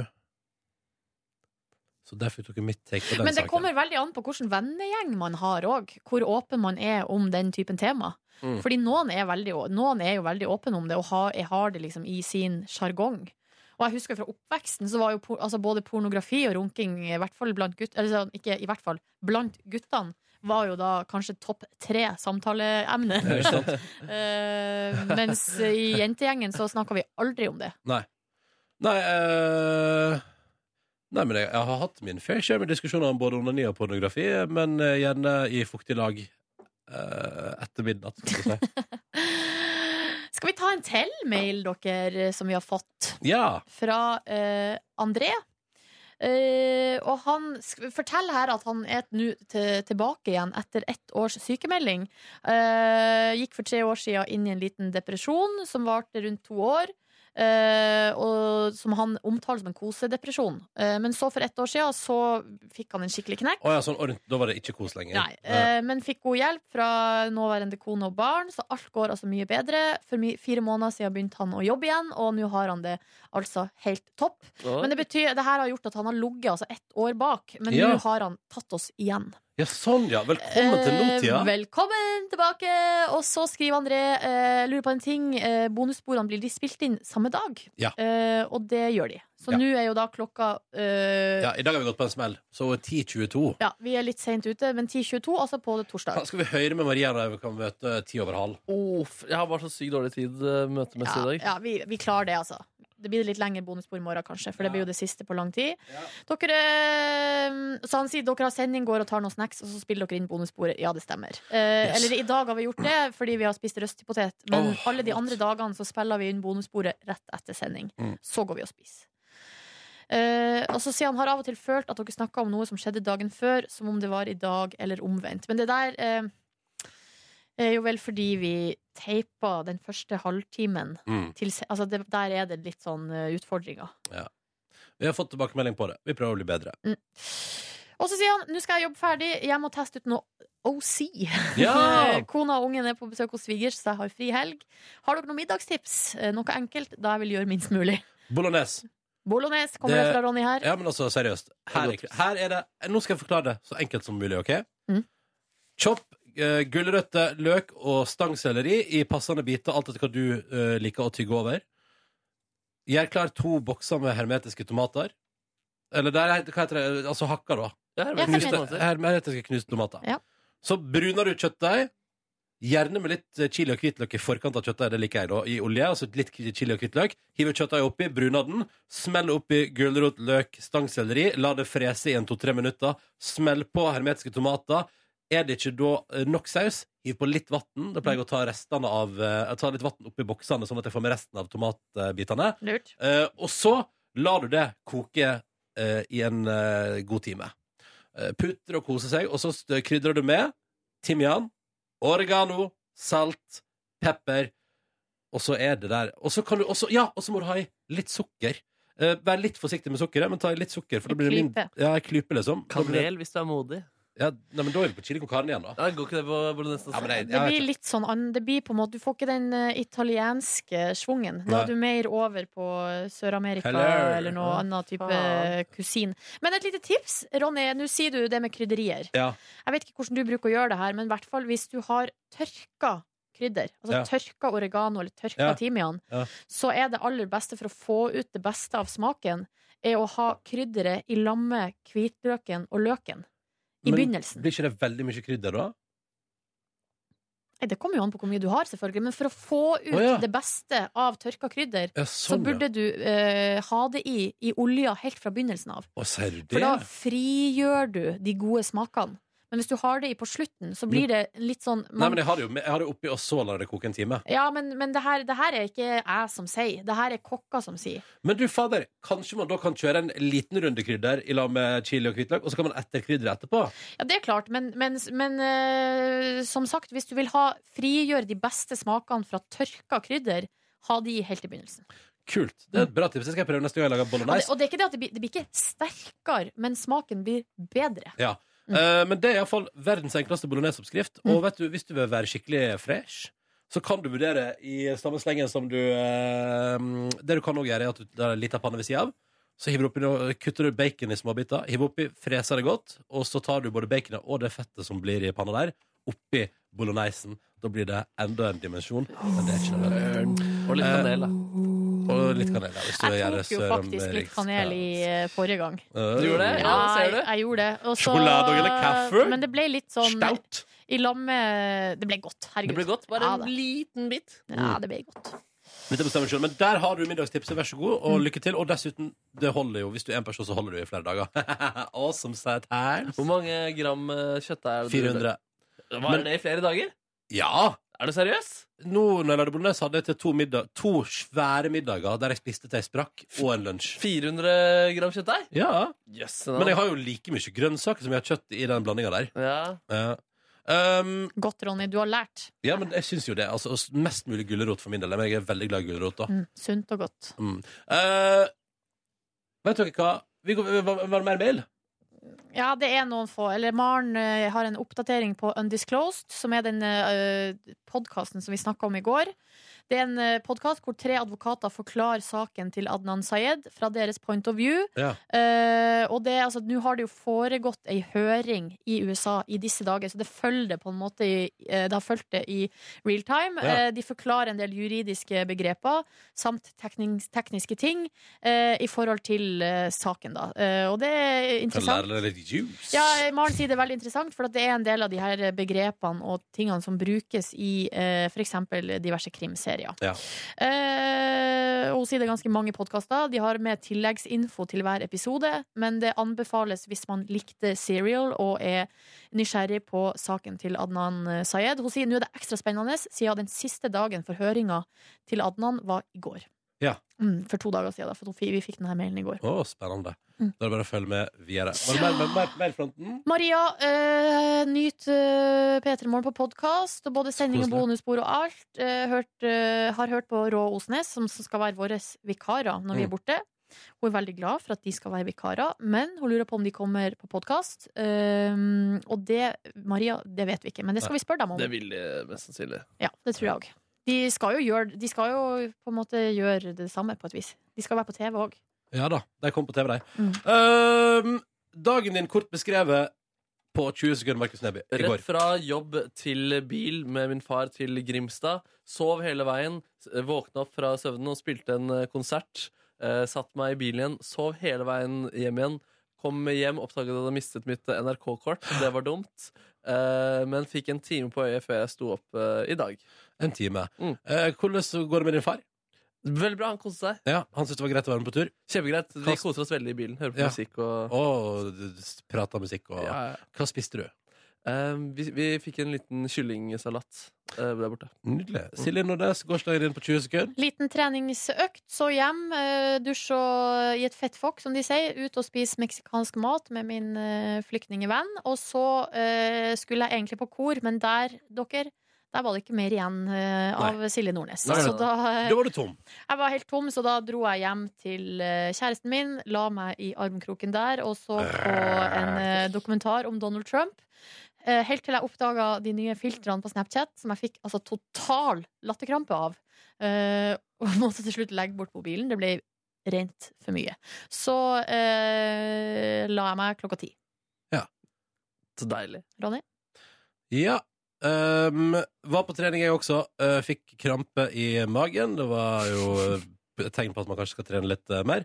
Speaker 2: Så derfor tok jeg mitt take på den
Speaker 3: Men det
Speaker 2: saken.
Speaker 3: kommer veldig an på hvilken vennegjeng man har òg. Hvor åpen man er om den typen tema.
Speaker 2: Mm.
Speaker 3: Fordi noen er, veldig, å- noen er jo veldig åpen om det og har, har det liksom i sin sjargong. Og jeg husker fra oppveksten så var jo por altså både pornografi og runking, i hvert fall blant gutt, eller sånn, ikke i hvert fall, blant guttene, var jo da kanskje topp tre samtaleemne.
Speaker 2: Ja, ikke sant?
Speaker 3: Eh, mens i jentegjengen så snakka vi aldri om det.
Speaker 2: Nei. Nei, eh, nei men jeg, jeg har hatt min fair share med diskusjoner om både onani og pornografi, men eh, gjerne i fuktig lag eh, etter midnatt. Skal vi si.
Speaker 3: Skal vi ta en til mail, dere, som vi har fått?
Speaker 2: Ja.
Speaker 3: Fra eh, André. Eh, og han sk- forteller her at han er nå til- tilbake igjen etter ett års sykemelding. Eh, gikk for tre år siden inn i en liten depresjon som varte rundt to år. eh, og som han omtaler som en kosedepresjon. Eh, men så, for ett år siden, så fikk han en skikkelig knekk.
Speaker 2: Å ja, sånn, ordent- da var det ikke kos lenger.
Speaker 3: Nei, eh, men fikk god hjelp fra nåværende kone og barn, så alt går altså mye bedre. For mi- fire måneder siden begynte han å jobbe igjen, og nå har han det altså helt topp.
Speaker 2: Oi.
Speaker 3: Men det betyr, det her har gjort at han har ligget altså ett år bak, men
Speaker 2: Ja.
Speaker 3: nå har han tatt oss igjen.
Speaker 2: Ja, sånn, ja. Velkommen til nåtida.
Speaker 3: Eh, Velkommen tilbake! Og så skriver André eh, lurer på en ting. Eh, bonussporene blir de spilt inn samme dag,
Speaker 2: Ja.
Speaker 3: eh, og det gjør de. Så
Speaker 2: Ja.
Speaker 3: nå er jo da klokka eh,
Speaker 2: Ja, I dag har vi gått på en smell. Så eh, 10.22.
Speaker 3: ja, vi er litt seint ute, men 10.22, altså på torsdag.
Speaker 2: Skal vi høre med Maria når vi kan møte eh, ti over halv?
Speaker 4: Uff, jeg har bare så sykt dårlig tid eh, møtemessig i dag.
Speaker 3: Ja, vi, vi klarer det, altså. Det blir litt lengre bonusbord i morgen, kanskje, for det blir jo det siste på lang tid. Dere, eh, så han sier dere har sending, går og tar noen snacks, og så spiller dere inn bonusbordet. Ja, det stemmer. Eh,
Speaker 14: Yes.
Speaker 3: Eller i dag har vi gjort det fordi vi har spist røstpotet, men
Speaker 14: Åh,
Speaker 3: alle de andre dagene så spiller vi inn bonusbordet rett etter sending.
Speaker 14: Mm.
Speaker 3: Så går vi og spiser. Eh, og så sier han har av og til følt at dere snakka om noe som skjedde dagen før, som om det var i dag, eller omvendt. Men det der eh, er jo vel fordi vi teipa den første halvtimen.
Speaker 2: Mm.
Speaker 3: Til, se- altså det, der er det litt sånn eh, utfordringer.
Speaker 2: Ja. Vi har fått tilbakemelding på det. Vi prøver å bli bedre.
Speaker 3: Og så sier han nå skal jeg jobbe ferdig, jeg må teste ut noe OC.
Speaker 2: Ja!
Speaker 3: Eh, Kona og ungen er på besøk hos svigers, så jeg har fri helg. Har dere noen middagstips? Eh, Noe enkelt da jeg vil gjøre minst mulig.
Speaker 2: Bolognese.
Speaker 3: Bolognese kommer det, fra Ronny her.
Speaker 2: Ja, men altså, seriøst. Her er, her er det Nå skal jeg forklare det så enkelt som mulig, OK?
Speaker 3: Mm.
Speaker 2: Chopp eh, gulrøtter, løk og stangselleri i passende biter, alt etter hva du eh, liker å tygge over. Gjør klar to bokser med hermetiske tomater. Eller der, er- hva heter det? Altså hakka, da.
Speaker 4: Ja, hermetiske
Speaker 2: Knuste,
Speaker 4: tomater.
Speaker 2: hermetiske knuste tomater.
Speaker 3: Ja.
Speaker 2: Så bruner du kjøttdeig. Gjerne med litt eh, chili og hvitløk i forkant av kjøttdeig. Det liker jeg da, i olje. Altså litt chili og hvitløk. Hiver kjøttdeig oppi, bruner den. Smell oppi gulrot, løk, stangselleri. La det frese i en to-tre minutter. Smell på hermetiske tomater. Er det ikke da eh, nok saus, hiv på litt vann. Da pleier jeg å ta restene av eh, Jeg tar litt vann oppi boksene, sånn at jeg får med resten av tomatbitene.
Speaker 3: Lurt.
Speaker 2: Eh, og så lar du det koke eh, i en eh, god time. Eh, putter og koser seg, og så st- krydrer du med timian, oregano, salt, pepper, og så er det der. Og så kan du også, ja, og så må du ha i litt sukker. Eh, vær litt forsiktig med sukkeret, men ta i litt sukker. For da blir det min,
Speaker 4: klype.
Speaker 2: ja, en klype, liksom. Da blir det-
Speaker 4: Kanel, hvis du er modig.
Speaker 2: Ja, nei, men da er vi på chili con carne igjen, da.
Speaker 4: Ja, går ikke det på bolognesen?
Speaker 2: Ja, men jeg-
Speaker 3: Det blir litt sånn ann- det blir på en måte, Du får ikke den eh, italienske svungen. Da
Speaker 2: Nei.
Speaker 3: er du mer over på Sør-Amerika
Speaker 2: Hello.
Speaker 3: eller noe
Speaker 2: Ja.
Speaker 3: annet type
Speaker 2: Faen.
Speaker 3: kusin. Men et lite tips, Ronny. Nå sier du det med krydderier.
Speaker 2: Ja.
Speaker 3: Jeg vet ikke hvordan du bruker å gjøre det her, men i hvert fall hvis du har tørka krydder, altså
Speaker 14: Ja.
Speaker 3: tørka oregano eller tørka
Speaker 14: Ja.
Speaker 3: timian,
Speaker 2: Ja.
Speaker 3: så er det aller beste for å få ut det beste av smaken, er å ha krydderet i lamme hvitløken og løken. I
Speaker 2: Men
Speaker 3: begynnelsen.
Speaker 2: Blir ikke det veldig mye krydder da?
Speaker 3: Nei, Det kommer jo an på hvor mye du har, selvfølgelig, men for å få ut
Speaker 2: Å, ja.
Speaker 3: det beste av tørka krydder,
Speaker 2: Ja,
Speaker 3: så
Speaker 2: sånn,
Speaker 3: burde
Speaker 2: ja.
Speaker 3: du eh, ha det i, i olja helt fra begynnelsen av.
Speaker 2: Å, sier du det?
Speaker 3: For da frigjør du de gode smakene. Men hvis du har det i på slutten, så blir det litt sånn
Speaker 2: Nei, men jeg har det jo med- jeg har det oppi, og så lar jeg det koke en time.
Speaker 3: Ja, men, men det, her, det her er ikke jeg som sier, det her er kokka som sier.
Speaker 2: Men du, fader, kanskje man da kan kjøre en liten runde krydder i lag med chili og hvitløk, og så kan man etter krydderet etterpå?
Speaker 3: Ja, det er klart, men, men, men eh, som sagt, hvis du vil ha frigjøre de beste smakene fra tørka krydder, ha de helt i begynnelsen.
Speaker 2: Kult. Det er et bra tips. Det skal jeg prøve neste gang jeg lager
Speaker 3: Og det,
Speaker 2: bolognese.
Speaker 3: og det er ikke det at det blir, det blir ikke sterkere, men smaken blir bedre.
Speaker 2: Ja. Eh, men det er iallfall verdens enkleste bologneseoppskrift. Og vet du, hvis du vil være skikkelig fresh, så kan du vurdere i samme slengen som du eh, Det du kan også gjøre, er at du tar en liten panne ved sida av. Så hiver du oppi noe, kutter du bacon i småbiter, hiver oppi, freser det godt, og så tar du både baconet og det fettet som blir i panna der, oppi bolognesen. Da blir det enda en dimensjon, men det er ikke nødvendig.
Speaker 4: Og litt kanel, da.
Speaker 2: Og litt kanel, ja. Hvis du
Speaker 3: Jeg
Speaker 2: gjør det
Speaker 3: tok jo
Speaker 2: sør om
Speaker 3: faktisk litt
Speaker 2: riks.
Speaker 3: kanel i eh, forrige gang.
Speaker 2: Du gjorde det? Ja,
Speaker 4: ser du.
Speaker 3: Jeg, jeg gjorde det. Og så-
Speaker 2: Sjokolade og eller kaffe?
Speaker 3: Men det ble litt sånn
Speaker 2: Stout?
Speaker 3: I lag med Det ble godt. Herregud.
Speaker 2: Det ble Mm. godt, bare en
Speaker 3: liten bit. Ja, det ble godt.
Speaker 2: Dette bestemmer du selv, men der har du middagstipset. Vær så god, og lykke til. Og dessuten, det holder jo. Hvis du er en person, så holder du i flere dager. awesome set her.
Speaker 4: Hvor mange gram eh, kjøttdeig er det? du-
Speaker 2: 400.
Speaker 4: Var det det i flere dager?
Speaker 2: Ja!
Speaker 4: Er du seriøs?
Speaker 2: Nå når jeg lagde bolognese, hadde jeg til to, middag, to svære middager der jeg spiste til jeg sprakk, og en lunsj.
Speaker 4: 400 gram kjøttdeig?
Speaker 2: Ja.
Speaker 4: Jøsse navn.
Speaker 2: Men jeg har jo like mye grønnsaker som jeg har kjøtt i den blandinga der. Ja. Um,
Speaker 3: Godt, Ronny. Du har lært.
Speaker 2: ja, men jeg syns jo det. Altså, mest mulig gulrot for min del. Men jeg er veldig glad i gulrot. da.
Speaker 3: Mm, sunt og godt.
Speaker 2: Mm. Eh, vet dere hva? Vi går, var, var det mer mail?
Speaker 3: Ja, det er noen få. Eller Maren eh, har en oppdatering på Undisclosed, som er den uh, podkasten som vi snakka om i går. Det er en uh, podkast hvor tre advokater forklarer saken til Adnan Sayed fra deres point of view.
Speaker 2: Ja.
Speaker 3: Eh, og det, er altså, nå har det jo foregått ei høring i USA i disse dager, så det følger det på en måte i, eh, Det har fulgt det i real time.
Speaker 14: Ja.
Speaker 3: Eh, de forklarer en del juridiske begreper samt teknings- tekniske ting eh, i forhold til eh, saken, da. Eh, og det er
Speaker 2: Kan
Speaker 3: interessant.
Speaker 2: lære deg litt juice.
Speaker 3: Ja, Maren sier det er veldig interessant, for at det er en del av de her begrepene og tingene som brukes i eh, f.eks. diverse krimserier.
Speaker 2: Ja.
Speaker 3: Eh, og hun sier det er ganske mange podkaster. De har med tilleggsinfo til hver episode, men det anbefales hvis man likte Serial og er nysgjerrig på saken til Adnan Sayed. Hun sier nå er det ekstra spennende, siden den siste dagen for høringa til Adnan var i går.
Speaker 2: Ja.
Speaker 3: Mm, for to dager siden, da, for hun fi- vi fikk denne mailen i går.
Speaker 2: Å, spennende.
Speaker 3: Mm.
Speaker 2: Da er det bare å følge med videre. Var det mer, mer, mer, mer fronten?
Speaker 3: Maria, eh, nyt eh, P3 Morgen på podkast. Både sending og
Speaker 2: Koselig.
Speaker 3: bonusbord og alt. Eh, hørt, eh, har hørt på Rå Osnes, som skal være våre vikarer når
Speaker 14: Mm.
Speaker 3: vi er borte. Hun er veldig glad for at de skal være vikarer, men hun lurer på om de kommer på podkast. Eh, og det, Maria, det vet vi ikke, men det skal vi spørre dem om.
Speaker 4: Det vil de eh, mest sannsynlig.
Speaker 3: Ja, det tror jeg òg. De skal jo gjøre De skal jo på en måte gjøre det samme, på et vis. De skal være på TV òg.
Speaker 2: Ja da. De kom på TV, de. Ehm, dagen din kort beskrevet på 20 sekunder, Markus Neby. I går.
Speaker 4: Rett fra jobb til bil med min far til Grimstad. Sov hele veien, s- våkna opp fra søvnen og spilte en eh, konsert. Eh, satt meg i bilen igjen, sov hele veien hjem igjen. Kom hjem, oppdaget at jeg hadde mistet mitt eh, NRK-kort. Det var dumt. Eh, men fikk en time på øyet før jeg sto opp eh, i dag.
Speaker 2: En time. Eh, hvordan går det med din far?
Speaker 4: Veldig bra, han koste seg.
Speaker 2: Ja, Han syntes det var greit å være med på tur?
Speaker 4: Kjempegreit. Vi
Speaker 2: Kast-
Speaker 4: koser oss veldig i bilen. Hører på
Speaker 2: Ja.
Speaker 4: musikk og
Speaker 2: Og prata musikk og Hva spiste du?
Speaker 4: Eh, vi, vi fikk en liten kyllingsalat eh, der borte.
Speaker 2: Nydelig. Silje Nordnes, gårsdagen din på 20 sekunder.
Speaker 3: Liten treningsøkt, så hjem, eh, dusj og i et fettfokk, som de sier. Ut og spise meksikansk mat med min eh, flyktningevenn. Og så eh, skulle jeg egentlig på kor, men der, dere, der var det ikke mer igjen eh, av
Speaker 2: Nei.
Speaker 3: Silje Nordnes.
Speaker 2: Nei, nei,
Speaker 3: Så
Speaker 2: nei.
Speaker 3: da, eh,
Speaker 2: Da var du tom.
Speaker 3: jeg var helt tom, så da dro jeg hjem til eh, kjæresten min, la meg i armkroken der, og så på en eh, dokumentar om Donald Trump. Eh, Helt til jeg oppdaga de nye filtrene på Snapchat, som jeg fikk altså, total latterkrampe av. Eh, Og måtte til slutt legge bort mobilen. Det ble rent for mye. Så eh, la jeg meg klokka ti.
Speaker 4: Så deilig.
Speaker 3: Ronny?
Speaker 2: Ja. ehm, var på trening, jeg også. Eh, fikk krampe i magen. Det var jo eh, et tegn på at man kanskje skal trene litt eh, mer.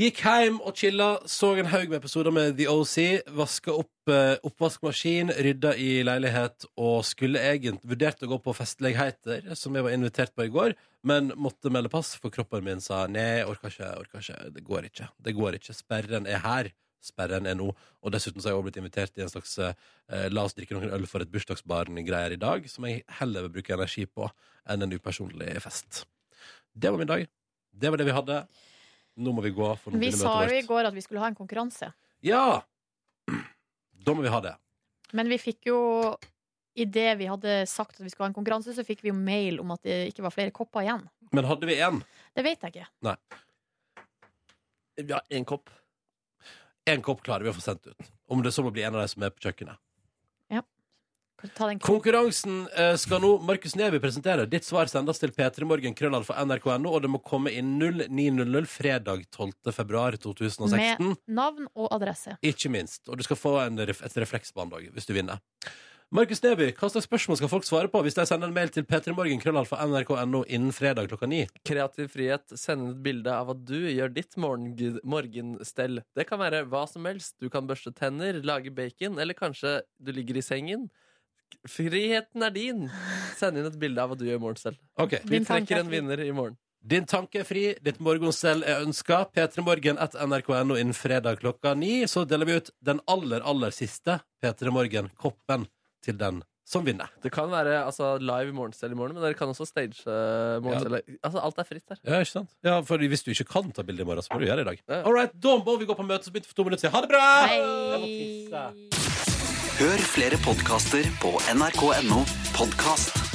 Speaker 2: Gikk hjem og chilla, så en haug med episoder med The OC. Vaska opp eh, oppvaskmaskin, rydda i leilighet og skulle egentlig vurdert å gå på festligheter, som jeg var invitert på i går, men måtte melde pass, for kroppen min sa nei, orka ikke, orka ikke, det går ikke. Det går ikke. Sperren er her. Sperren er nå. Og dessuten så har jeg også blitt invitert i en slags eh, la oss drikke noen øl for et bursdagsbarn-greier i dag, som jeg heller vil bruke energi på enn en upersonlig fest. Det var min dag. Det var det vi hadde. Nå må vi gå. For nå
Speaker 3: Vi
Speaker 2: begynner
Speaker 3: sa
Speaker 2: møtet
Speaker 3: jo i
Speaker 2: vårt.
Speaker 3: går at vi skulle ha en konkurranse,
Speaker 2: Ja! Da må vi ha det.
Speaker 3: men vi fikk jo Idet vi hadde sagt at vi skulle ha en konkurranse, så fikk vi jo mail om at det ikke var flere kopper igjen.
Speaker 2: Men hadde vi én?
Speaker 3: Det vet jeg ikke.
Speaker 2: Nei.
Speaker 4: Ja, én kopp.
Speaker 2: Én kopp klarer vi å få sendt ut. Om det så må bli en av de som er på kjøkkenet.
Speaker 3: Ta den
Speaker 2: Konkurransen eh, skal nå Markus Neby presentere. Ditt svar sendes til p3morgenkrøllalfa.nrk.no, og det må komme inn 0900 fredag 12. februar 2016.
Speaker 3: med navn og adresse.
Speaker 2: Ikke minst. Og du skal få en, ref- et refleksbånd også, hvis du vinner. Markus Neby, hva slags spørsmål skal folk svare på hvis de sender en mail til p3morgenkrøllalfa.nrk.no innen fredag klokka ni?
Speaker 4: Kreativ frihet. Send inn et bilde av at du gjør ditt morgen, morgenstell. Det kan være hva som helst. Du kan børste tenner, lage bacon, eller kanskje du ligger i sengen. Friheten er din! Send inn et bilde av hva du gjør i morgen selv.
Speaker 2: Ok.
Speaker 4: Vi
Speaker 2: Din tanke er
Speaker 4: trekker en
Speaker 2: fri.
Speaker 4: vinner i morgen.
Speaker 2: Din tanke er fri, ditt morgenstell er ønska. p3morgen.nrk.no innen fredag klokka ni. Så deler vi ut den aller, aller siste P3morgen-koppen til den som vinner.
Speaker 4: Det kan være altså, live i morgenstell i morgen, men dere kan også stage eh, morgenstell. Altså, alt er fritt der.
Speaker 2: Ja, ikke sant? Ja, for Hvis du ikke kan ta bilde i morgen, så må du gjøre det i dag. All right, da må vi gå på møte som begynte for to minutter siden. Ha det bra!
Speaker 3: Hei!
Speaker 14: Hør flere podkaster på nrk.no podkast.